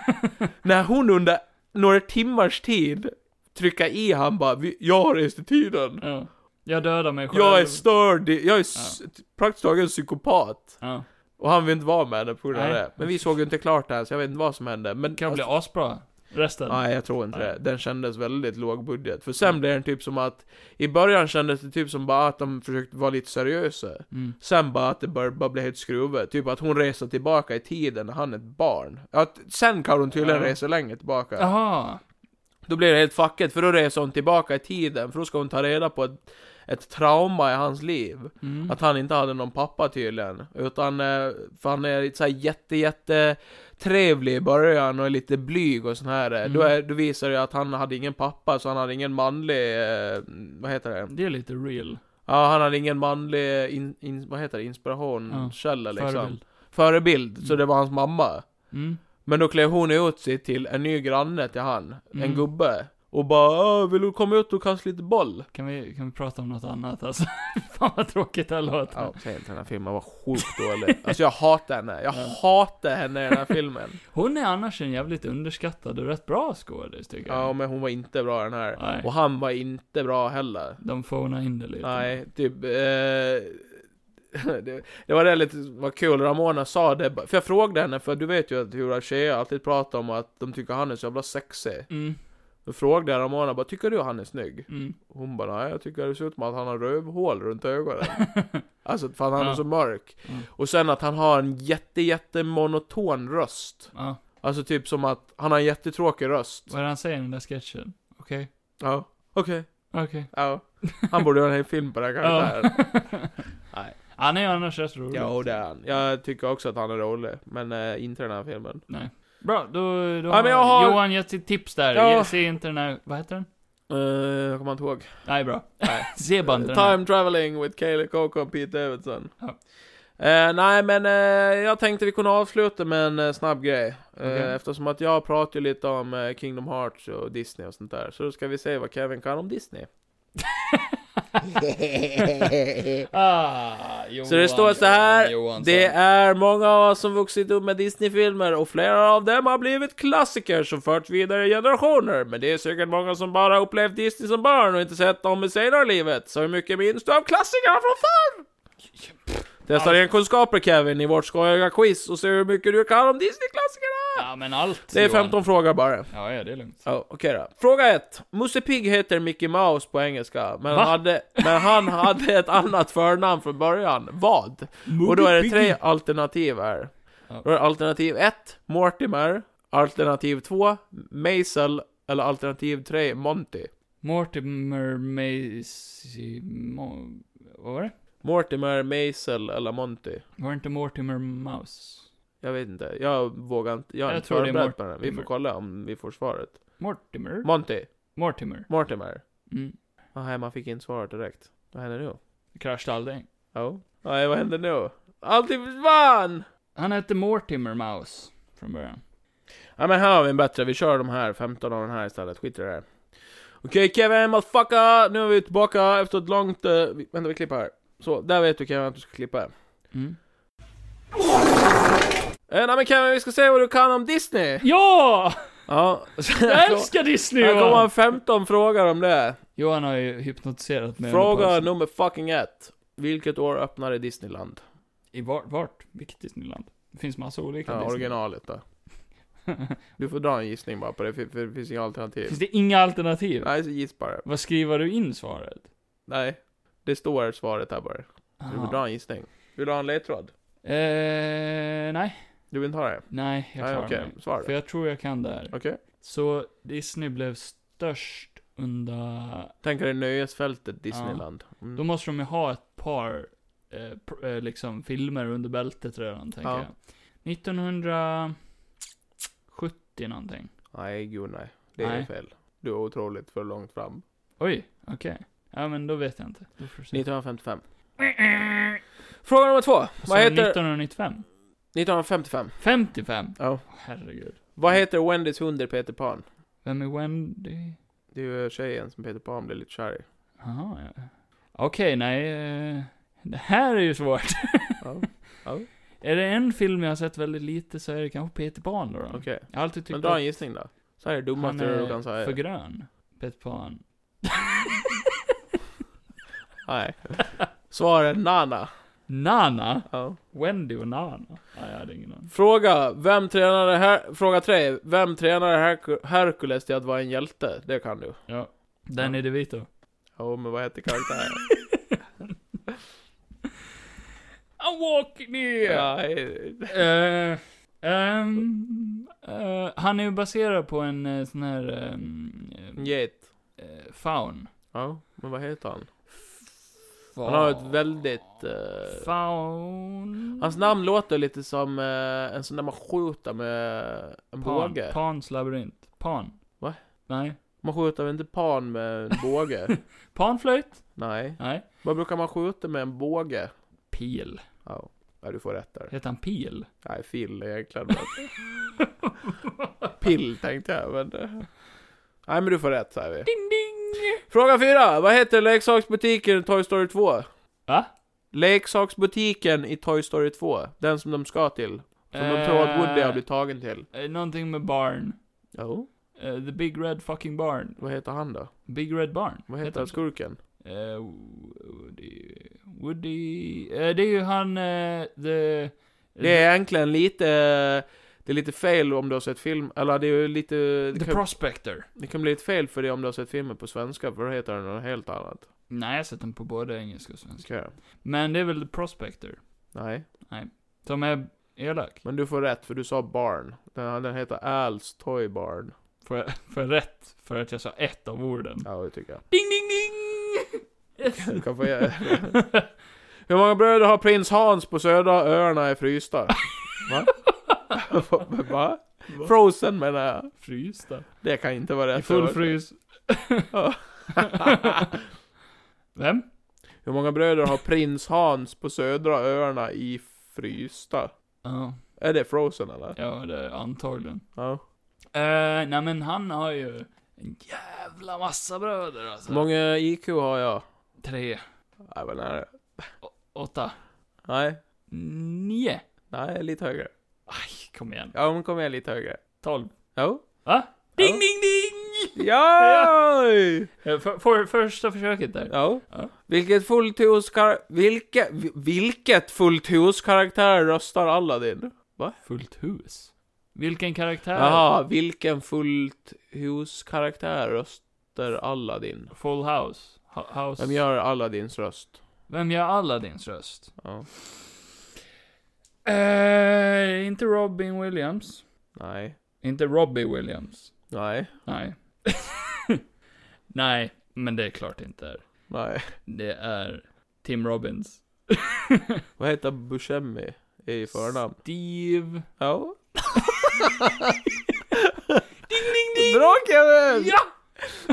Speaker 3: När hon under några timmars tid trycker i han bara "Vi- 'Jag har rest i tiden'
Speaker 2: Ja. Jag dödar mig själv.
Speaker 3: Jag är störd, jag är s- praktiskt taget en psykopat.
Speaker 2: Ja.
Speaker 3: Och han vill inte vara med henne på grund av
Speaker 2: Nej.
Speaker 3: det. Men vi såg ju inte klart det här, så jag vet inte vad som hände. Men, alltså,
Speaker 2: Kan bli asbra. Resten.
Speaker 3: Nej, jag tror inte
Speaker 2: Nej. Mm.
Speaker 3: det. Den kändes väldigt låg budget. För sen blev den typ som att... I början kändes det typ som bara att de försökte vara lite seriösa.
Speaker 2: Mm.
Speaker 3: Sen bara att det började bara bli helt skruvat. Typ att hon reser tillbaka i tiden när han är ett barn. Att sen kan hon tydligen
Speaker 2: Ja.
Speaker 3: resa längre tillbaka.
Speaker 2: Jaha.
Speaker 3: Då blir det helt fuckat, för då reser hon tillbaka i tiden. För då ska hon ta reda på ett, ett trauma i hans liv.
Speaker 2: Mm.
Speaker 3: Att han inte hade någon pappa tydligen. Utan, eh, för han är lite såhär jätte, jätte trevlig i början och är lite blyg och sån här.
Speaker 2: Mm.
Speaker 3: eh. Då, är, då visar det ju att han hade ingen pappa, så han hade ingen manlig, eh, vad heter det?
Speaker 2: Det är lite real.
Speaker 3: Ja, han hade ingen manlig, in, in, vad heter det, inspirationskälla liksom. Förebild.
Speaker 2: Förebild.
Speaker 3: så det var hans mamma.
Speaker 2: Mm.
Speaker 3: Men då klär hon ut sig till en ny granne till han,
Speaker 2: Mm.
Speaker 3: en gubbe. Och bara "Äh, 'Vill du komma ut och kasta lite boll?'
Speaker 2: Kan vi, kan vi prata om något annat alltså? Fan vad tråkigt det här låter.
Speaker 3: Ja, säg inte den här filmen var sjukt dålig. Alltså jag hatar henne. Jag hatar henne i den här filmen.
Speaker 2: Hon är annars en jävligt underskattad och rätt bra skådis tycker jag.
Speaker 3: Ja, men hon var inte bra i den här.
Speaker 2: Nej.
Speaker 3: Och han var inte bra heller.
Speaker 2: De fånar in det lite.
Speaker 3: Nej, typ... Eh... Det, det var det lite var kul, Ramona sa det, för jag frågade henne, för du vet ju att hur tjejer alltid pratar om att de tycker han är så jävla sexig.
Speaker 2: Mm.
Speaker 3: Då frågade jag Ramona bara, tycker du han är snygg?
Speaker 2: Mm.
Speaker 3: Hon bara, nej jag tycker det ser ut som att han har rövhål runt ögonen. alltså för att han
Speaker 2: Ja.
Speaker 3: är så mörk.
Speaker 2: Mm.
Speaker 3: Och sen att han har en jätte, jätte monoton röst.
Speaker 2: Ja,
Speaker 3: Alltså typ som att han har en jättetråkig röst.
Speaker 2: vad är det han säger i den där sketchen? Okej.
Speaker 3: Ja, okej.
Speaker 2: Okej.
Speaker 3: Ja. Han borde göra en hel film på den här karaktären. Nej.
Speaker 2: Han är ju annars rätt rolig.
Speaker 3: Ja, det är han. Jag tycker också att han är rolig, men eh, inte i den här filmen.
Speaker 2: Bra, då, då
Speaker 3: Ja, men jag
Speaker 2: har
Speaker 3: har-
Speaker 2: Johan gett sitt tips där.
Speaker 3: Ja.
Speaker 2: Ge- Se inte den här, vad heter den?
Speaker 3: Eh, jag kommer inte ihåg.
Speaker 2: Nej, bra. Se bara inte den här.
Speaker 3: Time Traveling with Kaeli Coco och Pete Davidson.
Speaker 2: Ja.
Speaker 3: Eh, nej, men eh, jag tänkte vi kunde avsluta med en eh, snabb grej. Eh,
Speaker 2: Okej.
Speaker 3: Eftersom att jag pratar ju lite om eh, Kingdom Hearts och Disney och sånt där. Så då ska vi se vad Kevin kan om Disney.
Speaker 2: Ah, Johan,
Speaker 3: Så det står så här,
Speaker 2: Johan,
Speaker 3: Det
Speaker 2: Johansson.
Speaker 3: är många av oss som vuxit upp med Disney-filmer och flera av dem har blivit klassiker som förts vidare i generationer. Men det är säkert många som bara upplevt Disney som barn och inte sett dem i senare i livet. Så hur mycket minns du av klassikerna från förr? Testa dina kunskaper Kevin i vårt skojiga quiz och se hur mycket du kan om Disney-klassikerna!
Speaker 2: Ja, men allt.
Speaker 3: Det är
Speaker 2: Johan.
Speaker 3: 15 frågor bara.
Speaker 2: Ja, ja, det är lugnt.
Speaker 3: Ja, okej då. Fråga ett. Musse Pigg heter Mickey Mouse på engelska, men,
Speaker 2: Va?
Speaker 3: han hade, men han hade ett annat förnamn från början. Vad? Och då är det tre alternativ här.
Speaker 2: Ja.
Speaker 3: Då är det alternativ 1, Mortimer. Alternativ 2, Maisel. Eller alternativ 3, Monty.
Speaker 2: Mortimer Macy... Mo- Vad var det?
Speaker 3: Mortimer, Maisel eller Monty.
Speaker 2: Var det inte Mortimer Mouse?
Speaker 3: Jag vet inte, jag vågar inte. Jag, är
Speaker 2: Jag
Speaker 3: inte
Speaker 2: tror det är
Speaker 3: förberedd på den. Vi får
Speaker 2: Mortimer.
Speaker 3: kolla om vi får svaret.
Speaker 2: Mortimer?
Speaker 3: Monty,
Speaker 2: Mortimer.
Speaker 3: Mortimer.
Speaker 2: Mm.
Speaker 3: Nej, man fick inte svaret direkt. Vad händer nu?
Speaker 2: Kraschdalding.
Speaker 3: Ja. Nej, vad händer nu? Allting försvann!
Speaker 2: Han hette Mortimer Mouse från början.
Speaker 3: Ja men här har vi en bättre, vi kör de här 15 av den här istället, skit i det här. Okej Kevin, motherfucker! Nu är vi tillbaka efter ett långt... eh, vi, vänta vi klipper här. Så, där vet du Kevin att du ska klippa. Uh,
Speaker 2: Mm.
Speaker 3: nej men Kevin, vi ska se vad du kan om Disney!
Speaker 2: Ja!
Speaker 3: Ja,
Speaker 2: Jag älskar Disney
Speaker 3: Här kommer
Speaker 2: Johan!
Speaker 3: 15 frågor om det.
Speaker 2: Johan har ju hypnotiserat mig.
Speaker 3: Fråga nummer fucking ett. Vilket år öppnade Disneyland?
Speaker 2: I vart? vart? Vilket Disneyland? Det finns massa olika
Speaker 3: Ja,
Speaker 2: Disney.
Speaker 3: originalet då. Du får dra en gissning bara på det, för för det finns inga alternativ.
Speaker 2: Finns det inga alternativ?
Speaker 3: Nej, så giss bara.
Speaker 2: Vad skriver du in svaret?
Speaker 3: Nej. Det står svaret här bara. Du får
Speaker 2: Aha.
Speaker 3: dra en gissning. Vill du ha en ledtråd?
Speaker 2: Eh, nej.
Speaker 3: Du vill inte ha det?
Speaker 2: Nej, jag
Speaker 3: Nej,
Speaker 2: klarar
Speaker 3: okej.
Speaker 2: mig.
Speaker 3: Svar
Speaker 2: För
Speaker 3: då.
Speaker 2: jag tror jag kan det här.
Speaker 3: Okej.
Speaker 2: Så Disney blev störst under...
Speaker 3: Tänk dig nöjesfältet Disneyland.
Speaker 2: Då
Speaker 3: Mm.
Speaker 2: måste de ju ha ett par eh, pr- eh, liksom filmer under bältet redan, tänker
Speaker 3: Ja.
Speaker 2: jag. 1970 någonting.
Speaker 3: Nej, gud nej. Det är
Speaker 2: Nej.
Speaker 3: fel. Du är otroligt för långt fram.
Speaker 2: Oj, okej. Ja, men då vet jag inte. Då får du se.
Speaker 3: 1955. Fråga nummer två.
Speaker 2: Vad
Speaker 3: Vad heter...
Speaker 2: 1995?
Speaker 3: 1955.
Speaker 2: 55?
Speaker 3: Ja.
Speaker 2: Åh, herregud.
Speaker 3: Vad heter Wendys hund i Peter Pan?
Speaker 2: Vem är Wendy?
Speaker 3: Det är ju tjejen som Peter Pan blir lite kär i.
Speaker 2: Jaha, ja. Okej, nej. eh, Det här är ju svårt.
Speaker 3: Ja.
Speaker 2: Är det en film jag har sett väldigt lite så är det kanske Peter Pan då. då.
Speaker 3: Okej.
Speaker 2: Jag har alltid tyckt
Speaker 3: Men dra en gissning då. Så här är det
Speaker 2: han
Speaker 3: dummaste du kan
Speaker 2: är för
Speaker 3: säga.
Speaker 2: grön. Peter Pan.
Speaker 3: Nej. Svaret Nana.
Speaker 2: Nana?
Speaker 3: Ja.
Speaker 2: Wendy och Nana? Nej, jag hade ingen aning.
Speaker 3: Fråga, vem tränade Her- Fråga tre. Vem tränade Herku- Hercules till att vara en hjälte? Det kan du.
Speaker 2: Ja. Danny DeVito.
Speaker 3: Ja, men vad heter karaktären?
Speaker 2: I'm walking here!
Speaker 3: Ja,
Speaker 2: Eh,
Speaker 3: eh,
Speaker 2: ehm, eh, han är ju baserad på en eh, sån här... ehm, eh,
Speaker 3: Get.
Speaker 2: eh, faun.
Speaker 3: Ja, men vad heter han?
Speaker 2: Faun.
Speaker 3: Han har ett väldigt... Eh,
Speaker 2: Faun...
Speaker 3: hans namn låter lite som eh, en sån där man skjuter med en
Speaker 2: Pan.
Speaker 3: båge.
Speaker 2: Pans labyrint. Pan.
Speaker 3: Va?
Speaker 2: Nej.
Speaker 3: Man skjuter väl inte pan med en båge?
Speaker 2: Panflöjt?
Speaker 3: Nej.
Speaker 2: Nej.
Speaker 3: Vad brukar man skjuta med en båge?
Speaker 2: Pil.
Speaker 3: Ja, ja du får rätt där.
Speaker 2: Heter han Pil?
Speaker 3: Nej, fil är egentligen bättre. Pill tänkte jag, men... eh. Nej, men du får rätt säger vi.
Speaker 2: Ding ding!
Speaker 3: Fråga fyra. Vad heter leksaksbutiken i Toy Story 2?
Speaker 2: Va?
Speaker 3: Leksaksbutiken i Toy Story 2. Den som de ska till. Som de tror att Woody har blivit tagen till.
Speaker 2: Eh, Någonting med barn.
Speaker 3: Jo.
Speaker 2: Eh, the Big Red fucking Barn.
Speaker 3: Vad heter han då?
Speaker 2: Big Red Barn.
Speaker 3: Vad heter han
Speaker 2: han?
Speaker 3: skurken?
Speaker 2: Eh, Woody... Woody... eh, det är ju han... eh, the...
Speaker 3: Det är egentligen lite... eh, Det är lite fel om du har sett film, eller det är ju lite... Det
Speaker 1: The
Speaker 3: kan,
Speaker 1: Prospector.
Speaker 3: det kan bli ett fel för dig om du har sett filmen på svenska, för då heter den något helt annat.
Speaker 2: Nej, jag har sett den på både engelska och svenska.
Speaker 3: Okej.
Speaker 2: Men det är väl The Prospector,
Speaker 3: Nej.
Speaker 2: som är elak.
Speaker 3: Men du får rätt, för du sa barn. Den, den heter Al's Toy Barn.
Speaker 2: Får jag, får jag rätt för att jag sa ett av orden?
Speaker 3: Ja, det tycker jag.
Speaker 2: Ding, ding, ding! Yes.
Speaker 3: Du kan få ge... Hur många bröder har prins Hans på södra öarna är frysta? Va? Va? Frozen menar jag.
Speaker 2: Frysta.
Speaker 3: Det kan inte vara rätt.
Speaker 2: I full
Speaker 3: ord.
Speaker 2: frys.
Speaker 3: Ja.
Speaker 2: Vem?
Speaker 3: Hur många bröder har prins Hans på södra öarna i frysta?
Speaker 2: Ja,
Speaker 3: Är det Frozen eller?
Speaker 2: ja det är antagligen.
Speaker 3: Ja.
Speaker 2: Uh, nej men han har ju en jävla massa bröder alltså.
Speaker 3: Hur många IQ har jag?
Speaker 2: Tre,
Speaker 3: Nej, vad nära.
Speaker 2: åtta,
Speaker 3: Nej,
Speaker 2: nio.
Speaker 3: nej, lite högre.
Speaker 2: Aj, kom igen.
Speaker 3: Ja, men kom igen lite högre.
Speaker 2: Tolv.
Speaker 3: Jo.
Speaker 2: Va? Ding,
Speaker 3: Ja.
Speaker 2: ding, ding!
Speaker 3: Ja!
Speaker 2: Eh, För, för, första försöket där.
Speaker 3: Ja.
Speaker 2: Ja.
Speaker 3: Vilket fullt hus kar- vilke, vi- Vilket fullt hus karaktär röstar Aladdin?
Speaker 2: Fullt hus. Vilken karaktär?
Speaker 3: Jaha, vilken fullt hus karaktär röstar Aladdin?
Speaker 2: Full house. Hu- house.
Speaker 3: Vem gör Aladdins röst?
Speaker 2: Vem gör Aladdins röst?
Speaker 3: Ja.
Speaker 2: Eh, inte Robin Williams.
Speaker 3: Nej.
Speaker 2: Inte Robbie Williams.
Speaker 3: Nej.
Speaker 2: Nej. Nej, men det är klart det inte är.
Speaker 3: Nej.
Speaker 2: Det är Tim Robbins.
Speaker 3: Vad heter Buscemi i förnamn?
Speaker 2: Steve...
Speaker 3: Ja.
Speaker 2: Ding, ding, ding!
Speaker 3: Bra Kevin!
Speaker 2: Ja!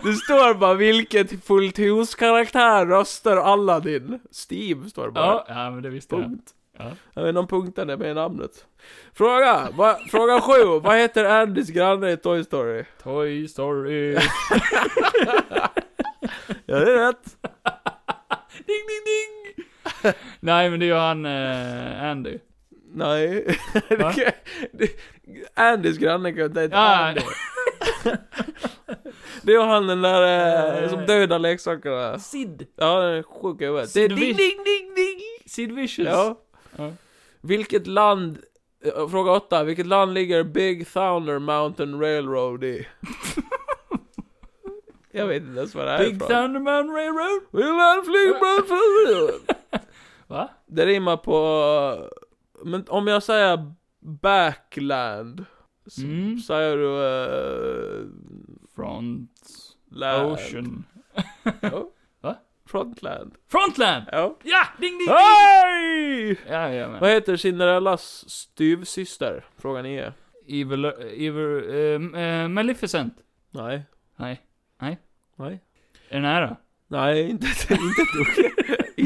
Speaker 3: Det står bara vilket fullt hus karaktär röstar Aladdin? Steve står det bara.
Speaker 2: Ja, ja, men det visste jag.
Speaker 3: Punkt.
Speaker 2: Ja.
Speaker 3: Jag vet inte om punkten är med i namnet. Fråga! Va, fråga sju. Vad heter Andys granne i Toy Story?
Speaker 2: Toy Story.
Speaker 3: Ja, det är rätt.
Speaker 2: ding, ding, ding! Nej, men det är ju han eh, Andy.
Speaker 3: Nej.
Speaker 2: Va?
Speaker 3: Det, det, Andys granne kan inte
Speaker 2: Ja.
Speaker 3: Andy. Det är han den där eh, som dödar leksakerna.
Speaker 2: Sid.
Speaker 3: Ja, den är sjuk i huvudet. Det är
Speaker 2: Sid
Speaker 3: ding,
Speaker 2: Vicious.
Speaker 3: ding, ding, ding.
Speaker 2: Sid Vicious.
Speaker 3: Ja.
Speaker 2: Ja.
Speaker 3: Vilket land... eh, Fråga åtta. Vilket land ligger Big Thunder Mountain Railroad i? Jag vet inte ens vad det här är
Speaker 2: Big
Speaker 3: från.
Speaker 2: Thunderman Railroad.
Speaker 3: Vill han flygplan från
Speaker 2: Va?
Speaker 3: Det rimmar på... Men om jag säger backland. Så
Speaker 2: Mm.
Speaker 3: säger du... eh,
Speaker 2: Front...
Speaker 3: land.
Speaker 2: Ocean.
Speaker 3: Ja.
Speaker 2: Va?
Speaker 3: Frontland.
Speaker 2: Frontland!
Speaker 3: Ja.
Speaker 2: Ja! Ding, ding, ding!
Speaker 3: Hej!
Speaker 2: Jajamän.
Speaker 3: Vad heter Cinderellas styvsyster? Fråga 9.
Speaker 2: Evil... Evil... eh, eh, Maleficent.
Speaker 3: Nej.
Speaker 2: Nej. Nej.
Speaker 3: Nej.
Speaker 2: Är den här då?
Speaker 3: Nej, inte, inte ett dugg.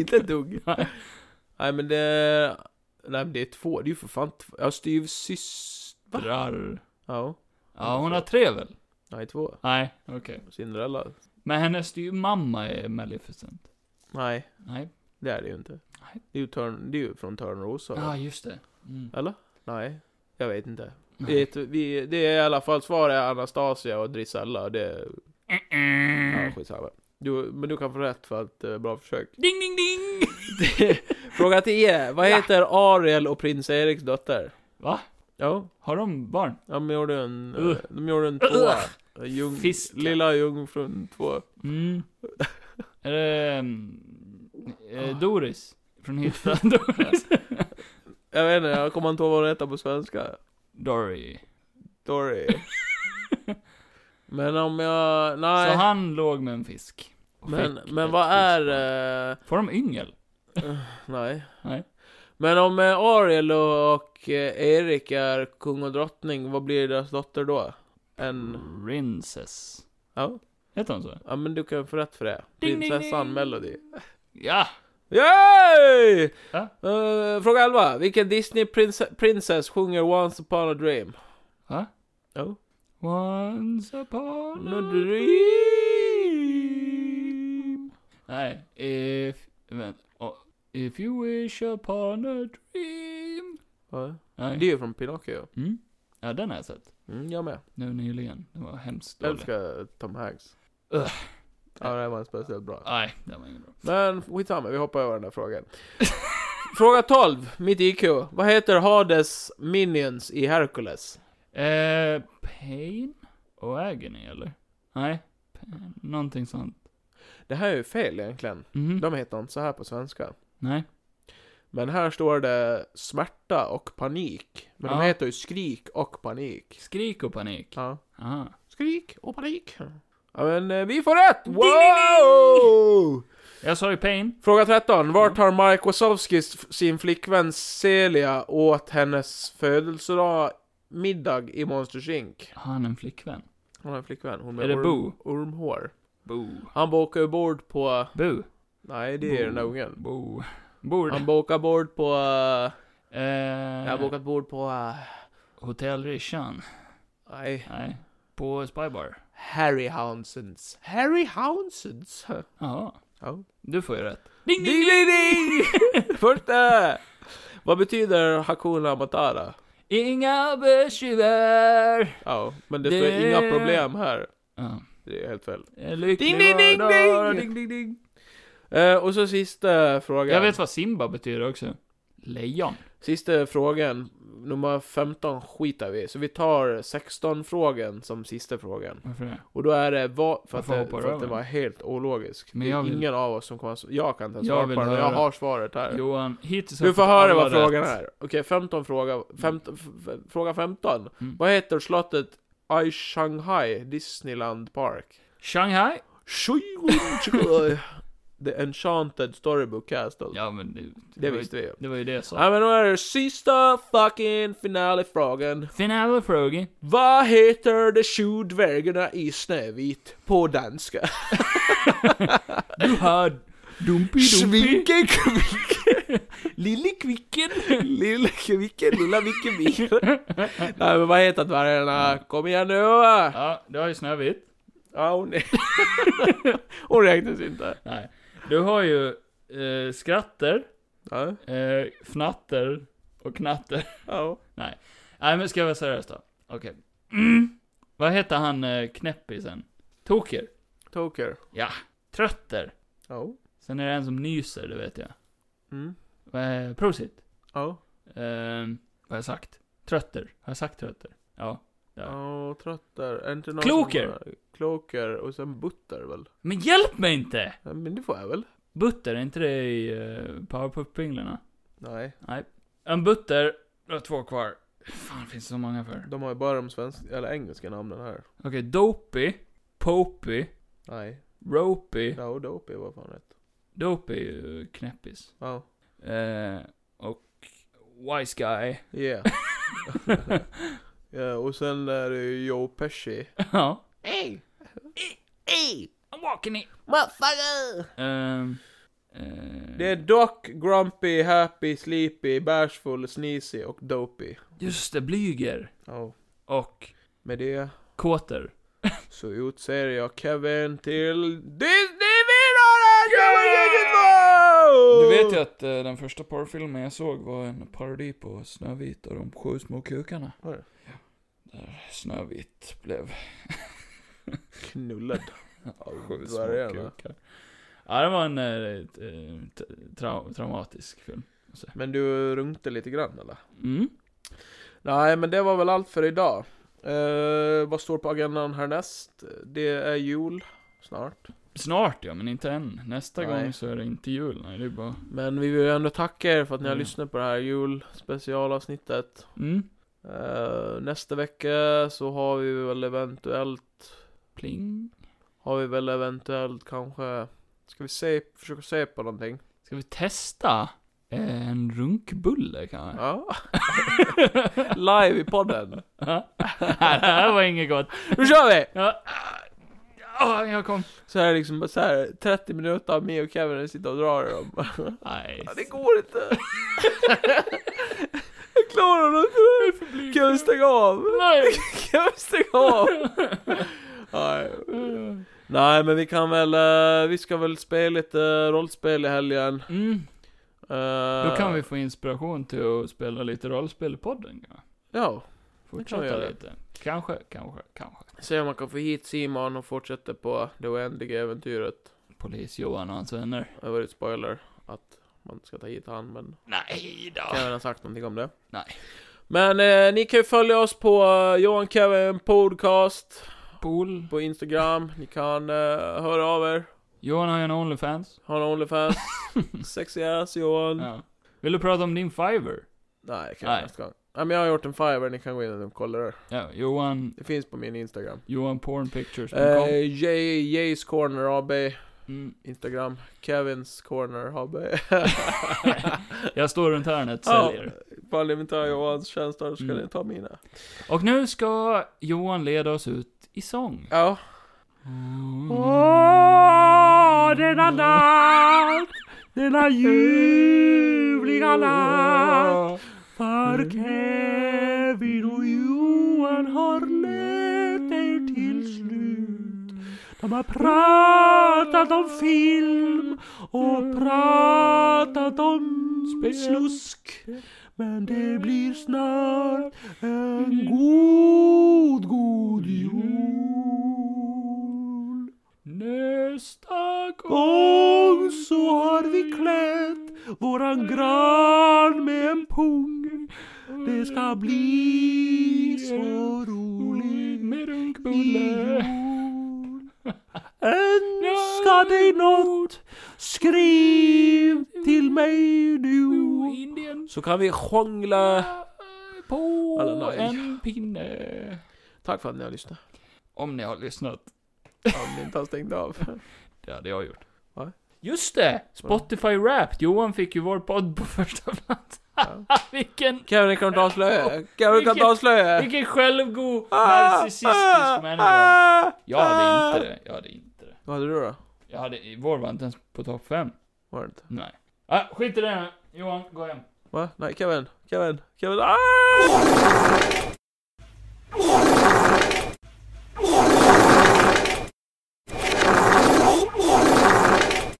Speaker 3: inte ett dugg.
Speaker 2: Nej.
Speaker 3: Nej men det... Nej men det är två. Det är ju för fan två. Ja, styvsyster...
Speaker 2: Drar.
Speaker 3: Ja.
Speaker 2: Ja, hon har tre väl?
Speaker 3: Nej, två.
Speaker 2: Nej, okej.
Speaker 3: Cinderella.
Speaker 2: Men hennes styvmamma är Maleficent.
Speaker 3: Nej.
Speaker 2: Nej.
Speaker 3: Det är det ju inte.
Speaker 2: Nej.
Speaker 3: Det är ju, Törn, det är ju från Törnrosa.
Speaker 2: Ja,
Speaker 3: va?
Speaker 2: ah, just det. Mm.
Speaker 3: Eller? Nej. Jag vet inte.
Speaker 2: Nej.
Speaker 3: Det är, ett- vi, det är i alla fall svar är Anastasia och Drisella. Det ja, skitsamma. Du, men du kan få rätt för att eh, bra försök.
Speaker 2: Ding, ding, ding!
Speaker 3: Fråga 10. Vad
Speaker 2: Ja.
Speaker 3: heter Ariel och prins Eriks dotter?
Speaker 2: Va?
Speaker 3: Ja,
Speaker 2: Har de barn?
Speaker 3: de gjorde en... eh,
Speaker 2: Ugh.
Speaker 3: De gjorde en tvåa. En Ljung,
Speaker 2: Fisk.
Speaker 3: lilla jungfrun två.
Speaker 2: Mm. Är det... mm, eh, Doris? Från Hitta Doris?
Speaker 3: Jag vet inte, jag kommer inte ihåg vad hon heter på svenska.
Speaker 2: Dory.
Speaker 3: Dory. men om jag... Nej.
Speaker 2: Så han låg med en fisk. Och
Speaker 3: Men,
Speaker 2: fick
Speaker 3: men
Speaker 2: ett
Speaker 3: vad är...
Speaker 2: fiskbarn.
Speaker 3: eh,
Speaker 2: Får de yngel?
Speaker 3: nej.
Speaker 2: Nej.
Speaker 3: Men om eh, Ariel och, och eh, Erik är kung och drottning, vad blir deras dotter då? En...
Speaker 2: Princess.
Speaker 3: Ja,
Speaker 2: Heter hon så?
Speaker 3: ja men du kan få rätt för det.
Speaker 2: Ding, ding,
Speaker 3: Prinsessan
Speaker 2: ding.
Speaker 3: Melody.
Speaker 2: Ja!
Speaker 3: Yay!
Speaker 2: Ja.
Speaker 3: Eh, fråga 11. Vilken Disney prins- princess sjunger Once upon a dream?
Speaker 2: Va?
Speaker 3: Ja.
Speaker 2: Once upon
Speaker 3: No
Speaker 2: a...
Speaker 3: dream.
Speaker 2: Nej. If... Vänta. Oh. If you wish upon a dream...
Speaker 3: Ja.
Speaker 2: Nej.
Speaker 3: Det är ju från Pinocchio.
Speaker 2: Mm. Ja, den har jag sett.
Speaker 3: Mm, jag med.
Speaker 2: Nu nyligen. Den var hemskt
Speaker 3: Jag
Speaker 2: dålig.
Speaker 3: älskar Tom Hanks.
Speaker 2: Ugh.
Speaker 3: Ja, det här var en speciellt bra.
Speaker 2: Nej, den var ingen bra.
Speaker 3: Men skitsamma, vi hoppar över den där frågan. Fråga 12, mitt IQ. Vad heter Hades minions i Hercules?
Speaker 2: Eh, pain? Och agony, eller? Nej. Pain. Någonting sånt.
Speaker 3: Det här är ju fel egentligen.
Speaker 2: Mhm.
Speaker 3: De heter inte så här på svenska.
Speaker 2: Nej.
Speaker 3: Men här står det smärta och panik. Men de
Speaker 2: Ja.
Speaker 3: heter ju skrik och panik.
Speaker 2: Skrik och panik.
Speaker 3: Ja.
Speaker 2: Aha.
Speaker 3: Skrik och panik. Ja men eh, vi får rätt! Wow!
Speaker 2: Jag sa ju pain.
Speaker 3: Fråga 13. Vart har Mike Wazowski s- sin flickvän Celia åt hennes födelsedag middag i Monsters Inc?
Speaker 2: Har han en flickvän?
Speaker 3: Hon har en flickvän. Hon
Speaker 2: Är
Speaker 3: med
Speaker 2: det
Speaker 3: orm,
Speaker 2: Boo?
Speaker 3: ormhår.
Speaker 2: Bo.
Speaker 3: Han bokar ju bord på...
Speaker 2: Bu.
Speaker 3: Nej, det är den där ungen.
Speaker 2: Bo. Bord.
Speaker 3: Han bokar bord på... eh,
Speaker 2: eh,
Speaker 3: jag har bokat bord på... eh,
Speaker 2: Hotell Rishan.
Speaker 3: nej.
Speaker 2: Nej. På Spybar.
Speaker 3: Harry Hounsons. Harry Hounsons?
Speaker 2: Jaha.
Speaker 3: Ja.
Speaker 2: Du får ju rätt. Ding,
Speaker 3: Ding, ding, ding! Första! Vad betyder Hakuna Matata?
Speaker 2: Inga bekymmer.
Speaker 3: Ja, men det står
Speaker 2: Det-
Speaker 3: inga problem här.
Speaker 2: Ja.
Speaker 3: Det är helt fel.
Speaker 2: Jag är lycklig
Speaker 3: Ding, ding, ding,
Speaker 2: vardag.
Speaker 3: ding!
Speaker 2: ding, ding.
Speaker 3: Eh, och så sista frågan.
Speaker 2: Jag vet vad Simba betyder också. Lejon.
Speaker 3: Sista frågan. Nummer 15 skitar vi Så vi tar 16-frågan som sista frågan.
Speaker 2: Varför det?
Speaker 3: Och då är det vad... För, att
Speaker 2: Varför
Speaker 3: det,
Speaker 2: hoppar du
Speaker 3: för att det
Speaker 2: över?
Speaker 3: var helt ologiskt.
Speaker 2: Men
Speaker 3: det är
Speaker 2: jag vill-
Speaker 3: ingen av oss som kommer... att- Jag kan inte ens
Speaker 2: Jag
Speaker 3: svara
Speaker 2: vill
Speaker 3: på den. Jag
Speaker 2: höra.
Speaker 3: har svaret här.
Speaker 2: Johan, hittills har
Speaker 3: Du får
Speaker 2: fått
Speaker 3: höra
Speaker 2: alla
Speaker 3: vad frågan
Speaker 2: rätt.
Speaker 3: är. Okej, 15 fråga. 15, f- f- fråga 15.
Speaker 2: Mm.
Speaker 3: Vad heter slottet i Shanghai Disneyland Park?
Speaker 2: Shanghai?
Speaker 3: The Enchanted Storybook Castle.
Speaker 2: Ja men det, det,
Speaker 3: det
Speaker 2: var, ju,
Speaker 3: visste vi ju.
Speaker 2: det var ju det jag sa.
Speaker 3: Ja men då är det sista fucking finalefrågan.
Speaker 2: Finale frågan.
Speaker 3: Vad heter de sju dvärgarna i Snövit på danska?
Speaker 2: Du har Dumpi Dumpi.
Speaker 3: Svinke, kvick,
Speaker 2: Lille Kvicken.
Speaker 3: lilla kvicken, lilla Micke Mir. Nej men vad heter dvärgarna? Kom igen nu! va?
Speaker 2: Ja, du har ju Snövit.
Speaker 3: Ja, hon, hon räknas inte.
Speaker 2: Nej. Du har ju eh, Skratter,
Speaker 3: Ja,
Speaker 2: eh, Fnatter och Knatter.
Speaker 3: ja.
Speaker 2: Nej men ska jag vara seriös då? Okej. Mm. Vad heter han eh, knäppisen? Toker.
Speaker 3: Toker.
Speaker 2: Ja. Trötter.
Speaker 3: Ja.
Speaker 2: Sen är det en som nyser, det vet jag.
Speaker 3: Mm.
Speaker 2: Eh, Prosit.
Speaker 3: Ja.
Speaker 2: Eh, vad har jag sagt? Trötter. Har jag sagt trötter? Ja.
Speaker 3: Ja, tröttar. Är inte någon
Speaker 2: Kloker.
Speaker 3: som- Kloker och sen butter väl?
Speaker 2: Men hjälp mig inte!
Speaker 3: Ja, men det får jag väl?
Speaker 2: Butter, är inte det i uh, Powerpuff-pinglarna?
Speaker 3: Nej.
Speaker 2: Nej. En butter, du har två kvar. Fan, finns det så många för?
Speaker 3: De har ju bara de svenska, eller engelska namnen här.
Speaker 2: Okej, Dopey, Popey,
Speaker 3: Nej.
Speaker 2: Ropey.
Speaker 3: Ja, och Dopey var fan rätt.
Speaker 2: Dopey är ju knäppis.
Speaker 3: Ja.
Speaker 2: Eh, och Wise Guy.
Speaker 3: Yeah. ja, och sen är det ju Joe Pesci.
Speaker 2: ja.
Speaker 4: Hey! Hey!
Speaker 2: I'm walking it.
Speaker 4: Motherfucker!
Speaker 2: Ehm, Eh...
Speaker 3: Det är Doc, Grumpy, Happy, Sleepy, Bashful, Sneezy och Dopey.
Speaker 2: Just det, Blyger.
Speaker 3: Ja.
Speaker 2: Och
Speaker 3: Med det
Speaker 2: Kåter.
Speaker 3: så utser jag Kevin till Disney-vinnaren 2022!
Speaker 2: Du vet ju att eh, den första porrfilmen jag såg var en parodi på Snövit och de sju små kukarna.
Speaker 3: Var det?
Speaker 2: Ja. Där Snövit blev
Speaker 3: Knullad.
Speaker 2: sju små
Speaker 3: dvärgarna.
Speaker 2: kukar. Ja, det var en eh, ett, eh, t- trau- traumatisk film.
Speaker 3: Men du runkte lite grann eller?
Speaker 2: Mm.
Speaker 3: Nej, men det var väl allt för idag. Eh, vad står på agendan härnäst? Det är jul snart.
Speaker 2: Snart ja, men inte än. Nästa
Speaker 3: Nej.
Speaker 2: gång så är det inte jul. Nej, det är bara...
Speaker 3: Men vi vill ju ändå tacka er för att ni har
Speaker 2: Mm.
Speaker 3: lyssnat på det här julspecialavsnittet.
Speaker 2: Mm.
Speaker 3: Eh, nästa vecka så har vi väl eventuellt,
Speaker 2: Pling.
Speaker 3: har vi väl eventuellt kanske, ska vi se, försöka se på någonting?
Speaker 2: Ska vi testa eh, en runkbulle kanske?
Speaker 3: Ja. Live i podden.
Speaker 2: Ja. Nej, det här var inget gott.
Speaker 3: Nu kör vi!
Speaker 2: Ja. Ah, jag kom.
Speaker 3: Så här liksom, bara så här 30 minuter av mig och Kevin sitter och drar i dem.
Speaker 2: Nej.
Speaker 3: Ja, det går inte. Jag klarar det inte. Kan vi stänga av?
Speaker 2: Nej.
Speaker 3: Kan vi stänga av? Nej. Nej, men vi kan väl, eh, vi ska väl spela lite rollspel i helgen.
Speaker 2: Mm.
Speaker 3: Eh,
Speaker 2: Då kan vi få inspiration till att spela lite rollspel i podden. Ja.
Speaker 3: Ja, vi
Speaker 2: Fortsätta
Speaker 3: göra.
Speaker 2: lite. Kanske, kanske, kanske.
Speaker 3: se om man kan få hit Simon och fortsätta på det oändliga äventyret.
Speaker 2: Polis-Johan och hans vänner.
Speaker 3: Det var ett spoiler att man ska ta hit han, men
Speaker 2: Nej då.
Speaker 3: Kevin har sagt någonting om det.
Speaker 2: Nej.
Speaker 3: Men eh, ni kan ju följa oss på eh, Johan Kevin Podcast
Speaker 2: Pool.
Speaker 3: på Instagram. Ni kan eh, höra av er.
Speaker 2: Johan har ju en Onlyfans.
Speaker 3: Har en Onlyfans. Sexy ass Johan.
Speaker 2: Ja. Vill du prata om din Fiverr?
Speaker 3: Nej, det kan jag
Speaker 2: Nej.
Speaker 3: nästa gång. Nej, men jag har gjort en Fiverr, ni kan gå in och kolla det.
Speaker 2: Ja, Johan...
Speaker 3: Det finns på min Instagram.
Speaker 2: JohanPornPictures.com.
Speaker 3: Eh, Jay, Jays Corner AB,
Speaker 2: Mm.
Speaker 3: Instagram. Kevins Corner AB.
Speaker 2: Jag står runt hörnet och
Speaker 3: Ja,
Speaker 2: säljer.
Speaker 3: Ifall ni vill ta Johans tjänster så ska
Speaker 2: Mm.
Speaker 3: ni ta mina.
Speaker 2: Och nu ska Johan leda oss ut i sång.
Speaker 3: Ja.
Speaker 2: Åh, denna natt, denna ljuvliga natt, för Kevin och Johan har lett er till slut. De har pratat om film och pratat om slusk. Men det blir snart en god, god jul. Nästa gång så har vi klätt våran gran med en pung. Det ska bli så roligt med runkbulle. Önska dig något, skriv till mig nu.
Speaker 3: Så kan vi hångla.
Speaker 2: På
Speaker 3: Äh. Alla nej.
Speaker 2: en pinne.
Speaker 3: Tack för att ni har lyssnat.
Speaker 2: Om ni har lyssnat.
Speaker 3: Om ni inte har stängt av.
Speaker 2: Det hade jag gjort.
Speaker 3: Va?
Speaker 2: Just det! Spotify Wrapped. Johan fick ju vår podd på första plats. vilken,
Speaker 3: Kevin kan ta avslöja. Kevin kan
Speaker 2: Vilket-
Speaker 3: ta avslöja.
Speaker 2: vilken självgod
Speaker 3: Ah,
Speaker 2: narcissistisk
Speaker 3: ah,
Speaker 2: människa.
Speaker 3: ah,
Speaker 2: Jag hade
Speaker 3: ah.
Speaker 2: inte det. Jag hade inte det.
Speaker 3: Vad hade du då?
Speaker 2: Jag hade, vår var inte ens på topp 5.
Speaker 3: Var det inte?
Speaker 2: Nej. Ah, skit i det nu. Johan, gå hem.
Speaker 3: Va? Nej, Kevin. Kevin. Kevin. Ah!